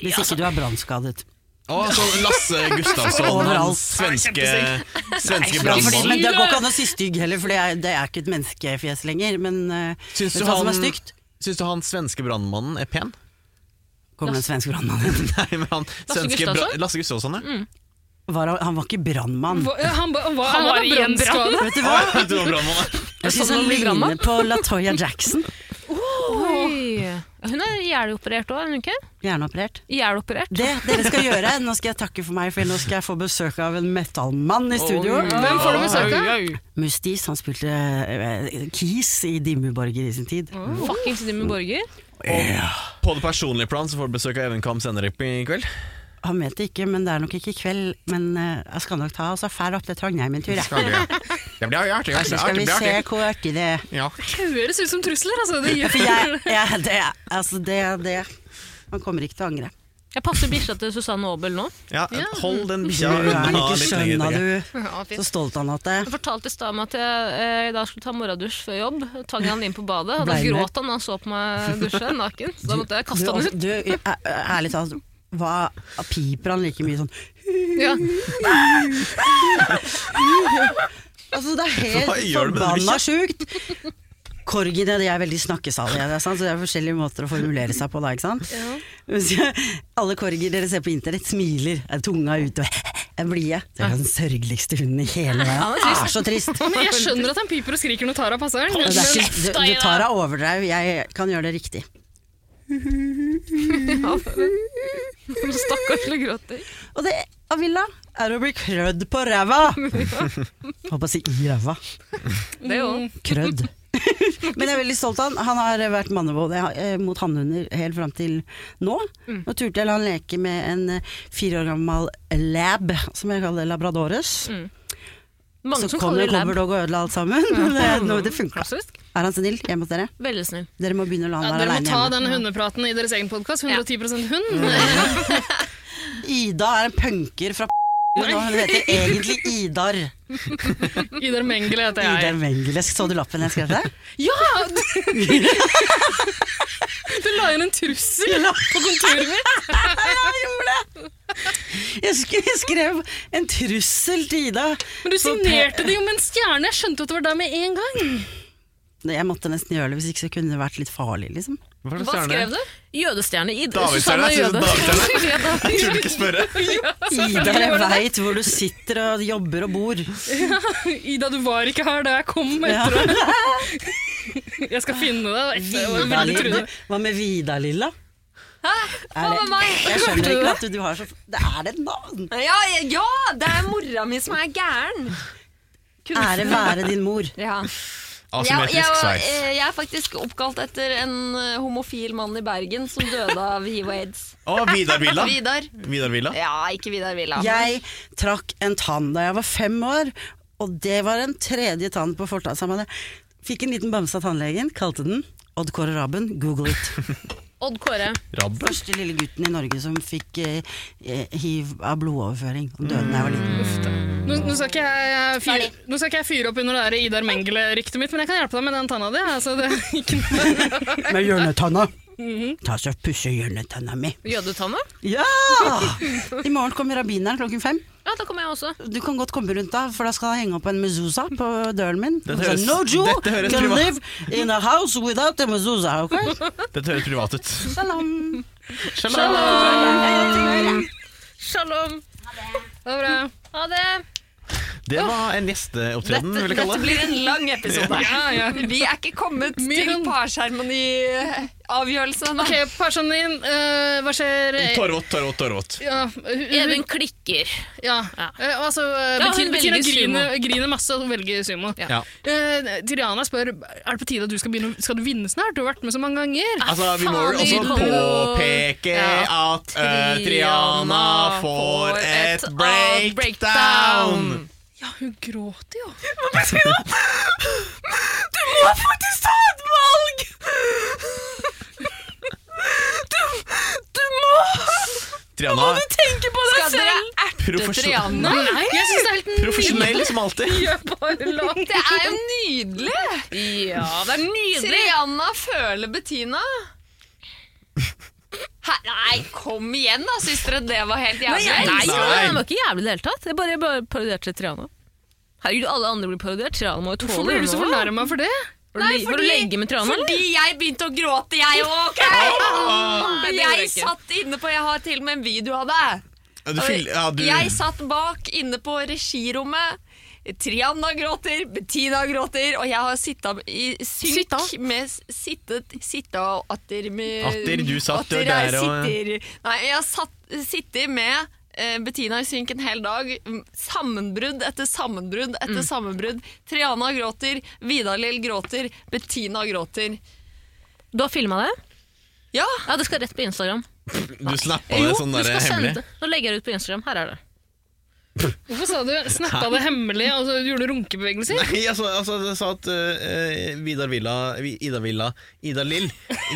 Speaker 4: Hvis ikke du er brannskadet.
Speaker 2: Å, så Lasse Gustavsson, han
Speaker 4: Overalt.
Speaker 2: svenske, svenske
Speaker 4: Ja, fordi,
Speaker 2: brannmannen.
Speaker 4: men det går ikke an å si stygg heller, for det er, det er ikke et menneskefjes lenger. Men eh,
Speaker 2: Syns
Speaker 4: vet
Speaker 2: du
Speaker 4: du hva som
Speaker 2: han-
Speaker 4: er stygt?
Speaker 2: Syns du han svenske brannmannen er pen?
Speaker 4: Kommer en svensk brannmann inn.
Speaker 2: Nei, men han svenske bra-
Speaker 10: Gustafsson?
Speaker 2: Lasse Gustavsson,
Speaker 3: Mm.
Speaker 2: ja.
Speaker 4: Var Han han var ikke brannmann.
Speaker 3: Hva- Han, ba- hva-
Speaker 10: Han
Speaker 3: han
Speaker 10: var
Speaker 3: var
Speaker 10: i en
Speaker 3: brannskade.
Speaker 4: Vet du hva?
Speaker 2: Du var brannmann,
Speaker 4: Jeg syns
Speaker 10: Sånn
Speaker 4: han
Speaker 10: man blir gammel.
Speaker 4: ligner på Latoya Jackson.
Speaker 10: Oi.
Speaker 1: Hun er hjerneoperert òg, er hun ikke?
Speaker 4: Hjerneoperert.
Speaker 1: Hjerneoperert.
Speaker 4: Det dere skal gjøre, nå skal jeg takke for meg, for nå skal jeg få besøk av en metallmann i studio.
Speaker 3: Hvem får du besøk av?
Speaker 4: Mustis, han spilte eh, Keys i Dimmuborger i sin tid.
Speaker 1: Fuckings Dimmu Borger.
Speaker 2: da. På det personlige plan så får du besøk av Even Kam senere i kveld.
Speaker 4: Han vet det ikke, men det er nok ikke i kveld. Men eh, jeg skal nok ta altså, fær opp til Trondheim en tur, jeg.
Speaker 6: Skal det, ja. Det blir artig. det
Speaker 4: Så
Speaker 6: blir
Speaker 4: skal vi
Speaker 6: artig, det blir
Speaker 4: se
Speaker 6: artig.
Speaker 4: hvor artig det er.
Speaker 6: Ja.
Speaker 3: Høres ut som trusler, altså. Det gjør
Speaker 4: For jeg, jeg det, er- altså, det, er- det er- Man kommer ikke til å angre.
Speaker 11: Jeg passer bikkja til Susanne Aabel nå.
Speaker 2: Ja, hold den
Speaker 4: Du
Speaker 2: bikkja
Speaker 4: er
Speaker 2: unna
Speaker 4: ikke
Speaker 2: litt lenger. tenker
Speaker 4: skjønna,
Speaker 2: jeg.
Speaker 4: du.
Speaker 3: Ja, fint.
Speaker 4: Så stolt han at det.
Speaker 11: Jeg fortalte i stad om at jeg eh, i dag skulle ta morgendusj før jobb. Tvang han inn på badet, og da
Speaker 4: Blei med.
Speaker 11: gråt han da han så på meg dusje naken. Så da måtte jeg
Speaker 4: Du,
Speaker 11: kaste han
Speaker 4: altså,
Speaker 11: ut.
Speaker 4: du, æ- æ- ærlig talt, hva piper han like mye sånn
Speaker 3: Ja.
Speaker 4: Altså, det er
Speaker 2: Hva
Speaker 4: helt
Speaker 2: gjør du med det
Speaker 4: forbanna sjukt. Korgiene de er veldig snakkesalige, det er sant? så det er forskjellige måter å formulere seg på da. ikke sant? Så Alle korger dere ser på internett, smiler, er tunga ute og er blide. Det er den sørgeligste hunden i hele verden. Er så trist.
Speaker 3: Men jeg skjønner at han piper og skriker når Tara passer.
Speaker 4: Det er ikke, du,
Speaker 3: Men-
Speaker 4: du tar av overdrev, jeg kan gjøre det riktig.
Speaker 1: Stakkars lille gråter.
Speaker 4: Og det Avila er å bli krødd på ræva! Holdt på å si i ræva.
Speaker 1: Det òg.
Speaker 4: Krødd. Men jeg er veldig stolt av han. Han har vært mannevåd eh, mot hannhunder helt fram til nå. Nå turte jeg la han leke med en eh, fire år gammel lab, som jeg kaller labradores.
Speaker 11: Mange
Speaker 4: Så
Speaker 11: som
Speaker 4: kom
Speaker 11: kaller
Speaker 4: det
Speaker 11: det lab.
Speaker 4: commerdog og ødela alt sammen. Men det, nå- det funka.
Speaker 11: Klassisk.
Speaker 4: Er han snill hjemme hos dere?
Speaker 11: Veldig snill.
Speaker 4: Dere må begynne å la
Speaker 3: Ja,
Speaker 4: han
Speaker 3: dere må
Speaker 4: være aleine
Speaker 3: ta
Speaker 4: hjemme.
Speaker 3: den hundepraten i deres egen podkast. 110 hund.
Speaker 4: Ida er en punker fra Nå, Hun heter egentlig Idar.
Speaker 3: Idar Mengele heter
Speaker 4: Idar
Speaker 3: jeg.
Speaker 4: Wengelesk. Så du lappen jeg skrev til deg?
Speaker 3: Ja! Du, du la inn en trussel på kontoret mitt.
Speaker 4: Jeg sk- jeg skrev en trussel til Ida.
Speaker 3: Men du
Speaker 4: Så pe-
Speaker 3: signerte det jo med en stjerne. Jeg skjønte at det var deg med en gang.
Speaker 4: Jeg måtte nesten gjøre det, hvis ikke så kunne det vært litt farlig, liksom.
Speaker 2: Hva slags
Speaker 1: Hva
Speaker 2: stjerne?
Speaker 1: skrev du?
Speaker 11: Jødestjerne i
Speaker 2: Davidstjerne?
Speaker 11: Susanne
Speaker 2: Jeg synes
Speaker 11: Jøde.
Speaker 2: Davidstjerne. Jeg Tør du ikke spørre?
Speaker 4: Ida, jeg veit hvor du sitter og jobber og bor.
Speaker 3: Ida, du var ikke her da jeg kom etter
Speaker 4: Ja.
Speaker 3: deg. Jeg skal finne deg. Det var
Speaker 4: Vidar
Speaker 3: veldig
Speaker 4: Lilla.
Speaker 3: truende.
Speaker 4: Hva med Vidar Lilla?
Speaker 1: Hva med meg?
Speaker 4: Jeg skjønner ikke at du, du har så Det er et navn!
Speaker 1: Ja, ja, ja, det er mora mi som er gæren.
Speaker 4: Ære være din mor.
Speaker 1: Ja. Jeg, jeg,
Speaker 2: Asymmetrisk
Speaker 1: var-
Speaker 2: sveis.
Speaker 1: eh, jeg er faktisk oppkalt etter en eh, homofil mann i Bergen som døde av hiv og aids.
Speaker 2: Å, Vidar Villa.
Speaker 1: Vidar.
Speaker 2: Vidar Villa.
Speaker 1: Ja, ikke Vidar Villa.
Speaker 4: Jeg trakk en tann da jeg var fem år, og det var en tredje tann på fortauet. sammen. Jeg Fikk en liten bamse av tannlegen, kalte den Odd Kåre Raben, google it.
Speaker 11: Odd Kåre.
Speaker 2: Rabbe.
Speaker 4: Første lille gutten i Norge som fikk eh, eh, hiv av blodoverføring. Han døde da jeg var liten.
Speaker 3: Nå, nå, skal ikke jeg fyre, nå skal ikke jeg fyre opp under det her Idar Mengele-ryktet mitt, men jeg kan hjelpe deg med den tanna di. Altså, det er ikke noe.
Speaker 4: Med hjørnetanna. Ta så pusse hjørnetanna mi.
Speaker 11: Jødetanna?
Speaker 4: Ja! I morgen kommer rabbineren klokken fem.
Speaker 11: Ja, da kommer jeg også.
Speaker 4: Du kan godt komme rundt da, for da skal jeg henge opp en mezuzah på døren min.
Speaker 2: Dette
Speaker 4: Han sa,
Speaker 2: høres-
Speaker 4: no Jew
Speaker 2: dette høres
Speaker 4: can
Speaker 2: privat-
Speaker 4: live in a house without a mezuzah, ok?
Speaker 2: Dette høres privat ut.
Speaker 4: Salam.
Speaker 11: Shalom.
Speaker 3: Det er bra.
Speaker 11: Ha det.
Speaker 2: Det var en gjesteopptreden, vil jeg kalle det.
Speaker 1: Dette blir en lang episode.
Speaker 3: Ja, ja.
Speaker 1: Vi er ikke kommet til eh,
Speaker 3: Mye.
Speaker 1: parseremoniavgjørelsen.
Speaker 3: Ok, personen din, eh, hva skjer?
Speaker 2: Torvot, Torvot, Torvot.
Speaker 3: Ja, hun,
Speaker 11: Even klikker.
Speaker 3: ja. Eh, altså, eh,
Speaker 11: Ja,
Speaker 3: Bettina
Speaker 11: hun velger
Speaker 3: Bettina griner, griner masse og velger sumo.
Speaker 2: Ja.
Speaker 3: Eh, Triana spør er det på tide at du skal begynne Skal du vinne snart. Du har vært med så mange ganger.
Speaker 2: Altså, vi må jo også
Speaker 11: Faen, vi må-
Speaker 2: påpeke
Speaker 11: Ja.
Speaker 2: at eh, Triana får et breakdown.
Speaker 3: Ja, hun gråter jo.
Speaker 2: Triana,
Speaker 1: Skal dere erte
Speaker 2: Profesjon-
Speaker 1: Triana.
Speaker 3: Jeg syns det er helt
Speaker 2: Profesjonell som alltid.
Speaker 3: nydelig låt.
Speaker 1: Det er jo nydelig!
Speaker 3: Ja, det er nydelig!
Speaker 1: Triana føler Bettina. Hæ? Nei, kom igjen, da! Syns dere det var helt
Speaker 4: Nei,
Speaker 1: jævlig?
Speaker 4: jeg elsker
Speaker 2: Nei.
Speaker 4: det. Den var ikke jævlig i det hele tatt. Jeg bare, bare parodierte Triana. Herregud, alle andre blir parodiert. Triana må jo tåle
Speaker 3: Hvorfor blir du så
Speaker 4: noe.
Speaker 3: fornærma for det?
Speaker 4: Var du- Var du legge med Triana, eller?
Speaker 1: fordi jeg begynte å gråte, jeg òg. ok?
Speaker 4: gjorde jeg
Speaker 1: Jeg
Speaker 4: ikke.
Speaker 1: satt inne på Jeg har til og med en video av det.
Speaker 2: Ja, du fyller- ja, du-
Speaker 1: Jeg satt bak inne på regirommet. Triana gråter, Bettina gråter, og jeg har sitta i synk
Speaker 12: Sitta?
Speaker 1: med s- sittet Sitta og atter med
Speaker 2: Atter, du satt
Speaker 1: atter
Speaker 2: der
Speaker 1: jeg
Speaker 2: og-
Speaker 1: sitter, Nei, jeg har satt- sittet med eh, Bettina i synk en hel dag. Mm, Sammenbrudd etter sammenbrudd etter sammenbrudd. Triana gråter, Vidar-Lill gråter, Bettina gråter.
Speaker 4: Du har filma det?
Speaker 1: Ja,
Speaker 4: Ja, det skal rett på Instagram.
Speaker 2: Du snappa
Speaker 4: Jo,
Speaker 2: det sånn
Speaker 4: du
Speaker 2: der
Speaker 4: skal sende
Speaker 2: hemmelig.
Speaker 4: det. Nå legger jeg det ut på Instagram. Her er det.
Speaker 3: Hvorfor sa du snappa det hemmelig og så gjorde du runkebevegelser?
Speaker 2: Nei, altså, altså, jeg sa at eh, Vidar Villa Vi- Ida Villa Ida Lill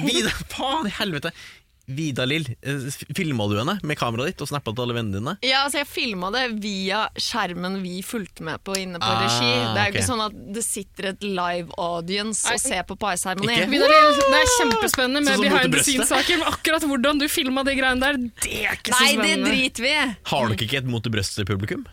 Speaker 2: Vidar, Faen i helvete! Vidar Lill, uh, filma du henne med kameraet ditt og snappa til alle vennene dine?
Speaker 1: Ja, altså jeg filma det via skjermen vi fulgte med på inne på
Speaker 2: Ah,
Speaker 1: regi. Det er jo
Speaker 2: ok.
Speaker 1: ikke sånn at det sitter et live audience og ser på
Speaker 2: Ikke?
Speaker 1: parseremoni.
Speaker 3: Vidar, det er kjempespennende med
Speaker 2: Sånn som mot
Speaker 3: behind the
Speaker 2: brøstet.
Speaker 3: scenes-saker, men akkurat hvordan du filma de greiene der, det er ikke så
Speaker 1: Nei, det
Speaker 3: spennende.
Speaker 1: driter vi i.
Speaker 2: Har dere ikke et mot det brøstet-publikum?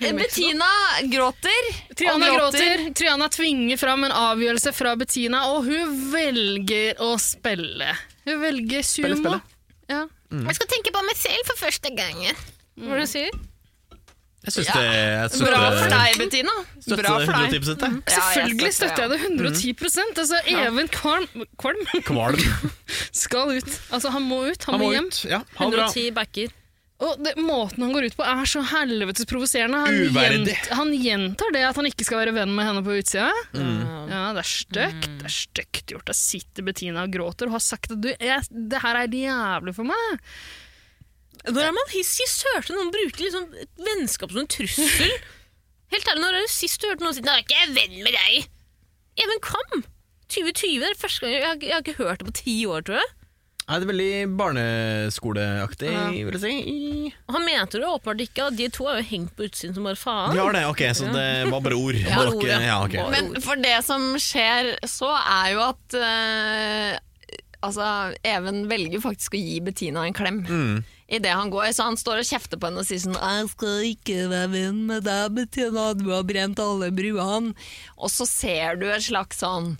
Speaker 1: Bettina gråter.
Speaker 3: Triana
Speaker 1: og
Speaker 3: gråter. Triana tvinger fram en avgjørelse fra Bettina, og hun velger å spille. Hun velger sumo.
Speaker 13: spille.
Speaker 3: Ja.
Speaker 2: Mm.
Speaker 1: Jeg skal tenke på meg selv for første gangen.
Speaker 4: Hva er det du sier?
Speaker 2: Jeg syns det jeg støtter-
Speaker 1: Bra for deg, Bettina.
Speaker 2: støtter
Speaker 1: Bra for deg. Mm.
Speaker 2: 110%, jeg.
Speaker 1: Ja, jeg
Speaker 3: Selvfølgelig støtter jeg det 110 altså, Even Kvalm, Kvalm
Speaker 2: Mm. Kvalm.
Speaker 3: skal ut. Altså, han må ut, han,
Speaker 2: Han må
Speaker 3: må hjem.
Speaker 2: ut. Ja, ha det bra.
Speaker 4: 110 backer.
Speaker 3: Og det, Måten han går ut på, er så helvetes provoserende. Han,
Speaker 2: Uverdig.
Speaker 3: gjent- han gjentar det at han ikke skal være venn med henne på utsida.
Speaker 1: Mm.
Speaker 3: Ja, Det er stygt Det er stygt gjort. Da sitter Bettina og gråter og har sagt at du, jeg, det her er jævlig for meg.
Speaker 4: Når er man hissig sørte? Noen bruker liksom et vennskap som en trussel. Helt ærlig, når er det sist du hørte noen si 'Nå er ikke jeg venn med deg'? Even Kam! 2020 er det første gang jeg, har- jeg har ikke hørt det på ti år, tror jeg.
Speaker 2: Nei, det er veldig barneskoleaktig, vil jeg si.
Speaker 4: Og han mente det åpenbart ikke, og de to har jo hengt på utsiden som bare faen.
Speaker 2: Vi har det, ok, så det var bare ord. Det
Speaker 4: bare
Speaker 2: var ikke-
Speaker 4: ord, ja.
Speaker 2: ja, ok.
Speaker 4: Bare-
Speaker 1: Men for det som skjer så, er jo at eh, Altså, Even velger faktisk å gi Bettina en klem. I det han går, så han står og kjefter på henne og sier sånn 'Jeg skal ikke være venn med deg, Bettina, du har brent alle bruene'. Og så ser du et slags sånn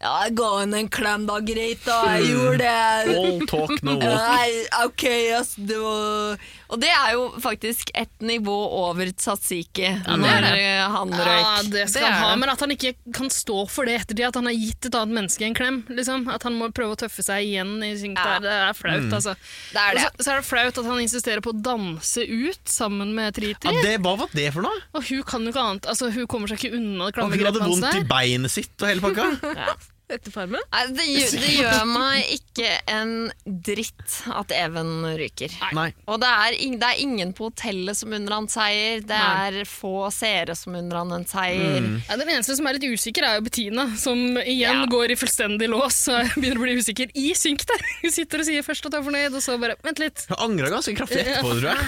Speaker 1: 'Ja, jeg ga henne en klem, da, greit, da. Jeg gjorde det.'
Speaker 2: All talk, no walk.
Speaker 1: Nei, ok, ass, det var Og det er jo faktisk et nivå over tzatziki. når eh, han røyk.
Speaker 3: Ja, det skal
Speaker 1: er
Speaker 3: han ha,
Speaker 1: det.
Speaker 3: men at han ikke kan stå for det ettertid, at han har gitt et annet menneske en klem. Liksom. At han må prøve å tøffe seg igjen. I sin
Speaker 1: Ja.
Speaker 3: der, det er flaut,
Speaker 2: Mm.
Speaker 3: altså.
Speaker 1: Det er det.
Speaker 3: Og Så, så er det flaut at han insisterer på å danse ut sammen med
Speaker 2: Ja,
Speaker 3: Triti.
Speaker 2: det, hva var det for noe?
Speaker 3: Og hun kan jo ikke annet. Altså, hun kommer seg ikke unna det
Speaker 2: Han
Speaker 3: klamme
Speaker 2: fikk hadde
Speaker 3: grepet hans
Speaker 2: vondt i
Speaker 3: der.
Speaker 2: beinet sitt og hele pakka.
Speaker 4: Etter farmen.
Speaker 1: Nei, det, gjør- det gjør meg ikke en dritt at Even ryker.
Speaker 2: Nei.
Speaker 1: Og det er, ing- det er ingen på hotellet som unner han seier, det er få seere som unner han en seier.
Speaker 2: Mm.
Speaker 3: Ja, den eneste som er litt usikker, er jo Bettina, som igjen
Speaker 1: Ja.
Speaker 3: går i fullstendig lås og begynner å bli usikker i synk der. Hun sitter og sier først at hun er fornøyd, og så bare Vent litt,
Speaker 2: Hun angra ganske kraftig etterpå, tror jeg.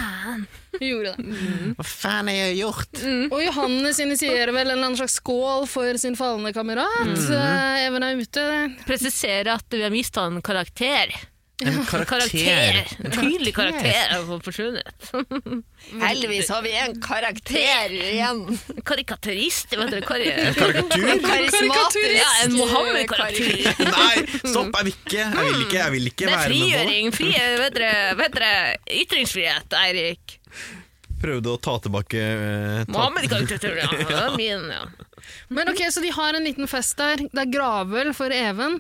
Speaker 3: hun gjorde det.
Speaker 4: Mhm.
Speaker 2: Hva faen har jeg gjort?
Speaker 3: Og Johannes initierer vel en eller annen slags skål for sin falne kamerat.
Speaker 4: Mhm.
Speaker 3: Eh, Even er ute.
Speaker 4: Presisere at vi har mista en karakter.
Speaker 2: En karakter.
Speaker 4: En tydelig karakter har forsvunnet.
Speaker 1: Heldigvis har vi en karakter igjen.
Speaker 4: En karikaturist, vet dere. Kar
Speaker 2: Karikatur?
Speaker 1: Karismatisk.
Speaker 4: ja, en Mohammed-karakter.
Speaker 2: Nei, stopp, jeg vil ikke. Jeg vil ikke, jeg vil ikke
Speaker 4: Det er
Speaker 2: være med
Speaker 4: frigjøring. Fri, vet dere, vet dere. Ytringsfrihet, Eirik.
Speaker 2: på Prøvde å ta tilbake eh, ta-
Speaker 4: Mohammed-karikatur, ja. Det var min, ja.
Speaker 3: Men ok, Så de har en liten fest der. Det er gravøl for Even.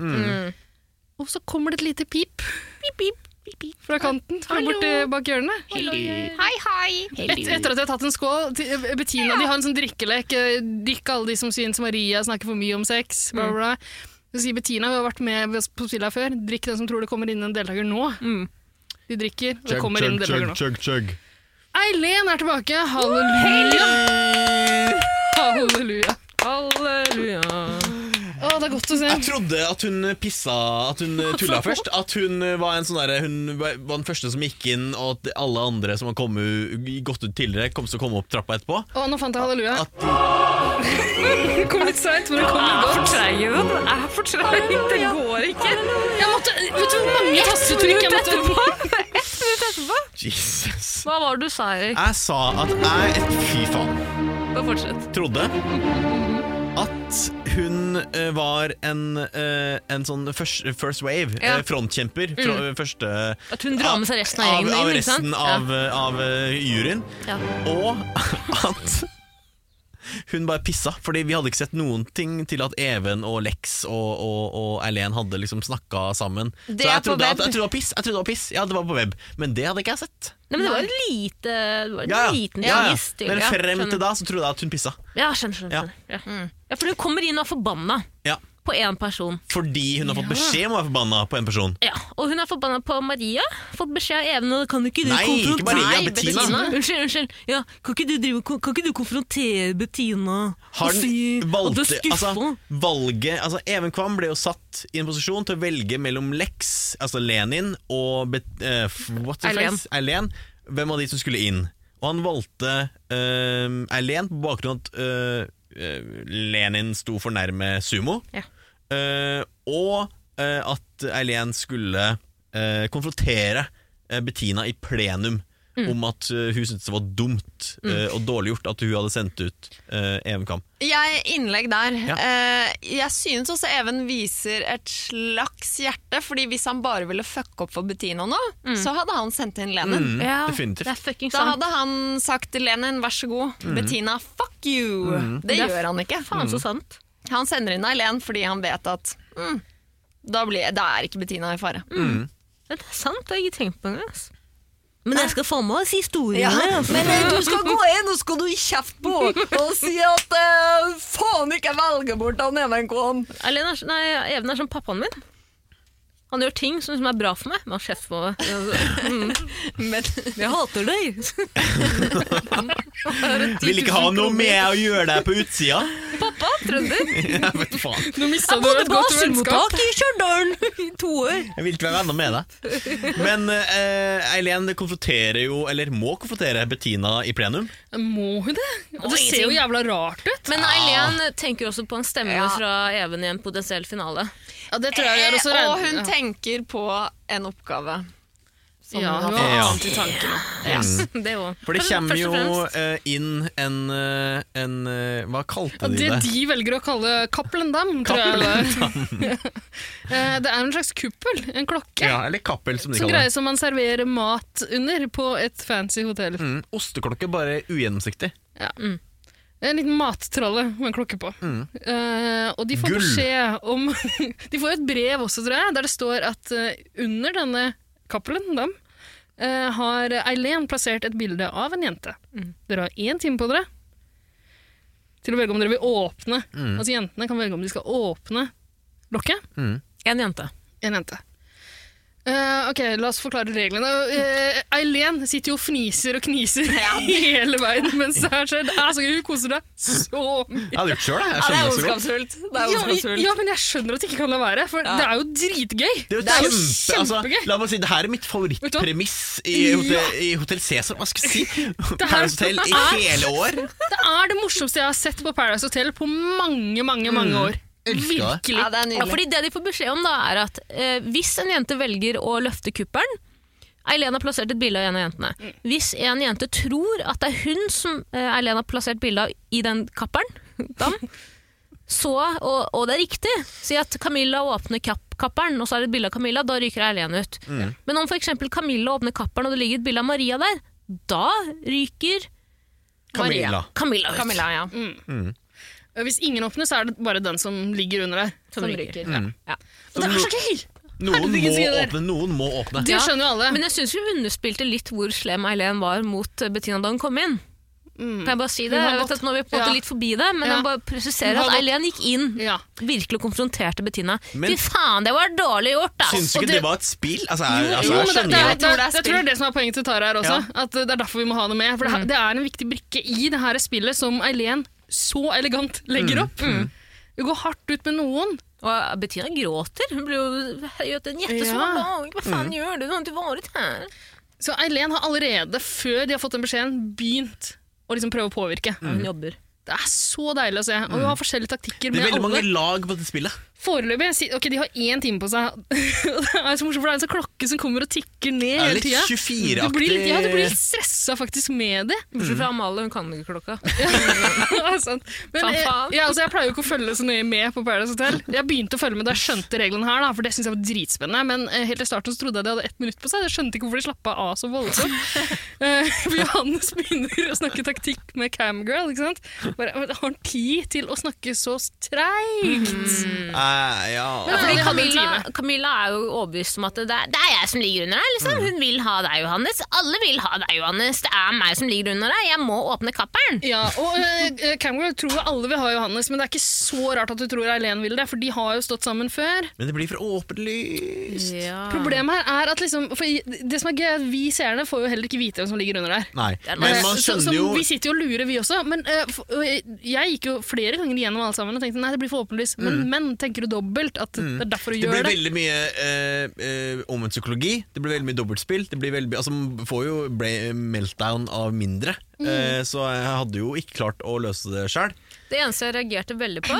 Speaker 3: Og så kommer det et lite pip
Speaker 4: Mhm. Pip, pip, pip, pip.
Speaker 3: fra kanten, fra borti bak hjørnet.
Speaker 1: Hei, hei.
Speaker 3: Et, etter at de har tatt en skål til- eh, Bettina, de har en sånn drikkelek eh, Drikk alle de som synes Maria snakker for mye om sex bla, bla, bla. Så sier Bettina, hun har vært med på spillet her før Drikk den som tror det kommer inn en deltaker nå De drikker, og det
Speaker 2: Chug,
Speaker 3: kommer inn en
Speaker 2: chug,
Speaker 3: deltaker
Speaker 2: chug,
Speaker 3: nå
Speaker 2: chug, chug.
Speaker 3: Eileen er tilbake, halleluja Halleluja
Speaker 4: Halleluja.
Speaker 3: Å, det er godt å se.
Speaker 2: Jeg trodde at hun pissa At hun tulla først. At hun var en sånn derre Hun var den første som gikk inn, og at alle andre som har kommet u- gått ut tidligere, kom til å komme opp trappa etterpå.
Speaker 3: Å, nå fant jeg halleluja.
Speaker 2: At-
Speaker 3: Det kom litt seint, men det kom godt. Det er for treig. Det går ikke. Jeg måtte, vet du hvor mange tastetrykk jeg måtte
Speaker 2: Jesus.
Speaker 5: Hva var det du sa, Erik?
Speaker 2: Jeg sa at jeg Fy faen.
Speaker 5: Bare fortsett.
Speaker 2: trodde at hun eh, var en, eh, en sånn first, first wave,
Speaker 5: Ja. Mm.
Speaker 2: eh, frontkjemper. Fra, Første
Speaker 5: At hun drar med seg resten av gjengen
Speaker 2: Av,
Speaker 5: inn, ikke sant?
Speaker 2: resten av, eh, av eh, juryen.
Speaker 5: Ja.
Speaker 2: Og at hun bare pissa, Fordi vi hadde ikke sett noen ting til at Even og Lex og, og, og Erlen hadde liksom snakka sammen.
Speaker 5: Det
Speaker 2: Så
Speaker 5: er
Speaker 2: jeg
Speaker 5: på
Speaker 2: trodde, at,
Speaker 5: web.
Speaker 2: jeg trodde det var piss. Jeg trodde det var piss Ja, det var på web. Men det hadde ikke jeg sett.
Speaker 4: Nei, men det var en lite Det var en
Speaker 2: Ja, ja.
Speaker 4: liten
Speaker 2: Ja, ja.
Speaker 4: tvist til,
Speaker 2: Men
Speaker 4: ja,
Speaker 2: frem
Speaker 4: skjønner.
Speaker 2: til da så trodde jeg at hun pissa.
Speaker 4: Ja, skjønner, skjønner,
Speaker 2: Ja.
Speaker 4: skjønner. Ja. ja, for hun kommer inn og er forbanna
Speaker 2: Ja.
Speaker 4: på én person.
Speaker 2: Fordi hun har fått beskjed om å være forbanna på en person.
Speaker 4: Ja, Og hun er forbanna på Maria. Fått beskjed av Even og kan ikke du
Speaker 2: Nei,
Speaker 4: konfrontere
Speaker 2: ikke Maria,
Speaker 4: Nei,
Speaker 2: Bettina.
Speaker 4: Unnskyld, unnskyld. Ja, kan, ikke du drive, kan, kan ikke du konfrontere Bettina
Speaker 2: Har
Speaker 4: og si
Speaker 2: den
Speaker 4: at du er
Speaker 2: valgte,
Speaker 4: skuffa?
Speaker 2: altså, valget, altså Even Kvam ble jo satt i en posisjon til å velge mellom Lex, altså Lenin, og Bet, eh, f- what's her
Speaker 5: Eileen.
Speaker 2: face? Eileen. Hvem av de som skulle inn? Og han valgte eh, Eileen på bakgrunn av at eh, eh, Lenin sto for nærme sumo.
Speaker 5: Ja.
Speaker 2: Eh, og eh, at Eileen skulle eh, konfrontere eh, Bettina i plenum om at eh, hun syntes det var dumt eh, og dårlig gjort at hun hadde sendt ut eh, Even Kvam.
Speaker 1: Jeg innlegg der.
Speaker 2: Ja.
Speaker 1: Eh, jeg synes også Even viser et slags hjerte, fordi hvis han bare ville fucke opp for Bettina nå,
Speaker 5: Mm.
Speaker 1: så hadde han sendt inn
Speaker 2: Mm.
Speaker 1: Lenin.
Speaker 4: Ja,
Speaker 2: Definitivt.
Speaker 4: Det er fucking
Speaker 1: Da
Speaker 4: sant.
Speaker 1: hadde han sagt til Lenin 'vær så god', Bettina 'fuck you'. Det
Speaker 4: Det er
Speaker 1: gjør han ikke.
Speaker 4: Faen så sant.
Speaker 1: Han sender inn Eileen fordi han vet at mm, da, blir, da er ikke Bettina i fare.
Speaker 4: Ja, det er sant, det har jeg ikke tenkt på engang. ass. Men jeg skal få med oss historiene.
Speaker 1: Ja,
Speaker 4: altså.
Speaker 1: men eh, du skal gå inn og skal du gi kjeft på og si at eh, faen ikke velge bort han MNK-en.
Speaker 4: Alene er, nei, Even er som pappaen min. Han gjør ting som, som er bra for meg, men han kjefter på meg.
Speaker 1: Men
Speaker 4: Jeg hater deg!
Speaker 2: Vil ikke ha noe med å gjøre deg på utsida.
Speaker 4: Pappa, trønder.
Speaker 2: Jeg vet faen.
Speaker 3: Nå mista du et godt vennskap.
Speaker 4: i Stjørdal i to
Speaker 1: Eh,
Speaker 4: år.
Speaker 2: Jeg vil ikke være venner med deg. Men eh, Eileen konfronterer jo, eller må konfrontere, Bettina i plenum.
Speaker 3: Må hun det? Det ser jo jævla rart ut.
Speaker 4: Men Eileen tenker også på en stemme
Speaker 1: Ja.
Speaker 4: fra Even i en potensiell finale.
Speaker 3: Ja, det tror jeg hun gjør også.
Speaker 1: Eh, Og hun
Speaker 3: Ja. sånn
Speaker 1: tenker på en oppgave. Som
Speaker 3: Ja, hun
Speaker 1: hun har.
Speaker 3: har
Speaker 2: Ja.
Speaker 3: annet i tankene.
Speaker 4: Det
Speaker 2: Mm.
Speaker 4: òg.
Speaker 2: For det kommer
Speaker 4: Først
Speaker 2: jo
Speaker 4: og fremst.
Speaker 2: eh, inn en, eh, en eh, Hva kalte
Speaker 3: Og
Speaker 2: de
Speaker 3: det
Speaker 2: det?
Speaker 3: de velger å kalle Cappelendam, tror jeg det er. Eh, det er en slags kuppel, en klokke,
Speaker 2: Ja, eller Kappel, som de
Speaker 3: som
Speaker 2: kaller det.
Speaker 3: greier som man serverer mat under på et fancy hotell.
Speaker 2: Mm, osteklokke, bare ugjennomsiktig.
Speaker 3: En liten mattralle med en klokke på. Eh, og de får
Speaker 2: Mm. Gull.
Speaker 3: beskjed om De får et brev også, tror jeg, der det står at eh, under denne Cappelen Dam eh, har Eileen plassert et bilde av en jente. Dere har én time på dere til å velge om dere vil åpne.
Speaker 2: Mm.
Speaker 3: Altså Jentene kan velge om de skal åpne lokket.
Speaker 4: En jente.
Speaker 3: En jente. Eh, ok, la oss forklare reglene. Eh, Eileen sitter jo og fniser og kniser hele veien mens det her skjer. Det er så gøy, hun koser seg så mye.
Speaker 2: Jeg hadde gjort det sjøl, jeg. skjønner det så godt.
Speaker 1: ondskapsfullt. Det
Speaker 3: Ja, ja, men jeg skjønner at det ikke kan la være, for det er jo dritgøy.
Speaker 2: Det er jo kjempe, altså, la meg si, det her er mitt favorittpremiss i,
Speaker 3: Ja.
Speaker 2: Hotel- i Hotell Cæsar. Hva skal jeg si?
Speaker 3: her-
Speaker 2: Paradise Hotel i hele år.
Speaker 3: Det er det morsomste jeg har sett på Paradise Hotel på mange, mange mange år.
Speaker 2: Mm. elsker det.
Speaker 3: Virkelig.
Speaker 1: det er
Speaker 4: Ja,
Speaker 1: nydelig.
Speaker 4: fordi det de får beskjed om, da, er at eh, hvis en jente velger å løfte kuppelen Eileen har plassert et bilde av en av jentene.
Speaker 1: Mm.
Speaker 4: Hvis en jente tror at det er hun som eh, Eileen har plassert bilde av i den kapperen, dam, så, og, og det er riktig, si at Camilla åpner kapp, kapperen, og så er det et bilde av Camilla, da ryker Eileen ut.
Speaker 1: Mm.
Speaker 4: Men om f.eks. Camilla åpner kapperen, og det ligger et bilde av Maria der, da ryker
Speaker 2: Camilla.
Speaker 4: Camilla ut. Mm,
Speaker 1: Camilla, ja.
Speaker 3: Hvis ingen åpner, så er det bare den som ligger under der.
Speaker 4: Som ryker. Ja.
Speaker 3: Og det er så gøy!
Speaker 2: Noen
Speaker 3: Herregud,
Speaker 2: må
Speaker 3: sier dere.
Speaker 2: åpne, noen må åpne.
Speaker 3: Det
Speaker 4: Ja,
Speaker 3: skjønner jo alle.
Speaker 4: Men jeg syns hun underspilte litt hvor slem Eileen var mot eh, Bettina da hun kom inn. Kan jeg bare si det?
Speaker 3: Mm. Hun har
Speaker 4: Jeg vet
Speaker 3: gått-
Speaker 4: at nå er vi på en måte
Speaker 3: Ja.
Speaker 4: litt forbi det, men
Speaker 3: Ja.
Speaker 4: jeg må bare
Speaker 3: Hun
Speaker 4: presiserer
Speaker 3: har
Speaker 4: at
Speaker 3: gått-
Speaker 4: Eileen gikk inn
Speaker 3: Ja.
Speaker 4: virkelig og konfronterte Bettina.
Speaker 2: Men-
Speaker 4: Fy faen, det var dårlig gjort, da!
Speaker 2: Syns du ikke
Speaker 3: Og
Speaker 2: det,
Speaker 3: det-
Speaker 2: var et spill? Altså, jeg,
Speaker 3: Jo,
Speaker 2: altså,
Speaker 3: jo,
Speaker 2: jeg
Speaker 3: men det,
Speaker 2: skjønner
Speaker 3: det,
Speaker 2: jo at-
Speaker 1: tror det
Speaker 3: er- det, er-
Speaker 1: er
Speaker 3: jeg tror det er det som er poenget til Tara her også. At det er derfor vi må ha det med. For det,
Speaker 2: Mm.
Speaker 3: det er en viktig brikke i det
Speaker 2: Mm.
Speaker 3: her spillet som Eileen så elegant legger opp. Hun går hardt ut med noen,
Speaker 4: Og eh, Bettina gråter. Hun blir jo Herregud, en
Speaker 12: Ja.
Speaker 4: jettesvær dag. Hva
Speaker 2: Mm.
Speaker 4: faen gjør du? Du har ikke vært her.
Speaker 3: Så Eileen har allerede, før de har fått den beskjeden, begynt å liksom prøve å påvirke.
Speaker 2: Mm.
Speaker 4: Hun jobber.
Speaker 3: Det er så deilig å se. Og hun har forskjellige taktikker
Speaker 2: Det
Speaker 3: med
Speaker 2: er veldig
Speaker 3: alle.
Speaker 2: mange lag på dette spillet.
Speaker 3: Foreløpig si- Ok, de har én time på seg. Og det er så morsomt, for det er en sånn klokke som kommer og tikker ned
Speaker 2: Det er
Speaker 3: hele
Speaker 2: litt
Speaker 3: tida. Du
Speaker 2: 24-aktig.
Speaker 3: blir litt, ja, du blir litt stressa faktisk med det.
Speaker 4: Bortsett
Speaker 2: Mm.
Speaker 4: fra Amalie, hun kan ikke klokka.
Speaker 3: Det er sant. Men,
Speaker 4: Faen,
Speaker 3: eh,
Speaker 4: faen.
Speaker 3: ja, altså, jeg pleier jo ikke å følge så nøye med på Paradise Hotel. Jeg begynte å følge med da jeg skjønte reglene her, da, for det syntes jeg var dritspennende. Men eh, helt i starten så trodde jeg de hadde ett minutt på seg. Jeg skjønte ikke hvorfor de slappa av så voldsomt. Eh, For Johannes begynner å snakke taktikk med camgirl. ikke sant? Bare, har han tid til å snakke så treigt?
Speaker 4: Mm.
Speaker 2: Eh, ja.
Speaker 3: Men-
Speaker 4: Fordi
Speaker 3: det hadde en
Speaker 4: Camilla,
Speaker 3: time.
Speaker 4: Camilla er jo overbevist om at det er, det er jeg som ligger under deg.
Speaker 2: Mm.
Speaker 4: Liksom. Hun vil ha deg, Johannes. Alle vil ha deg, Johannes. Det er meg som ligger under deg. Jeg må åpne kapperen.
Speaker 3: Ja, og eh, Camgirl tror jo alle vil ha Johannes, men det er ikke så rart at du tror Eileen vil det, for de har jo stått sammen før.
Speaker 2: Men det blir for åpent lys.
Speaker 4: Ah.
Speaker 3: Problemet her er at liksom, for i- det som er gøy, er at vi seerne får jo heller ikke vite hvem som ligger under der.
Speaker 2: Nei, men
Speaker 3: Eh,
Speaker 2: man
Speaker 3: så,
Speaker 2: skjønner
Speaker 3: som
Speaker 2: jo
Speaker 3: Vi sitter jo og lurer, vi også. Men eh, f- og jeg- jeg gikk jo flere ganger gjennom alle sammen og tenkte nei, det blir for åpenlyst. Men, men tenker du dobbelt at det er derfor du
Speaker 2: Mm. Det
Speaker 3: gjør
Speaker 2: blir
Speaker 3: det?
Speaker 2: veldig mye eh, eh, omvendt psykologi, det blir veldig mye dobbeltspill. Det blir veldig, mye- altså, man får jo ble- meltdown av mindre, Eh, så jeg hadde jo ikke klart å løse det sjøl.
Speaker 4: Det eneste jeg reagerte veldig på,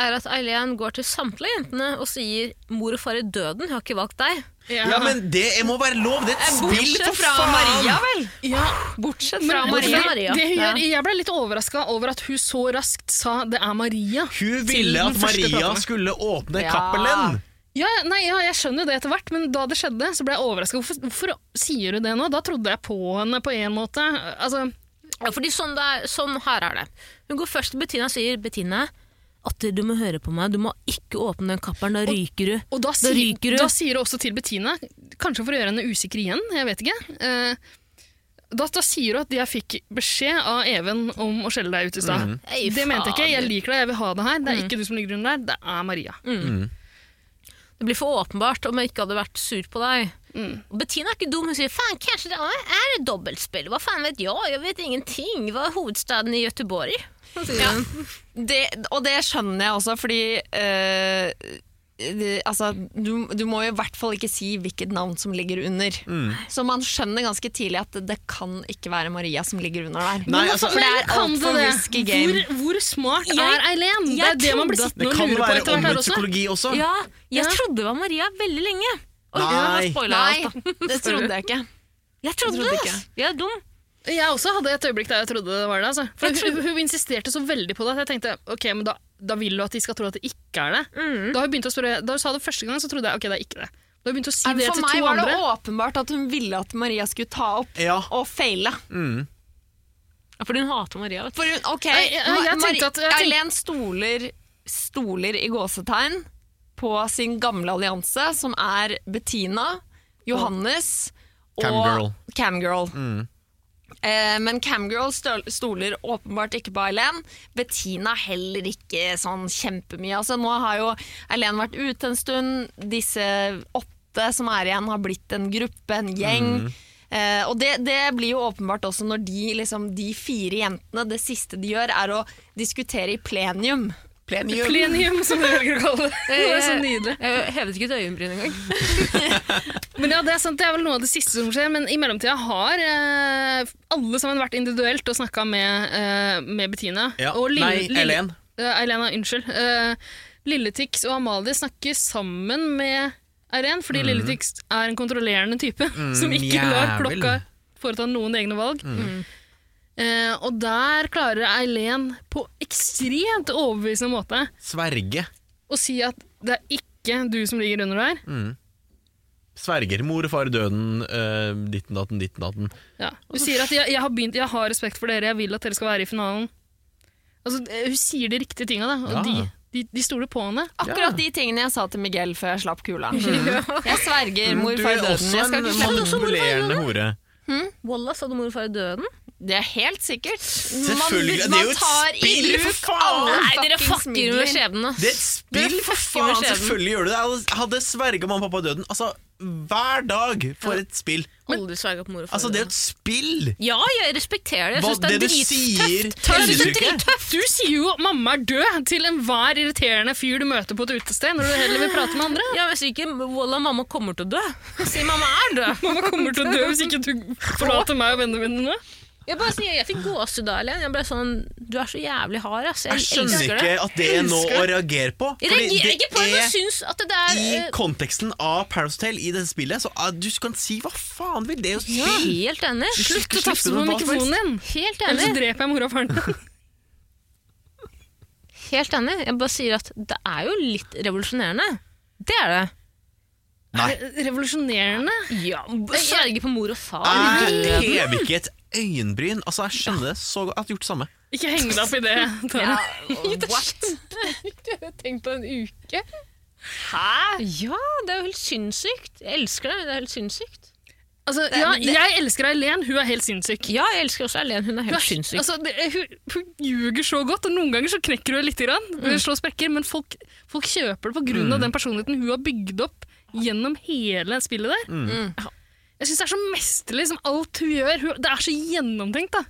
Speaker 4: er at Eileen går til samtlige jentene og sier 'mor og far i døden, jeg har ikke valgt deg'.
Speaker 3: Ja.
Speaker 2: Ja, men det må være lov! Det er et spill,
Speaker 1: Bortsett
Speaker 2: for
Speaker 1: fra
Speaker 2: faen!
Speaker 1: Maria, vel?
Speaker 3: Ja,
Speaker 1: Bortsett
Speaker 3: men
Speaker 1: fra Maria.
Speaker 3: hvorfor-
Speaker 4: Maria.
Speaker 3: Det hun
Speaker 4: Ja.
Speaker 3: gjør, jeg ble litt overraska over at hun så raskt sa 'det er Maria'.
Speaker 2: Hun
Speaker 3: Til
Speaker 2: ville
Speaker 3: den
Speaker 2: at
Speaker 3: første
Speaker 2: Maria
Speaker 3: platen.
Speaker 2: skulle åpne
Speaker 1: Ja.
Speaker 2: Cappelen!
Speaker 3: Ja, ja, nei, ja, jeg skjønner jo det etter hvert, men da det skjedde, så ble jeg overraska. Hvorfor, hvorfor sier du det nå? Da trodde jeg på henne på en måte. Altså,
Speaker 4: Ja, fordi sånn, det er, sånn her er det. Hun går først til Bettina og sier 'Bettina, Atte, du må høre på meg. Du må ikke åpne den kapperen, da ryker du'.
Speaker 3: og da,
Speaker 4: Da
Speaker 3: sier-
Speaker 4: ryker du.
Speaker 3: da sier du også til Bettina, kanskje for å gjøre henne usikker igjen, jeg vet ikke. eh, da, da sier du at jeg fikk beskjed av Even om å skjelle deg ut i stad.
Speaker 2: Mhm.
Speaker 4: Ei,
Speaker 3: Det mente jeg ikke. Jeg
Speaker 4: fader. Mhm.
Speaker 3: liker deg, jeg vil ha det her. Det er ikke du som ligger under der, det er Maria.
Speaker 4: Det blir for åpenbart om jeg ikke hadde vært sur på deg. Og Bettina er ikke dum, hun sier faen, kanskje det er et dobbeltspill. Hva faen vet jeg, jeg vet ingenting. Hva er hovedstaden i Göteborg? Ja.
Speaker 1: det, og det skjønner jeg også, fordi eh, det, altså, du, du må jo i hvert fall ikke si hvilket navn som ligger under. Så man skjønner ganske tidlig at det, det kan ikke være Maria som ligger under der.
Speaker 2: Nei, altså,
Speaker 1: for det er
Speaker 3: kan du
Speaker 1: altfor
Speaker 3: det?
Speaker 1: risky game.
Speaker 3: Hvor, hvor smart
Speaker 4: Jeg-
Speaker 3: er Eileen? Det
Speaker 4: jeg
Speaker 3: er det man blir
Speaker 2: Det
Speaker 4: trodde-
Speaker 3: sittende og
Speaker 2: kan
Speaker 3: lurer på
Speaker 2: være
Speaker 3: etter hvert her
Speaker 2: omvendt
Speaker 3: også.
Speaker 2: psykologi også.
Speaker 4: Ja, jeg
Speaker 3: Ja.
Speaker 4: trodde det var Maria veldig lenge. Og
Speaker 2: Nei.
Speaker 4: hun har spoila alt, da.
Speaker 1: Nei, det trodde jeg ikke.
Speaker 4: Jeg trodde,
Speaker 1: trodde
Speaker 4: det.
Speaker 1: ikke.
Speaker 4: ass. Jeg er dum.
Speaker 3: Jeg også hadde et øyeblikk der jeg trodde det var det. Altså. For hun, hun insisterte så veldig på det at jeg tenkte ok, men da, da vil du at de skal tro at det ikke er det.
Speaker 1: Mm.
Speaker 3: Da hun begynte å spørre, da hun sa det første gang, så trodde jeg ok, det er ikke det. Da hun begynte å si det
Speaker 1: For
Speaker 3: til
Speaker 1: meg
Speaker 3: to
Speaker 1: var det
Speaker 3: andre
Speaker 1: åpenbart at hun ville at Maria skulle ta opp
Speaker 2: Ja.
Speaker 1: og feile.
Speaker 4: Ja, fordi hun hater Maria. Vet du.
Speaker 1: For hun, ok,
Speaker 3: Nei, jeg- jeg
Speaker 1: Ma-
Speaker 3: tenkte at- jeg tenkte-
Speaker 1: Eileen stoler, stoler i gåsetegn på sin gamle allianse, som er Bettina, Johannes og
Speaker 2: Camgirl.
Speaker 1: Camgirl. Eh, men Camgirl støl- stoler åpenbart ikke på Eileen. Bettina heller ikke sånn kjempemye. Altså, nå har jo Eileen vært ute en stund. Disse åtte som er igjen, har blitt en gruppe, en gjeng. Eh, og det, det blir jo åpenbart også når de, liksom, de fire jentene Det siste de gjør, er å diskutere i plenium.
Speaker 3: Plenium, som dere velger å kalle det. Det er så nydelig.
Speaker 4: Jeg hevet ikke et øyenbryn engang.
Speaker 3: Men ja, det er sant, det er vel noe av det siste som skjer, men i mellomtida har eh, alle sammen vært individuelt og snakka med, eh, med Bettina.
Speaker 2: Ja.
Speaker 3: Og Lille-
Speaker 2: Nei,
Speaker 3: Lille-
Speaker 2: Eileen.
Speaker 3: Eh, Eileen, ja, unnskyld. Eh, Lilletix og Amalie snakker sammen med Eileen, fordi Lilletix er en kontrollerende type som ikke lar
Speaker 2: Mm. jævel. Mm.
Speaker 3: klokka foreta noen egne valg. Mm. Eh, og der klarer Eileen på ekstremt overbevisende måte
Speaker 2: Sverge.
Speaker 3: å si at det er ikke du som ligger under der.
Speaker 2: Sverger. Mor og far i døden, eh, ditten datten, ditten datten.
Speaker 3: Ja. Hun sier at jeg, jeg, har begynt, 'jeg har respekt for dere, jeg vil at dere skal være i finalen'. Altså, eh, hun sier de riktige tinga, da, og
Speaker 2: Ja.
Speaker 3: de, de, de stoler på henne.
Speaker 1: Akkurat de tingene jeg sa til Miguel før jeg slapp kula. Mm. Jeg sverger, mor, far døden. Jeg skal ikke slippe
Speaker 2: manipulerende hore.
Speaker 4: Walla, sa du mor og far i døden?
Speaker 1: Det er helt sikkert.
Speaker 2: Selvfølgelig, det er jo et spill, for faen!
Speaker 4: Nei, dere fucker med skjebnen. ass.
Speaker 2: Det er et spill,
Speaker 4: Dere
Speaker 2: for
Speaker 4: fucker med
Speaker 2: faen!
Speaker 4: skjebnen.
Speaker 2: Selvfølgelig gjør du det! Jeg hadde sverga mamma og pappa døden. Altså, hver dag for et spill.
Speaker 4: Aldri sverga på mor og
Speaker 2: Altså, det er jo et spill!
Speaker 4: Ja, jeg respekterer det. Jeg
Speaker 2: Hva,
Speaker 4: synes det er
Speaker 2: det du sier,
Speaker 4: drittøft. Jeg synes det er
Speaker 2: undertrykker jeg.
Speaker 4: drittøft.
Speaker 3: Du sier jo 'mamma er død' til enhver irriterende fyr du møter på et utested, når du heller vil prate med andre.
Speaker 4: Ja, hvis ikke Walla, mamma kommer til å dø. Sier mamma er død.
Speaker 3: Mamma kommer til å dø hvis ikke du forlater meg og vennene mine nå.
Speaker 4: Jeg bare sier, jeg fikk gåsehud av Helen. Jeg ble sånn Du er så jævlig hard, ass. Jeg,
Speaker 2: Jeg skjønner
Speaker 4: elsker
Speaker 2: ikke
Speaker 4: det.
Speaker 2: at det er noe å reagere på.
Speaker 4: Jeg
Speaker 2: fordi
Speaker 4: reagerer
Speaker 2: det
Speaker 4: ikke på det, men
Speaker 2: er-
Speaker 4: syns at det der
Speaker 2: I
Speaker 4: eh,
Speaker 2: konteksten av Paradise Hotel i dette spillet, så ah, du kan si hva faen du vil. Det er jo
Speaker 4: ja,
Speaker 2: spill!
Speaker 4: Helt enig.
Speaker 2: Du skal
Speaker 3: Slutt
Speaker 2: ikke
Speaker 3: å
Speaker 2: slippe
Speaker 3: tafse
Speaker 2: noe
Speaker 3: på
Speaker 2: hva som helst.
Speaker 3: mikrofonen din.
Speaker 4: Helt
Speaker 3: Ellers så
Speaker 4: enig.
Speaker 3: dreper jeg mora og faren din.
Speaker 4: Helt enig. Jeg bare sier at det er jo litt revolusjonerende. Det er det.
Speaker 3: Revolusjonerende.
Speaker 4: Ja, Sverge på mor og far.
Speaker 2: Jeg hever ikke et øyenbryn. Altså, jeg skjønner det så godt. Jeg hadde gjort det samme.
Speaker 3: Ikke heng deg opp i det. Tara.
Speaker 1: What?
Speaker 3: Tenk på en uke.
Speaker 4: Ja, det er jo helt sinnssykt. Jeg elsker det. men Det er helt sinnssykt.
Speaker 3: Altså, ja, jeg elsker Eileen, hun er helt sinnssyk.
Speaker 4: Ja, jeg elsker også Erlend. Hun er
Speaker 3: Hun,
Speaker 4: helt
Speaker 3: er,
Speaker 4: sinnssyk.
Speaker 3: altså, det, hun, hun ljuger så godt, og noen ganger så knekker hun litt, grann, slår sprekker, men folk, folk kjøper det pga. av den personligheten hun har bygd opp gjennom hele spillet der. Ja. Jeg syns det er så mesterlig, som alt hun gjør. Hun, det er så gjennomtenkt, da.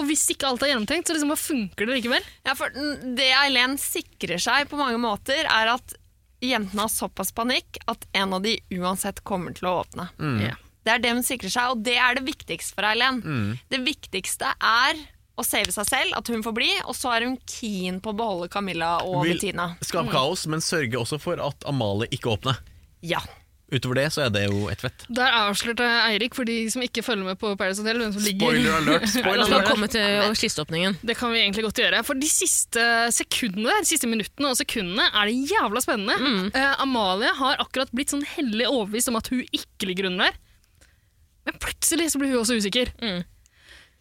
Speaker 3: Og hvis ikke alt er gjennomtenkt, så liksom, hva funker det likevel?
Speaker 1: Ja, for n- det Eileen sikrer seg på mange måter, er at jentene har såpass panikk at en av de uansett kommer til å åpne.
Speaker 2: Mm.
Speaker 3: Ja.
Speaker 1: Det er det hun sikrer seg, og det er det viktigste for Eileen.
Speaker 2: Mm.
Speaker 1: Det viktigste er å save seg selv, at hun får bli, og så er hun keen på å beholde Camilla og
Speaker 2: Vil-
Speaker 1: Bettina.
Speaker 4: Mm.
Speaker 2: Skap kaos, men sørge også for at Amalie ikke åpner.
Speaker 1: Ja.
Speaker 2: Utover det så er det jo et vett.
Speaker 3: Der avslørte Eirik, for de som ikke følger med på Paradise Hotel, hvem som ligger
Speaker 2: Spoiler alert!
Speaker 4: La
Speaker 2: Spoiler
Speaker 4: meg
Speaker 2: alert.
Speaker 4: komme til kisteåpningen.
Speaker 3: Det kan vi egentlig godt gjøre. For de siste sekundene der, siste minuttene og sekundene er det jævla spennende.
Speaker 1: Mm.
Speaker 3: Eh, Amalie har akkurat blitt sånn hellig overbevist om at hun ikke ligger under der. Men plutselig så blir hun også usikker.
Speaker 4: Mm.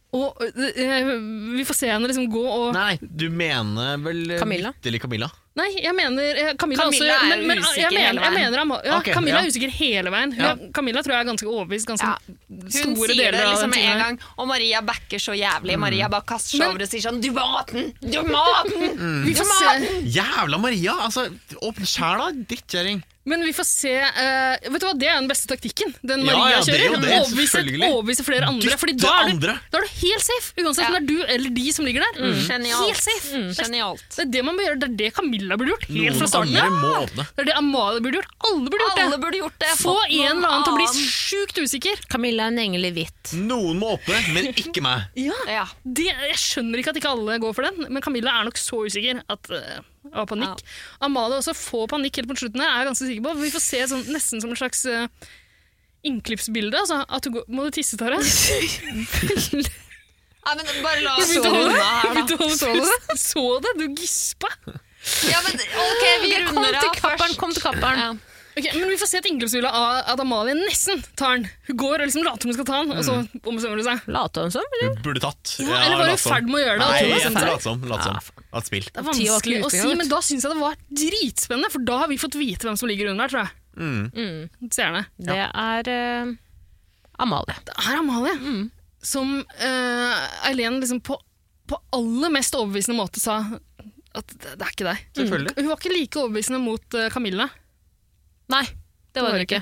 Speaker 3: Og eh, vi får se henne liksom gå og Nei,
Speaker 2: Nei, du mener vel eh,
Speaker 4: Camilla?
Speaker 2: vitterlig Camilla?
Speaker 3: jeg mener eh, Camilla,
Speaker 1: Camilla
Speaker 3: også.
Speaker 1: er
Speaker 3: Men, men,
Speaker 1: usikker
Speaker 3: jeg mener,
Speaker 1: hele veien.
Speaker 3: Jeg mener Ama ja,
Speaker 2: Ok,
Speaker 3: Camilla
Speaker 2: ja.
Speaker 3: er usikker hele veien. Hun,
Speaker 2: Ja.
Speaker 3: er- Camilla tror jeg er ganske overbevist ganske
Speaker 1: Ja. Hun
Speaker 3: store
Speaker 1: sier det
Speaker 3: deler av
Speaker 1: liksom
Speaker 3: den
Speaker 1: med en
Speaker 3: tiden. her. Mm.
Speaker 1: gang, og Maria backer så jævlig. Maria bare kaster seg
Speaker 3: Men- Mm.
Speaker 1: over og sier sånn Du må ha den! Du må ha den!
Speaker 3: Vi får se.
Speaker 2: Jævla Maria! Altså, åpne sjæla, drittkjerring!
Speaker 3: Men vi får se eh, Vet du hva, Det er den beste taktikken. Den
Speaker 2: Ja,
Speaker 3: Maria
Speaker 2: ja, det er jo
Speaker 3: kjører.
Speaker 2: det,
Speaker 3: Hun overbeviser,
Speaker 2: selvfølgelig.
Speaker 3: overbeviser flere andre. Fordi
Speaker 2: Dytte
Speaker 3: da er, du,
Speaker 2: andre. Mm.
Speaker 3: da er du helt safe, uansett om det er du eller de som ligger der. Helt
Speaker 1: Genialt.
Speaker 3: Mm.
Speaker 1: Mm,
Speaker 3: safe.
Speaker 1: Genialt.
Speaker 3: Det er det man bør gjøre, det er det Camilla burde gjort. Helt fra
Speaker 2: Noen
Speaker 3: starten
Speaker 2: andre
Speaker 3: av.
Speaker 2: må åpne.
Speaker 3: Det er det Amalie burde gjort. Alle burde gjort
Speaker 1: Alle
Speaker 3: det.
Speaker 1: burde gjort det.
Speaker 3: Få
Speaker 1: Fått
Speaker 3: en
Speaker 1: noen
Speaker 3: eller annen til å bli
Speaker 1: annen.
Speaker 3: sjukt usikker.
Speaker 4: altså, Camilla er en engel i hvitt.
Speaker 2: Noen må åpne, men ikke meg.
Speaker 1: Ja.
Speaker 3: Det, jeg skjønner ikke at ikke alle går for den, men Camilla er nok så usikker at eh, av panikk. Amalie også får panikk helt på slutten. her, er jeg ganske sikker på. Vi får se sånn, nesten som en slags eh, innklippsbilde. Altså, at du går, må du tisse, Tara?
Speaker 1: Nei, men bare la oss
Speaker 3: Så
Speaker 1: runde
Speaker 3: du det?
Speaker 1: her, da.
Speaker 3: Begynte å holde pust. Så det? Du gispa.
Speaker 1: Ja, men ok, vi
Speaker 4: Kom
Speaker 1: runder
Speaker 4: til
Speaker 1: av
Speaker 4: kapperen,
Speaker 1: først.
Speaker 4: kom til kapperen.
Speaker 1: Ja.
Speaker 3: Ok, men Vi får se et inngrepsvilje av at Amalie nesten tar den. Hun går og liksom later som hun skal ta den, og så ombestemmer hun seg.
Speaker 4: Lata hun som? eller?
Speaker 2: Du burde tatt.
Speaker 3: Mm. Ja, eller var hun i ferd med å gjøre det?
Speaker 2: sånn. Nei,
Speaker 3: og
Speaker 2: jeg
Speaker 3: tror det?
Speaker 2: tror lat som. Lat
Speaker 3: Ah,
Speaker 2: som. At spill.
Speaker 3: det er
Speaker 4: Ti var ikke
Speaker 3: vanskelig å
Speaker 4: ute
Speaker 3: si,
Speaker 4: engang.
Speaker 3: men da syns jeg det var dritspennende, for da har vi fått vite hvem som ligger under der, tror jeg. Mm. Seerne.
Speaker 4: Det er eh, Amalie.
Speaker 3: Det er Amalie som eh, Eileen liksom på, på aller mest overbevisende måte sa at det, det er ikke deg.
Speaker 2: Selvfølgelig.
Speaker 3: Hun var ikke like overbevisende mot eh, Camilla.
Speaker 4: Nei, det var hun ikke.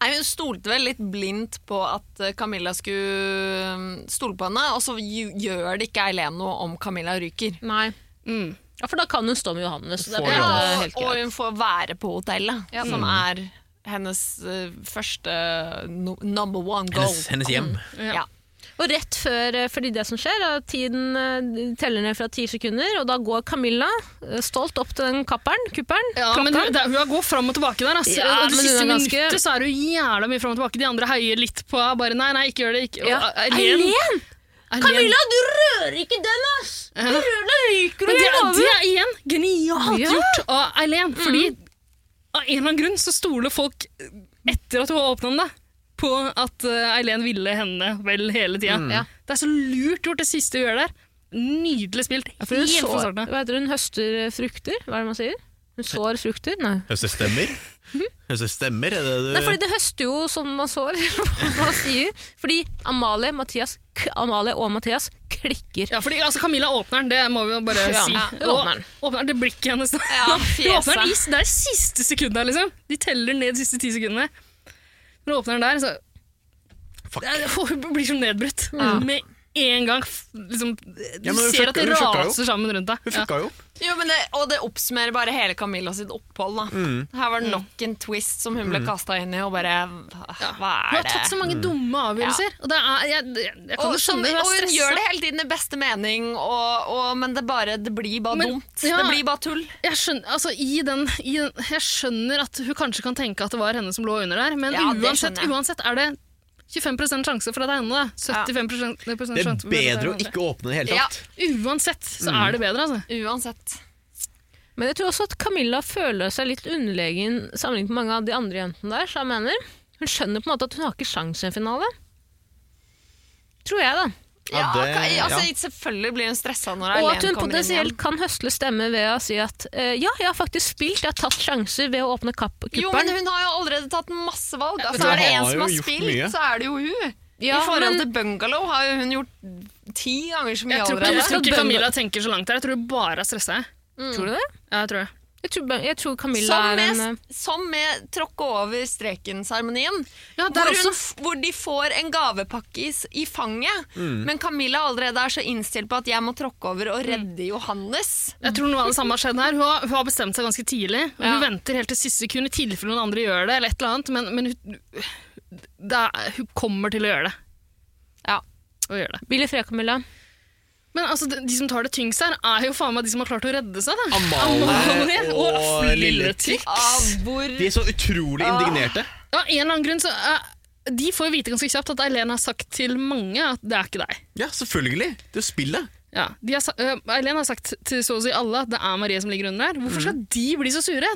Speaker 1: Nei, Hun stolte vel litt blindt på at eh, Camilla skulle mm, stole på henne, og så ju- gjør det ikke Eileen noe om Camilla ryker.
Speaker 4: Nei.
Speaker 3: Mm.
Speaker 4: Ja, For da kan hun stå med Johannes. Så det
Speaker 2: Får
Speaker 4: blir
Speaker 2: Johannes.
Speaker 4: eh, helt
Speaker 1: og
Speaker 4: greit.
Speaker 1: hun får være på hotellet, som er hennes eh, første no number one goal.
Speaker 2: Hennes, hennes hjem.
Speaker 1: Ja.
Speaker 4: Og rett før, eh, fordi det som skjer, er at tiden eh, teller ned fra ti sekunder, og da går Camilla eh, stolt opp til den kapperen, kupperen.
Speaker 3: Ja, men hun, det, hun går fram og tilbake der. Altså.
Speaker 4: Ja,
Speaker 3: og det
Speaker 4: men
Speaker 3: siste
Speaker 4: hun er ganske-
Speaker 3: minuttet så er hun jævla mye fram og tilbake. De andre heier litt på henne, bare nei, nei, ikke gjør det. Ikke. Og, eh,
Speaker 4: Ja.
Speaker 3: Eileen-
Speaker 4: Eileen!
Speaker 3: Eileen-
Speaker 4: Camilla, du rører ikke den, ass! Du
Speaker 3: Ja.
Speaker 4: rører den ryker
Speaker 3: Men
Speaker 4: du
Speaker 3: det,
Speaker 4: i
Speaker 3: er- det
Speaker 4: hodet!
Speaker 3: er igjen genialt
Speaker 4: Ja. Mm.
Speaker 3: gjort av Eileen, fordi av en eller annen grunn så stoler folk, eh, etter at hun har åpna den, da, på at eh, Eileen ville henne vel hele tida.
Speaker 4: Mm. Ja.
Speaker 3: Det er så lurt gjort, det siste hun gjør der. Nydelig spilt.
Speaker 4: For hun,
Speaker 3: Helt
Speaker 4: sår,
Speaker 3: fra starten av.
Speaker 4: hva heter det, hun høster eh, frukter, hva er det man sier? Hun sår frukter? Nei.
Speaker 2: Høstet stemmer.
Speaker 3: Mhm.
Speaker 2: Høstet stemmer, er det du
Speaker 4: Nei, fordi det høster jo som man sår, hva man sier. Fordi Amalie, Mathias, K Amalie og Mathias klikker.
Speaker 3: Ja, fordi altså, Camilla åpner den, det må vi jo bare
Speaker 4: Ja,
Speaker 3: si.
Speaker 4: ja, hun
Speaker 3: Og
Speaker 4: åpner den.
Speaker 3: åpner den til blikket hennes. da.
Speaker 1: Ja,
Speaker 3: hun
Speaker 1: fjeset.
Speaker 3: åpner den i, det er siste sekundet, liksom. De teller ned de siste ti sekundene. Når hun åpner den der, så Ja, Hun blir som nedbrutt. Med en gang. f- Liksom, du
Speaker 2: Ja, men hun
Speaker 3: ser
Speaker 2: fucka-
Speaker 3: at det
Speaker 2: hun fucka jo
Speaker 3: raser sammen rundt deg.
Speaker 2: Hun
Speaker 3: Ja.
Speaker 2: fucka jo opp.
Speaker 1: Jo, men det, og det oppsummerer bare hele Camilla sitt opphold. Da. Her var det nok en twist som hun ble kasta inn i, og bare Hva er
Speaker 3: Hun har tatt så
Speaker 1: det?
Speaker 3: mange dumme avgjørelser. Og det er, jeg, jeg, jeg kan
Speaker 1: Og,
Speaker 3: jo
Speaker 1: som,
Speaker 3: skjønne
Speaker 1: og sånn- hun gjør
Speaker 3: stressa.
Speaker 1: det hele tiden i beste mening, og, og, men det, bare, det blir bare
Speaker 3: Men-
Speaker 1: dumt.
Speaker 3: ja.
Speaker 1: Det blir bare tull.
Speaker 3: Jeg skjønner, altså, i den, i den, jeg skjønner at hun kanskje kan tenke at det var henne som lå under der, men
Speaker 1: Ja, det
Speaker 3: uansett,
Speaker 1: skjønner jeg.
Speaker 3: uansett er det 25 sjanse for at det er henne. da. 75 sjanse
Speaker 2: Det er
Speaker 3: for at det er
Speaker 2: bedre å
Speaker 3: henne.
Speaker 2: ikke Mm. åpne i det hele
Speaker 1: Ja.
Speaker 2: tatt.
Speaker 3: Uansett så er det bedre, altså.
Speaker 1: Uansett.
Speaker 4: Men jeg tror også at Camilla føler seg litt underlegen sammenlignet med mange av de andre jentene der. Så jeg mener. Hun skjønner på en måte at hun har ikke sjans i en finale. Tror jeg, da.
Speaker 1: Ja,
Speaker 2: Ja, det-
Speaker 1: ka- altså,
Speaker 2: ja.
Speaker 1: Selvfølgelig blir hun stressa når
Speaker 4: Og
Speaker 1: Eileen
Speaker 4: at hun
Speaker 1: kommer inn igjen.
Speaker 4: potensielt kan høsle stemmer ved å si at eh, ja, jeg har faktisk spilt, jeg har tatt sjanser ved å åpne kapp
Speaker 1: Jo, men
Speaker 4: kuppelen.
Speaker 1: hun har jo allerede tatt masse valg.
Speaker 2: men
Speaker 1: Altså,
Speaker 2: hun
Speaker 1: er det en
Speaker 2: har
Speaker 1: som
Speaker 2: jo
Speaker 1: har
Speaker 2: gjort
Speaker 1: spilt,
Speaker 2: mye.
Speaker 1: så er det jo hun.
Speaker 4: Ja,
Speaker 1: I forhold
Speaker 4: men-
Speaker 1: til Bungalow har jo hun gjort ti ganger så mye
Speaker 3: Jeg tror ikke,
Speaker 1: allerede.
Speaker 3: jeg tror ikke Camilla tenker så langt der. Jeg tror hun bare har stressa. jeg.
Speaker 4: Tror du det?
Speaker 3: Ja, jeg tror det.
Speaker 4: Jeg tror, jeg tror Camilla
Speaker 1: Som
Speaker 4: er
Speaker 1: med,
Speaker 4: en eh,
Speaker 1: som med tråkke over streken-seremonien.
Speaker 3: Ja, der
Speaker 1: hvor, hun-
Speaker 3: også.
Speaker 1: hvor de får en gavepakke i, s- i fanget.
Speaker 2: Mm.
Speaker 1: Men Camilla allerede er så innstilt på at jeg må tråkke over og redde Johannes.
Speaker 3: Jeg tror noe av det samme har skjedd her. Hun har, hun har bestemt seg ganske tidlig. Og
Speaker 1: Ja.
Speaker 3: Hun venter helt til siste sekund i tilfelle noen andre gjør det, eller et eller annet, men, men hun, det er- hun kommer til å gjøre det.
Speaker 1: Ja.
Speaker 3: Og gjør det.
Speaker 4: Billy Frey, Camilla.
Speaker 3: Men altså, de, de som tar det tyngst her, er jo faen meg de som har klart å redde seg. Da.
Speaker 2: Amalie og
Speaker 3: Afle
Speaker 2: Lille
Speaker 3: Tix.
Speaker 1: Av hvor
Speaker 2: De er så utrolig
Speaker 3: Ah.
Speaker 2: indignerte.
Speaker 3: Av en eller annen grunn så eh, De får jo vite ganske kjapt at Eileen har sagt til mange at det er ikke deg.
Speaker 2: Ja, selvfølgelig. Det er jo spillet.
Speaker 3: Ja, de har, sa- eh, Eileen har sagt til så å si alle at det er Marie som ligger under der.
Speaker 2: Mm.
Speaker 3: Hvorfor skal de bli så sure?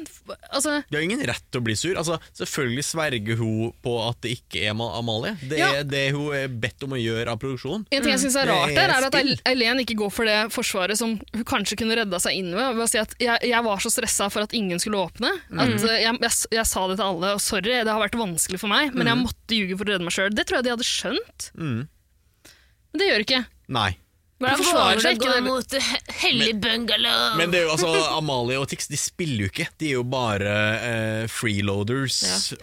Speaker 3: Altså,
Speaker 2: De har ingen rett til å bli sur. Altså, selvfølgelig sverger hun på at det ikke er Ma- Amalie. Det
Speaker 3: Ja.
Speaker 2: er det hun er bedt om å gjøre av produksjonen.
Speaker 3: En ting jeg synes er
Speaker 2: Mm. Det er
Speaker 3: rart der, er at
Speaker 2: spill.
Speaker 3: Eileen ikke går for det forsvaret som hun kanskje kunne redda seg inn ved. ved å si at jeg, jeg var så stressa for at ingen skulle åpne.
Speaker 2: Mm.
Speaker 3: At eh, jeg, jeg, s- jeg sa det til alle, og sorry, det har vært vanskelig for meg, men jeg måtte ljuge for å redde meg sjøl. Det tror jeg de hadde skjønt.
Speaker 2: Mm.
Speaker 3: Men det gjør ikke.
Speaker 2: Nei.
Speaker 3: Hun forsvarer seg ikke. det-
Speaker 14: mot hellig bungalow?
Speaker 2: Men det er jo, altså, Amalie og Tix de spiller jo ikke. De er jo bare eh, freeloaders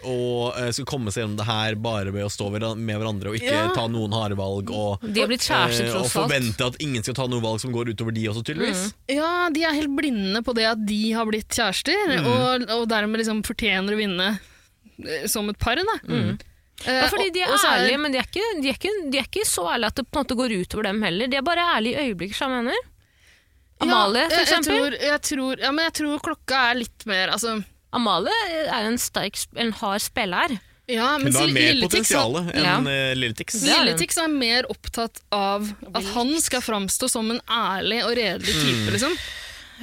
Speaker 2: og eh, skal komme seg gjennom det her bare ved å stå hver- med hverandre og ikke ta noen harde valg. Og,
Speaker 4: De har blitt kjærester,
Speaker 2: eh, og
Speaker 4: tross alt.
Speaker 2: forvente at ingen skal ta noen valg som går utover de også, tydeligvis.
Speaker 3: Ja, de er helt blinde på det at de har blitt kjærester,
Speaker 2: Mm.
Speaker 3: og, og dermed liksom fortjener å vinne eh, som et par. Da.
Speaker 2: Mm.
Speaker 3: Eh,
Speaker 4: Ja, fordi de
Speaker 3: og-
Speaker 4: er
Speaker 3: og så
Speaker 4: ærlige, men de er, ikke, de, er ikke, de er ikke så ærlige at det på en måte går utover dem heller. De er bare ærlige i øyeblikket, som jeg mener. Amalie,
Speaker 3: Ja,
Speaker 4: for
Speaker 3: jeg-
Speaker 4: eksempel.
Speaker 3: Jeg tror, jeg tror, ja, men jeg tror klokka er litt mer altså,
Speaker 4: Amalie er en, sterk, sp- en hard spiller.
Speaker 3: ja,
Speaker 2: Hun
Speaker 3: mens
Speaker 2: har mer
Speaker 3: Lille Tix
Speaker 2: potensial
Speaker 3: er-
Speaker 2: enn
Speaker 4: Ja.
Speaker 2: eh, Lille Tix.
Speaker 4: Det er
Speaker 3: Lille
Speaker 4: hun.
Speaker 3: Tix er mer opptatt av at han skal framstå som en ærlig og redelig
Speaker 2: Mm.
Speaker 3: type. Liksom.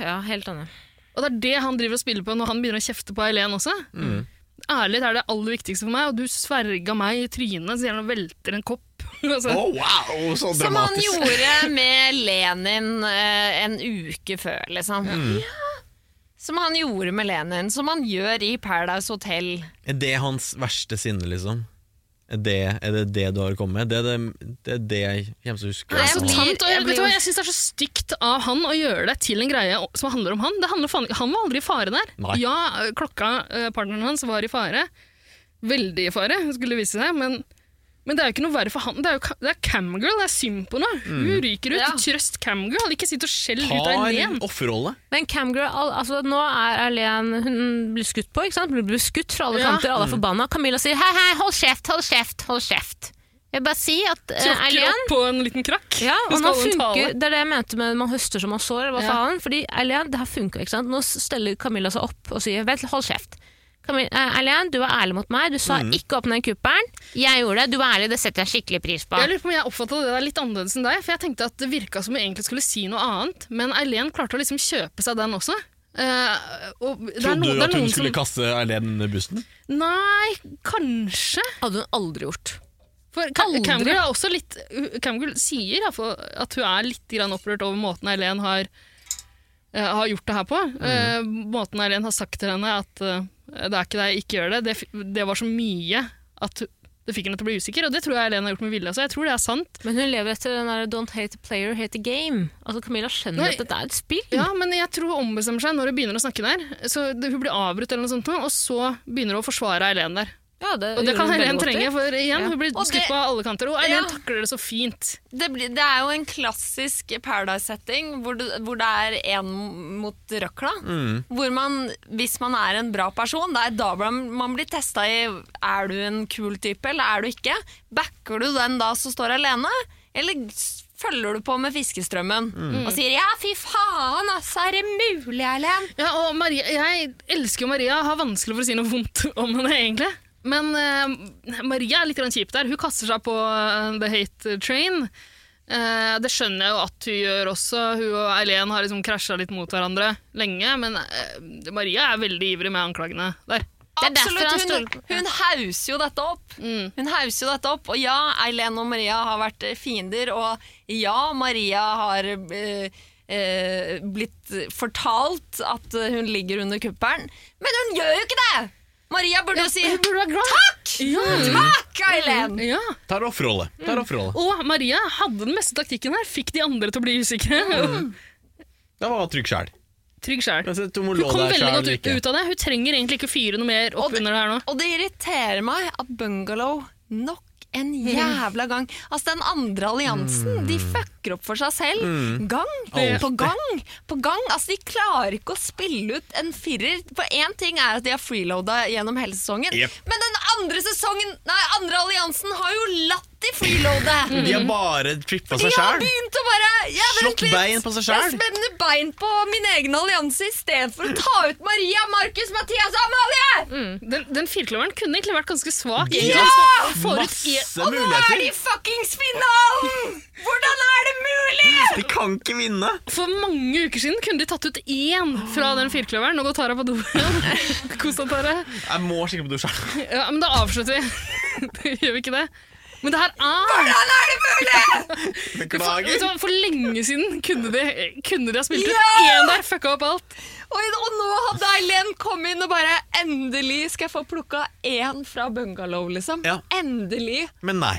Speaker 4: Ja, helt enig.
Speaker 3: Og det er det han driver og spiller på når han begynner å kjefte på Eileen også.
Speaker 2: Mm.
Speaker 3: Ærlighet er det aller viktigste for meg, og du sverga meg i trynet, så gjerne velter en kopp. altså.
Speaker 2: Å, wow, så
Speaker 1: Som han
Speaker 2: dramatisk.
Speaker 1: gjorde med Lenin eh, en uke før, liksom. Ja. Som han gjorde med Lenin, som han gjør i Paradise Hotel.
Speaker 2: Er det hans verste sinne, liksom? Er det er det, det du har kommet med? Det er det, det, er det jeg kommer til å huske. Altså,
Speaker 3: Det er så
Speaker 1: Jeg blir-
Speaker 3: tamt, og jeg,
Speaker 1: jeg
Speaker 3: vet
Speaker 1: blir
Speaker 3: du hva,
Speaker 1: jo-
Speaker 3: jeg synes det er så stygt av han å gjøre det til en greie som handler om han. Det handler faen, ikke- han var aldri i fare der.
Speaker 2: Nei.
Speaker 3: Ja, klokka, eh, partneren hans, var i fare. Veldig i fare, skulle det vise seg. Men, men det er jo ikke noe verre for han. Det er jo ka- det er camgirl, det er synd på henne. Hun ryker ut.
Speaker 1: Ja.
Speaker 3: Trøst camgirl, ikke sitt og skjell ut av
Speaker 2: Tar
Speaker 3: Eileen.
Speaker 2: offerrolle.
Speaker 4: Men Camgirl, al- altså, nå er Erlen Hun blir skutt på, ikke sant? Hun blir skutt fra alle
Speaker 3: Ja.
Speaker 4: kanter, alle er
Speaker 2: Mm.
Speaker 4: forbanna. Camilla sier hei, hei, hold kjeft, hold kjeft, hold kjeft. Jeg vil bare si at eh,
Speaker 3: Tråkker
Speaker 4: Erlen
Speaker 3: opp på en liten krakk.
Speaker 4: ja,
Speaker 3: Hun
Speaker 4: og nå
Speaker 3: skal holde en tale.
Speaker 4: funker, Det er det jeg mente med man høster som man sår. eller Hva
Speaker 3: Ja.
Speaker 4: faen? Fordi Eileen, det har funka. ikke sant? Nå steller Camilla seg opp og sier vent, hold kjeft. Camilla, eh, Eileen, du var ærlig mot meg. Du
Speaker 3: Mm.
Speaker 4: sa ikke åpne den kuppelen. Jeg gjorde det. Du var ærlig, det setter jeg skikkelig pris på.
Speaker 3: Jeg lurer på om jeg oppfattet det der litt annerledes enn deg, for jeg tenkte at det virka som hun egentlig skulle si noe annet, men Eileen klarte å liksom kjøpe seg den også. Eh, og det er
Speaker 2: Trodde
Speaker 3: noen-
Speaker 2: du
Speaker 3: det er
Speaker 2: at hun
Speaker 3: noen som-
Speaker 2: skulle kaste Erlend under bussen?
Speaker 3: Nei, kanskje.
Speaker 4: hadde hun aldri gjort.
Speaker 3: For Ka-
Speaker 4: Aldri.
Speaker 3: Camgirl er også litt Camgirl sier i hvert fall at hun er litt grann opprørt over måten Eileen har, eh, har gjort det her på. Eh, måten Eileen har sagt til henne at eh, det er ikke deg, ikke gjør det. det. f- Det var så mye at Det fikk henne til å bli usikker, og det tror jeg Helene har gjort med vilje. Altså. Jeg tror det er sant.
Speaker 15: Men hun lever etter den der 'don't hate the player, hate the game'. Altså Camilla skjønner
Speaker 3: Nei.
Speaker 15: at dette er et spill.
Speaker 4: Mm.
Speaker 3: Ja, men jeg tror hun ombestemmer seg når hun begynner å snakke der. Så det, Hun blir avbrutt, eller noe sånt, nå, og så begynner hun å forsvare Helen der.
Speaker 15: Ja, det,
Speaker 3: Og det
Speaker 15: gjorde
Speaker 3: kan
Speaker 15: hun veldig
Speaker 3: Helen
Speaker 15: godt i.
Speaker 3: trenge, for igjen,
Speaker 15: Ja.
Speaker 3: hun blir
Speaker 1: Og det-
Speaker 3: skutt på alle kanter. Og Helen
Speaker 1: Ja.
Speaker 3: takler det så fint.
Speaker 1: Det, blir, det er jo en klassisk Paradise-setting hvor, du- hvor det er én mot røkla. Hvor man, hvis man er en bra person, det er da blir man- man blir testa i er du en kul type eller er du ikke. Backer du den da som står alene, eller s- følger du på med fiskestrømmen og sier 'ja, fy faen, altså, er det mulig, Erlend'?
Speaker 3: Ja, og Maria, jeg elsker jo Maria, har vanskelig for å si noe vondt om henne, egentlig. Men eh, Maria er litt grann kjip der. Hun kaster seg på eh, The Hate Train. Eh, det skjønner jeg jo at hun gjør også. Hun og Eileen har liksom krasja litt mot hverandre lenge, men eh, Maria er veldig ivrig med anklagene der.
Speaker 15: Det er derfor han
Speaker 1: hun,
Speaker 15: stoler på- Mm.
Speaker 1: hun hauser jo dette opp. Hun hauser jo dette opp. Og ja, Eileen og Maria har vært eh, fiender, og ja, Maria har eh, eh, blitt fortalt at eh, hun ligger under kuppelen, men hun gjør jo ikke det! Maria burde jo si
Speaker 3: burde være glad.
Speaker 1: takk! Takk, Eileen!
Speaker 3: Ja.
Speaker 2: Tar offerrolle.
Speaker 3: Mm.
Speaker 2: Tar offerrolle.
Speaker 3: Og Maria hadde den beste taktikken her. Fikk de andre til å bli usikre.
Speaker 2: Da var hun trygg sjæl.
Speaker 3: Mm. Trygg sjæl.
Speaker 2: Altså, du må
Speaker 3: Hun
Speaker 2: lå
Speaker 3: kom
Speaker 2: der
Speaker 3: veldig
Speaker 2: selv,
Speaker 3: godt ut,
Speaker 2: ikke.
Speaker 3: ut av det. Hun trenger egentlig ikke fyre noe mer
Speaker 1: Og
Speaker 3: opp
Speaker 1: det-
Speaker 3: under det her nå.
Speaker 1: Og det irriterer meg at Bungalow nok en jævla gang Altså Den andre alliansen De
Speaker 2: Mm.
Speaker 1: fucker opp for seg selv. Gang på gang på gang. Altså De klarer ikke å spille ut en firer. For én ting er at de har freeloada gjennom hele sesongen,
Speaker 2: Jep.
Speaker 1: men den andre sesongen Nei, andre alliansen har jo latt de freeloade!
Speaker 2: De har bare trippa
Speaker 1: De
Speaker 2: seg
Speaker 1: har
Speaker 2: sjæl.
Speaker 1: begynt å bare ja,
Speaker 2: Slått
Speaker 1: vent litt.
Speaker 2: bein på seg selv.
Speaker 1: Jeg spenner bein på min egen allianse istedenfor å ta ut Maria, Markus, Mathias og Amalie!
Speaker 3: Den, den firkløveren kunne egentlig vært ganske svak.
Speaker 2: Ja!
Speaker 3: Får ut i-
Speaker 2: Masse
Speaker 1: Og nå er de
Speaker 2: muligheter.
Speaker 1: i fuckings finalen! Hvordan er det mulig?!
Speaker 2: De kan ikke vinne.
Speaker 3: e- For mange uker siden kunne de tatt ut én fra den firkløveren. Nå går Tara på do igjen. Kos deg, Tara.
Speaker 2: Jeg må skikkelig på do sjæl.
Speaker 3: Ja, men da avslutter vi. Gjør vi ikke det? Men det her er
Speaker 1: Hvordan er det mulig?!
Speaker 3: for, vet
Speaker 2: Beklager.
Speaker 3: du hva, for lenge siden kunne de, kunne de ha spilt ut én der, fucka opp alt.
Speaker 1: Og, og nå hadde Eileen kommet inn og bare Endelig skal jeg få plukka én fra bungalow, liksom.
Speaker 2: Ja.
Speaker 1: Endelig.
Speaker 2: Men nei.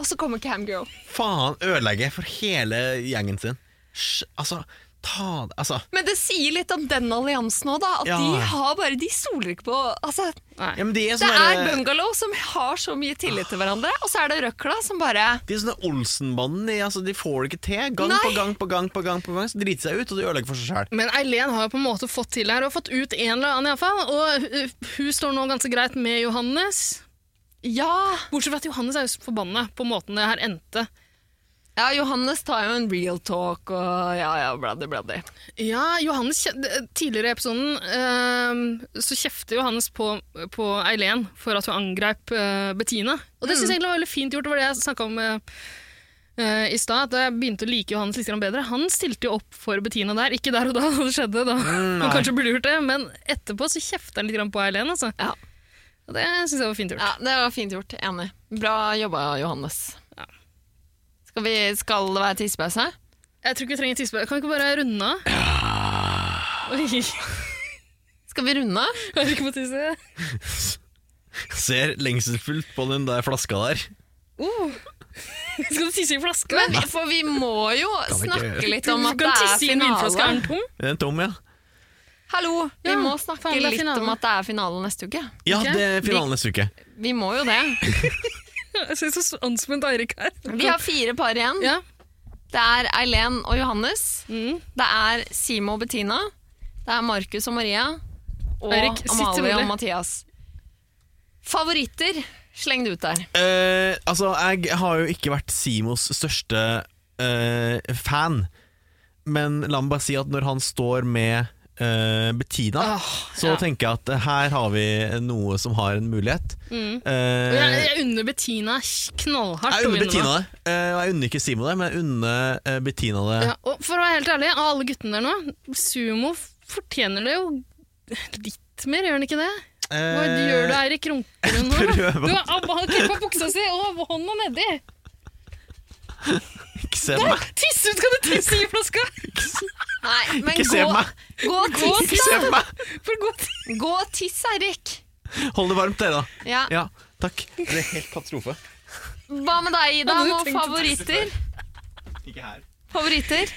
Speaker 1: Og så kommer Camgirl.
Speaker 2: Faen ødelegge for hele gjengen sin. Sj, altså, ta det Altså.
Speaker 1: Men det sier litt om den alliansen òg, da. At
Speaker 2: Ja.
Speaker 1: de har bare De soler ikke på Altså,
Speaker 2: Ja, men de er sånn
Speaker 1: det
Speaker 2: sånne,
Speaker 1: er bungalow som har så mye tillit til hverandre, og så er det røkla som bare
Speaker 2: de er sånne Olsenbanden. de, Altså, de får det ikke til. Gang
Speaker 1: Nei.
Speaker 2: på gang på gang på gang. på gang Så driter de seg ut, og de ødelegger for seg sjæl.
Speaker 3: Men Eileen har jo på en måte fått til det her, og fått ut en eller annen iallfall. Og uh, hun står nå ganske greit med Johannes.
Speaker 1: Ja!
Speaker 3: Bortsett fra at Johannes er jo forbanna på måten det her endte.
Speaker 1: Ja, Johannes tar jo en real talk og ja, ja, bladdy, bladdy.
Speaker 3: Ja, Johannes, kje- d- tidligere i episoden ehm, så kjefter Johannes på, på Eileen for at hun angreip eh, Bettina. Og det
Speaker 1: Mm.
Speaker 3: synes jeg egentlig var veldig fint gjort. Det var det jeg snakka om eh, eh, i stad. At jeg begynte å like Johannes litt grann bedre. Han stilte jo opp for Bettina der. Ikke der og da, da det skjedde.
Speaker 1: Mm,
Speaker 3: da Han kanskje burde gjort det, men etterpå så kjefter han litt grann på Eileen. Altså.
Speaker 1: Ja.
Speaker 3: Og det syns jeg var fint gjort.
Speaker 1: Ja, det var fint gjort. Enig. Bra jobba, Johannes. Skal, vi, skal det være tissepause?
Speaker 3: Jeg tror ikke vi trenger tissepause. Kan vi ikke bare runde av? Oi, jeg
Speaker 1: Skal vi runde?
Speaker 3: hører ikke på tisse.
Speaker 2: Ser lengselsfullt på den der flaska der.
Speaker 3: Skal du tisse i flaska?
Speaker 1: Men, for vi må jo
Speaker 2: vi ikke
Speaker 1: snakke
Speaker 2: gjøre.
Speaker 1: litt om at
Speaker 3: du
Speaker 1: det
Speaker 3: kan
Speaker 1: er
Speaker 3: tisse i en vinflaske.
Speaker 1: finale.
Speaker 3: Er den tom?
Speaker 2: Den er tom, ja.
Speaker 1: Hallo! Vi
Speaker 3: Ja,
Speaker 1: må
Speaker 3: faen,
Speaker 1: snakke
Speaker 3: det er
Speaker 1: litt
Speaker 3: finale.
Speaker 1: om at det er finale neste uke.
Speaker 2: Ja,
Speaker 3: Ok.
Speaker 2: det er finalen neste uke.
Speaker 1: Vi må jo det.
Speaker 3: Jeg ser så anspent Eirik er.
Speaker 1: Vi har fire par igjen.
Speaker 3: Ja.
Speaker 1: Det er Eileen og Johannes.
Speaker 3: Mm.
Speaker 1: Det er Simo og Bettina. Det er Markus og Maria. Og
Speaker 3: Eirik, sitt
Speaker 1: Amalie
Speaker 3: rolig.
Speaker 1: og Mathias. Favoritter, sleng det ut der.
Speaker 2: Eh, altså, jeg har jo ikke vært Simos største eh, fan, men la meg bare si at når han står med eh, Bettina, så
Speaker 3: Ah, ja.
Speaker 2: tenker jeg at eh, her har vi noe som har en mulighet.
Speaker 3: Mm.
Speaker 2: Eh,
Speaker 3: Og Jeg, jeg unner Bettina knallhardt
Speaker 2: jeg
Speaker 3: å
Speaker 2: unner
Speaker 3: vinne
Speaker 2: Bettina
Speaker 3: nå.
Speaker 2: det. Eh, og jeg unner ikke Simo det, men jeg unner eh, Bettina det.
Speaker 3: Ja, og for å være helt ærlig, av alle guttene der nå, Sumo fortjener det jo litt mer, gjør han ikke det? Hva
Speaker 2: Eh,
Speaker 3: gjør du, Eirik? Runker du nå? da?
Speaker 2: prøver.
Speaker 3: Du har abba- han klippa buksa si og hånda nedi!
Speaker 2: Ikke se på meg!
Speaker 3: Tiss ut! Skal du tisse i flaska?
Speaker 1: Nei, men
Speaker 2: Ikke se på
Speaker 1: gå,
Speaker 2: meg!
Speaker 1: gå og tiss,
Speaker 2: Ikke se på meg!
Speaker 3: For godt.
Speaker 1: gå og tiss, Eirik.
Speaker 2: Hold det varmt, dere, da.
Speaker 1: Ja.
Speaker 2: Ja. Takk. Det er helt katastrofe.
Speaker 1: Hva med deg, Ida?
Speaker 3: Hadde du
Speaker 1: Noen
Speaker 3: tenkt å
Speaker 1: favoritter?
Speaker 2: Ikke her.
Speaker 1: Favoritter?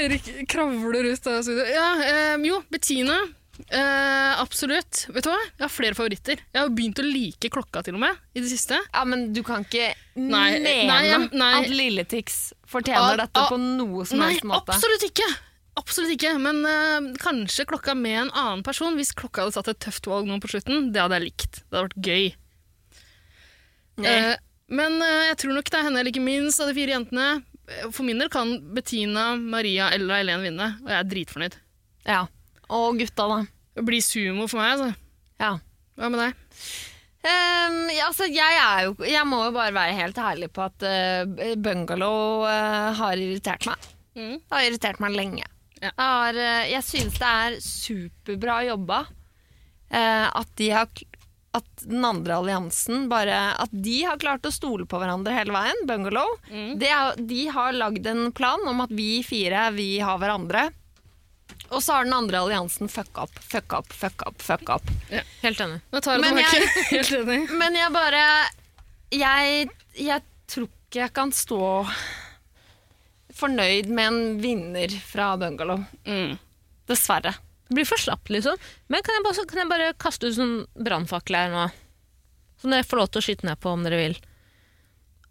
Speaker 3: Eirik kravler ut av studio. Ja, eh, jo, Bettina. Eh, absolutt. Vet du hva? Jeg har flere favoritter. Jeg har begynt å like klokka til og med, i det siste.
Speaker 1: Ja, men du kan ikke
Speaker 3: Nei,
Speaker 1: mene
Speaker 3: nei, nei.
Speaker 1: at Lilletix
Speaker 3: Ah,
Speaker 1: fortjener dette
Speaker 3: ah,
Speaker 1: på noe som
Speaker 3: Nei,
Speaker 1: helst måte.
Speaker 3: absolutt ikke! Absolutt ikke, men eh, kanskje klokka med en annen person. Hvis klokka hadde tatt et tøft valg nå på slutten, det hadde jeg likt. Det hadde vært gøy. Eh, men eh, jeg tror nok det er henne jeg liker minst av de fire jentene. Eh, For min del kan Bettina, Maria eller Eileen vinne, og jeg er dritfornøyd.
Speaker 1: Ja. Og gutta, da.
Speaker 3: Det blir sumo for meg, altså.
Speaker 1: Ja.
Speaker 3: Hva med deg?
Speaker 1: Ehm, ja, altså, jeg, er jo, jeg må jo bare være helt ærlig på at eh, bungalow eh, har irritert meg.
Speaker 3: Mm.
Speaker 1: Det har irritert meg lenge.
Speaker 3: Ja.
Speaker 1: Jeg, har, eh, jeg synes det er superbra jobba eh, at de har kl- at den andre alliansen bare At de har klart å stole på hverandre hele veien. Bungalow.
Speaker 3: Mm.
Speaker 1: Det er, de har lagd en plan om at vi fire, vi har hverandre. Og så har den andre alliansen fucka opp, fucka opp, fucka opp. fucka opp.
Speaker 15: Helt enig.
Speaker 3: Nå tar jeg det
Speaker 1: Men jeg-
Speaker 3: tilbake. Helt enig.
Speaker 1: Men jeg bare jeg, jeg tror ikke jeg kan stå fornøyd med en vinner fra Bungalow.
Speaker 3: Mm.
Speaker 1: Dessverre.
Speaker 15: Det blir for slapp, liksom. Men kan jeg bare, kan jeg bare kaste ut sånn brannfakkel her nå? Som dere får lov til å skyte ned på om dere vil.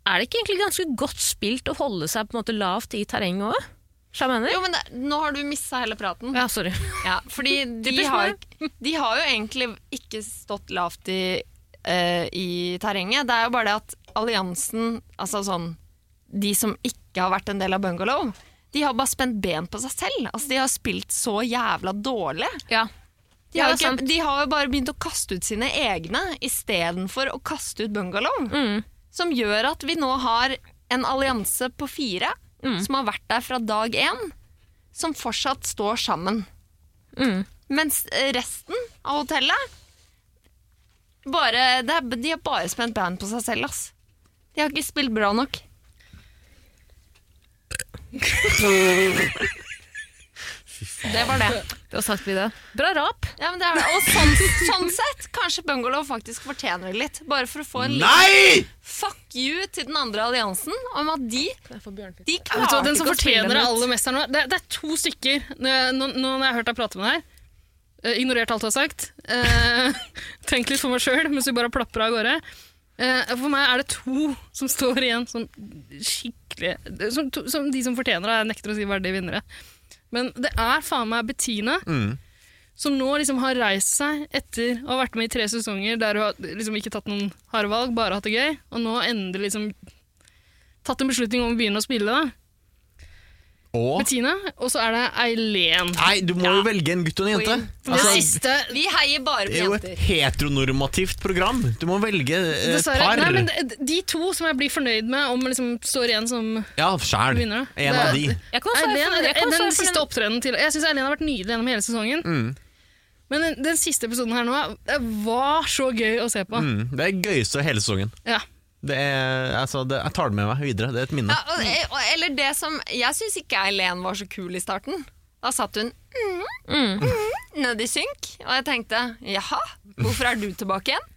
Speaker 15: Er det ikke egentlig ganske godt spilt å holde seg på en måte lavt i terrenget òg? Sjamener?
Speaker 1: Jo, men det, Nå har du missa hele praten.
Speaker 15: Ja, sorry.
Speaker 1: Ja, fordi de
Speaker 15: Typisk
Speaker 1: har, de har jo egentlig ikke stått lavt i, eh, i terrenget. Det er jo bare det at alliansen, altså sånn De som ikke har vært en del av Bungalow, de har bare spent ben på seg selv. Altså, de har spilt så jævla dårlig.
Speaker 15: Ja.
Speaker 1: De
Speaker 15: Ja,
Speaker 1: har, jo
Speaker 15: sant.
Speaker 1: ikke, de har jo bare begynt å kaste ut sine egne istedenfor å kaste ut bungalow.
Speaker 15: Mm.
Speaker 1: Som gjør at vi nå har en allianse på fire
Speaker 15: Mm.
Speaker 1: som har vært der fra dag én, som fortsatt står sammen.
Speaker 15: Mm.
Speaker 1: Mens eh, resten av hotellet bare, det er, De har bare spent band på seg selv, ass. De har ikke spilt bra nok. Det var det.
Speaker 15: Det var sagt vi det. Bra rap.
Speaker 1: Ja, men det er det. Og sånn, sånn sett, kanskje Bungalow faktisk fortjener det litt. Bare for å få en liten
Speaker 2: Nei!
Speaker 1: fuck you til den andre alliansen om at de, de
Speaker 3: Vet du hva,
Speaker 1: klarte
Speaker 3: den som
Speaker 1: ikke å spille
Speaker 3: fortjener det
Speaker 1: dem ut.
Speaker 3: aller mest her nå, det, det er to stykker Nå, nå, nå har jeg hørt deg prate med deg her. Eh, ignorert alt du har sagt. Eh, tenkt litt for meg sjøl mens vi bare plaprer av gårde. Eh, for meg er det to som står igjen som skikkelig Som, to, som de som fortjener det. Jeg nekter å si verdige vinnere. Men det er faen meg Bettina. Som nå liksom har reist seg etter å ha vært med i tre sesonger der hun har liksom ikke tatt noen harde valg, bare hatt det gøy, og nå endelig liksom tatt en beslutning om å begynne å spille. da.
Speaker 2: Og
Speaker 3: Bettina, og så er det Eileen.
Speaker 2: Nei, du må jo velge en gutt og en jente.
Speaker 1: Queen.
Speaker 3: det
Speaker 2: Altså,
Speaker 3: siste
Speaker 1: Vi heier bare
Speaker 2: det
Speaker 1: på
Speaker 2: er jo et
Speaker 1: jenter.
Speaker 2: heteronormativt program. Du må velge eh,
Speaker 3: Dessverre.
Speaker 2: par.
Speaker 3: Nei, men de, de to som jeg blir fornøyd med om liksom står igjen som
Speaker 2: Ja, sjæl.
Speaker 3: Vinner, da.
Speaker 2: En av
Speaker 3: Det-
Speaker 2: de.
Speaker 15: Jeg kan svare
Speaker 3: Eileen, eh,
Speaker 15: for- jeg kan
Speaker 3: den,
Speaker 15: svare for
Speaker 3: siste opptredenen til Jeg syns Eileen har vært nydelig gjennom hele sesongen.
Speaker 2: Mm.
Speaker 3: Men den, den siste episoden her nå det var så gøy å se på.
Speaker 2: Mm, det er det gøyeste hele sesongen.
Speaker 3: Ja.
Speaker 2: Det er, altså, det, jeg tar det med meg videre. Det er et minne.
Speaker 1: Ja, og, eh, og, eller det som Jeg syns ikke Eileen var så kul i starten. Da satt hun mm, mm, nedi synk, og jeg tenkte jaha, hvorfor er du tilbake igjen?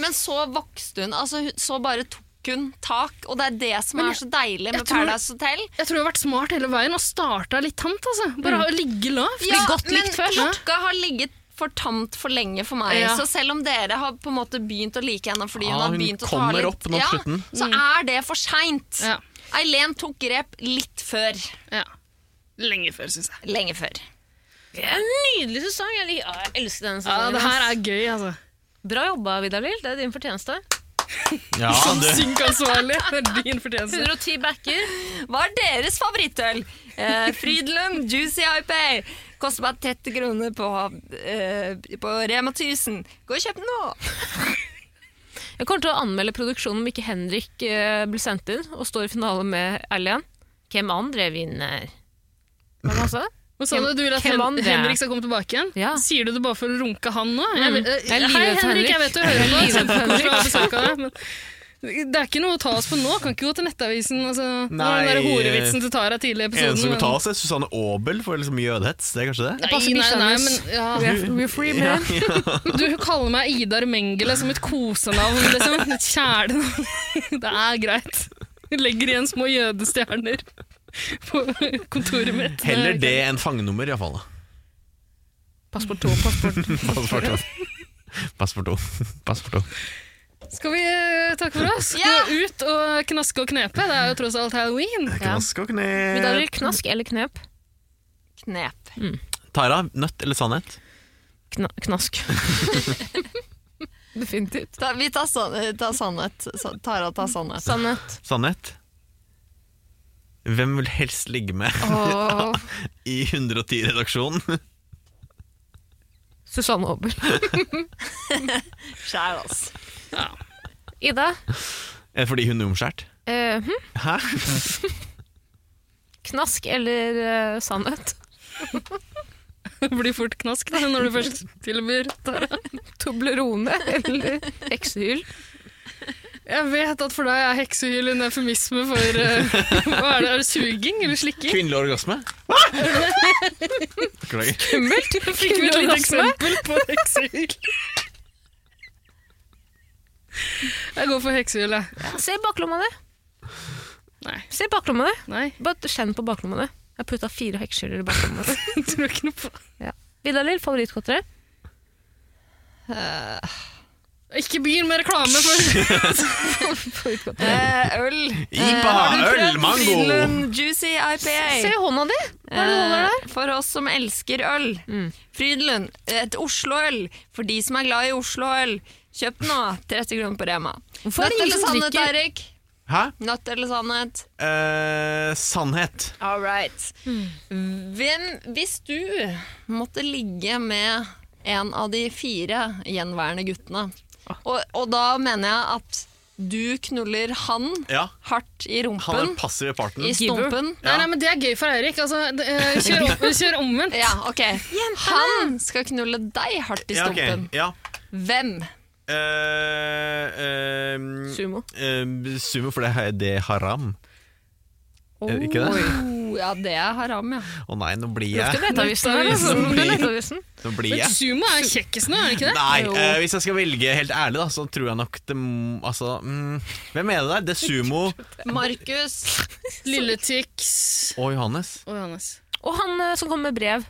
Speaker 1: Men så vokste hun, altså hun- så bare tok hun tak, og det er det som
Speaker 3: Men
Speaker 1: er så deilig med
Speaker 3: jeg tror-
Speaker 1: Paradise Hotel.
Speaker 3: Jeg tror jeg har vært smart hele veien og starta litt tamt. altså. Bare å ligge lavt.
Speaker 1: Ja,
Speaker 15: godt likt
Speaker 1: men
Speaker 15: først.
Speaker 1: klokka har ligget for tamt for lenge for meg.
Speaker 3: Ja.
Speaker 1: Så selv om dere har på en måte begynt å like henne fordi hun
Speaker 2: Ja,
Speaker 1: har
Speaker 2: hun
Speaker 1: begynt å ta
Speaker 2: kommer
Speaker 1: litt
Speaker 2: opp nå på slutten.
Speaker 1: Så
Speaker 15: Mm.
Speaker 1: er det for seint.
Speaker 3: Ja.
Speaker 1: Eileen tok grep litt før.
Speaker 3: Ja. Lenge før, syns jeg.
Speaker 1: Lenge før.
Speaker 15: Det er en nydelig sesong. Jeg, lik- ja, jeg elsker denne
Speaker 3: Ja,
Speaker 15: sesongen.
Speaker 3: Det her
Speaker 15: ass.
Speaker 3: er gøy, altså.
Speaker 15: Bra jobba, Vidar Lill. Det er din fortjeneste.
Speaker 2: Ja,
Speaker 3: Som
Speaker 2: det,
Speaker 3: synkansvarlig. Det er din fortjeneste.
Speaker 15: 110 backer.
Speaker 1: Hva er deres favorittøl? Eh, Frydenlund Juicy IPA. Koster bare 30 kroner på, eh, på Rema 1000. Gå og kjøp den nå!
Speaker 15: Jeg kommer til å anmelde produksjonen om ikke Henrik eh, blir sendt inn og står i finale med Erlend. Hvem andre vinner? Hva var det han sa?
Speaker 3: Hva sa du? Du vil at
Speaker 15: Hvem
Speaker 3: Hen
Speaker 15: andre?
Speaker 3: Henrik skal komme tilbake igjen?
Speaker 15: Ja.
Speaker 3: Sier du det bare for å runke han nå?
Speaker 15: Mm.
Speaker 3: Jeg, eh,
Speaker 15: Jeg er
Speaker 3: hei,
Speaker 15: livredd for
Speaker 3: Henrik,
Speaker 15: Henrik.
Speaker 3: jeg vet du hører på.
Speaker 15: livredd for
Speaker 3: Kjempekoselig å ha besøk av deg. Men Det er ikke noe å ta oss på nå. Kan ikke gå til Nettavisen. Altså, det var den
Speaker 2: Nei.
Speaker 3: der horevitsen til Tara tidlig i
Speaker 2: En
Speaker 3: episoden.
Speaker 2: som
Speaker 3: men-
Speaker 2: kan ta oss, er Susanne Aabel for liksom jødehets. Det er kanskje det?
Speaker 3: Nei, nei, nei, men ja.
Speaker 2: We're free, man. Ja, ja.
Speaker 3: Du kaller meg Idar Mengele som et kosenavn, liksom. Et kjælenavn. Det er greit. Jeg legger igjen små jødestjerner på kontoret mitt.
Speaker 2: Heller det enn fangenummer, iallfall.
Speaker 3: Passport 2, passport
Speaker 2: Passport to. Passport to. Passport to.
Speaker 3: Skal vi eh, takke for oss? Gå ut og knaske og knepe. Det er jo tross alt halloween.
Speaker 2: Knask og
Speaker 15: Men da
Speaker 2: knep.
Speaker 15: blir det knask eller knep.
Speaker 1: Knep.
Speaker 2: Tara, nøtt eller sannhet?
Speaker 15: Kna knask.
Speaker 1: Definitivt. Ta, vi tar, sann- tar sannhet. Sa- Tara tar sannhet.
Speaker 15: Sannhet.
Speaker 2: Sannhet? Hvem vil helst ligge med
Speaker 1: Åh.
Speaker 2: i 110-redaksjonen?
Speaker 15: Susanne Aabel.
Speaker 1: Skjær, altså.
Speaker 15: Ida.
Speaker 2: Er det fordi hun er omskjært?
Speaker 15: eh, hm?
Speaker 2: Hæ?
Speaker 15: Knask eller eh, sannhet?
Speaker 3: Blir fort knask da, når du først tilbyr.
Speaker 15: Toblerone eller heksehyl?
Speaker 3: Jeg vet at for deg er heksehyl en eufemisme for eh, Hva er det? Er det suging eller slikking?
Speaker 2: Kvinnelig orgasme? Beklager.
Speaker 15: Kummelt!
Speaker 3: Fikk vi et lite eksempel på heksehyl? Jeg går for heksehyl, jeg.
Speaker 15: Se baklomma di.
Speaker 3: Nei.
Speaker 15: Se baklomma di.
Speaker 3: Nei,
Speaker 15: Bare kjenn på baklomma di. Jeg har putta fire heksehyler i baklomma. di.
Speaker 3: jeg tror ikke noe på
Speaker 15: Vidar-Lill, favorittgodteri?
Speaker 3: Ikke begynn med reklame for
Speaker 1: Eh, øl.
Speaker 2: Ipa, øl, mango!
Speaker 1: Frydenlund Juicy
Speaker 15: Se
Speaker 1: IPA.
Speaker 15: hånda di! Hva er det du holder der? Mm.
Speaker 1: Eh, For oss som elsker øl. Frydenlund, et Oslo-øl. For de som er glad i Oslo-øl, kjøp den nå. 30 kroner på Rema.
Speaker 15: Hvorfor er det
Speaker 1: Nøtt
Speaker 15: ingen
Speaker 1: eller
Speaker 15: som
Speaker 1: sannhet,
Speaker 15: drikker?
Speaker 1: Eirik?
Speaker 2: Hæ?
Speaker 1: Nøtt eller sannhet?
Speaker 2: Eh, sannhet.
Speaker 1: All right. Hvem, hvis du måtte ligge med en av de fire gjenværende guttene, og, og da mener jeg at du knuller han
Speaker 2: Ja.
Speaker 1: hardt i
Speaker 2: Han er
Speaker 1: rumpen,
Speaker 2: den passive parten.
Speaker 1: i stumpen
Speaker 3: Nei, nei, men det er gøy for Eirik. Altså, det, eh, kjør, om, kjør omvendt.
Speaker 1: Ja, ok. Han skal knulle deg hardt i
Speaker 2: Ja, ok.
Speaker 1: stumpen.
Speaker 2: Ja.
Speaker 1: Hvem?
Speaker 2: Eh, eh,
Speaker 15: Sumo.
Speaker 2: eh, sumo, for det er, det er haram. Er det ikke det?
Speaker 1: Oh, ja, det er haram, ja.
Speaker 2: Å nei, nå blir
Speaker 15: Lukter
Speaker 2: jeg
Speaker 15: Nettavisen her, altså.
Speaker 3: liksom-
Speaker 2: Nettavisen.
Speaker 15: Lukter Nettavisen.
Speaker 2: Nå blir
Speaker 3: Men
Speaker 2: jeg
Speaker 3: sumo er kjekkesen nå, er det ikke det?
Speaker 2: Nei, eh, hvis jeg skal velge helt ærlig, da, så tror jeg nok det m- Altså, mm, hvem er det der? Det er Sumo
Speaker 1: Markus.
Speaker 3: Lille Tix
Speaker 2: og Johannes.
Speaker 3: og Johannes.
Speaker 15: Og han eh, som kommer med brev.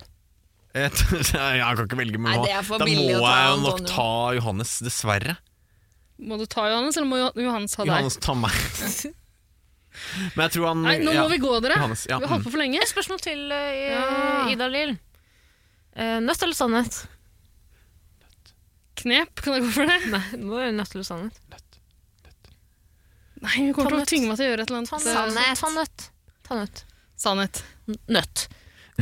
Speaker 2: Jeg tror- jeg kan ikke velge
Speaker 1: Nei,
Speaker 2: mellom
Speaker 1: det er for
Speaker 2: Da må jeg
Speaker 1: billig å ta
Speaker 2: jo nok
Speaker 1: Antonio.
Speaker 2: ta Johannes, dessverre.
Speaker 3: Må du ta Johannes, eller må Jo- Johannes ha deg?
Speaker 2: Johannes, ta meg. Men jeg tror han
Speaker 3: Nei, nå
Speaker 2: ja.
Speaker 3: må vi gå, dere.
Speaker 2: Johannes, ja,
Speaker 3: Vi har holdt på for lenge.
Speaker 15: Et
Speaker 4: Mm.
Speaker 15: spørsmål til eh,
Speaker 3: Ja.
Speaker 15: Ida Lill. Eh, nødt eller sannhet?
Speaker 3: Knep, kan jeg gå for det?
Speaker 15: Nei, det må være nødt eller sannhet.
Speaker 3: Nei, hun kommer til å
Speaker 15: Tannøtt.
Speaker 3: tvinge meg til å gjøre et eller annet. eh,
Speaker 15: Sannhet. Sannhet. Sannhet.
Speaker 3: Sannhet.
Speaker 15: Nøtt.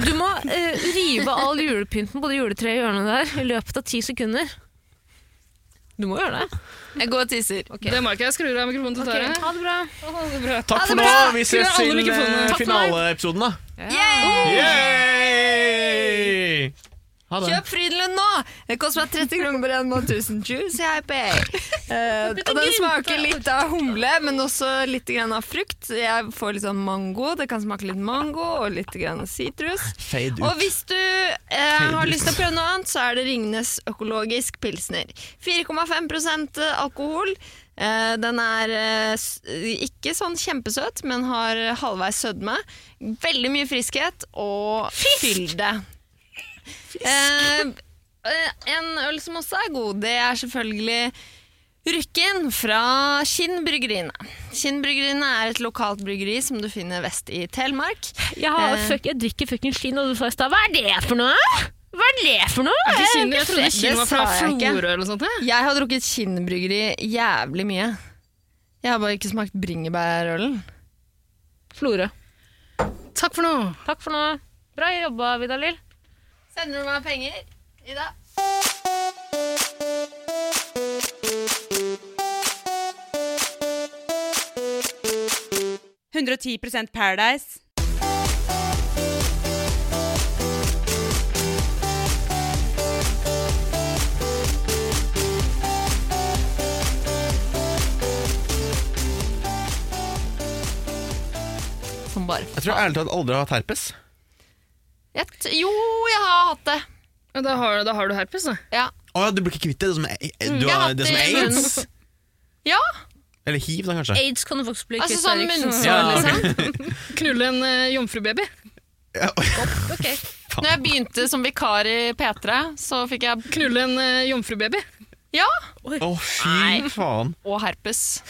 Speaker 15: Du må eh, rive all julepynten på det juletreet i hjørnet der i løpet av ti sekunder. Du må gjøre det.
Speaker 1: Jeg går og tisser.
Speaker 3: Det må jeg ikke. Jeg skrur av mikrofonen til Tara.
Speaker 15: Ha det bra.
Speaker 3: Å, det er bra.
Speaker 2: Takk for
Speaker 3: Ha det bra.
Speaker 2: nå. Vi ses
Speaker 3: Skrur av alle
Speaker 2: til
Speaker 3: mikrofonene.
Speaker 2: eh,
Speaker 3: Takk for meg.
Speaker 2: finaleepisoden, da. Yay! Ha det.
Speaker 1: Kjøp Frydenlund nå! Det koster meg 30 kroner på den måten. Tusen juice, jeg er pay. Eh, og den smaker litt av humle, men også litt grann av frukt. Jeg får litt sånn mango. Det kan smake litt mango og litt grann sitrus.
Speaker 2: Fade ut.
Speaker 1: Og hvis du eh, har lyst til å prøve noe annet, så er det Ringnes økologisk pilsner. 4,5 alkohol. Eh, den er eh, s- ikke sånn kjempesøt, men har halvveis sødme. Veldig mye friskhet og fylde. Eh, eh, en øl som også er god, det er selvfølgelig Rykken fra Kinn bryggeriene. Kinn bryggeriene er et lokalt bryggeri som du finner vest i Telemark.
Speaker 15: Jeg, har,
Speaker 1: Eh.
Speaker 15: fuck, jeg drikker fucking skinn, og du sa i stad Hva er det for noe? Hva er det for noe?
Speaker 3: Er ikke Kinn- Jeg trodde
Speaker 1: Det
Speaker 3: Kinn var fra
Speaker 1: sa jeg ikke.
Speaker 3: Florø eller noe sånt. jeg.
Speaker 1: Jeg har drukket kinnbryggeri jævlig mye. Jeg har bare ikke smakt bringebærølen.
Speaker 15: Florø.
Speaker 3: Takk for nå.
Speaker 15: Takk for nå. Bra jobba, Vidar Lill.
Speaker 1: Sender du meg penger, Ida? bare
Speaker 2: Jeg tror jeg ærlig talt aldri har hatt herpes.
Speaker 1: jeg, t- Jo, jeg har hatt det.
Speaker 3: Ja, Da har, da har du herpes, da.
Speaker 1: Ja.
Speaker 2: Å ja, du blir ikke kvitt det? Det som er, du
Speaker 1: jeg har
Speaker 2: har,
Speaker 1: hatt
Speaker 2: det som
Speaker 1: det
Speaker 2: er
Speaker 1: i
Speaker 2: aids?
Speaker 1: munnen. Ja,
Speaker 2: Eller hiv, da, kanskje?
Speaker 15: Aids kan du faktisk bli
Speaker 1: altså
Speaker 15: kvitt.
Speaker 1: sånn
Speaker 15: Erik, så-
Speaker 1: munnsår,
Speaker 2: Ja, ok.
Speaker 1: liksom.
Speaker 3: Knulle en eh, jomfrubaby.
Speaker 15: Ok.
Speaker 1: Når jeg begynte som vikar i P3, så fikk jeg
Speaker 3: Knulle en eh, jomfrubaby.
Speaker 1: Ja!
Speaker 2: Å, fy faen.
Speaker 1: Og herpes.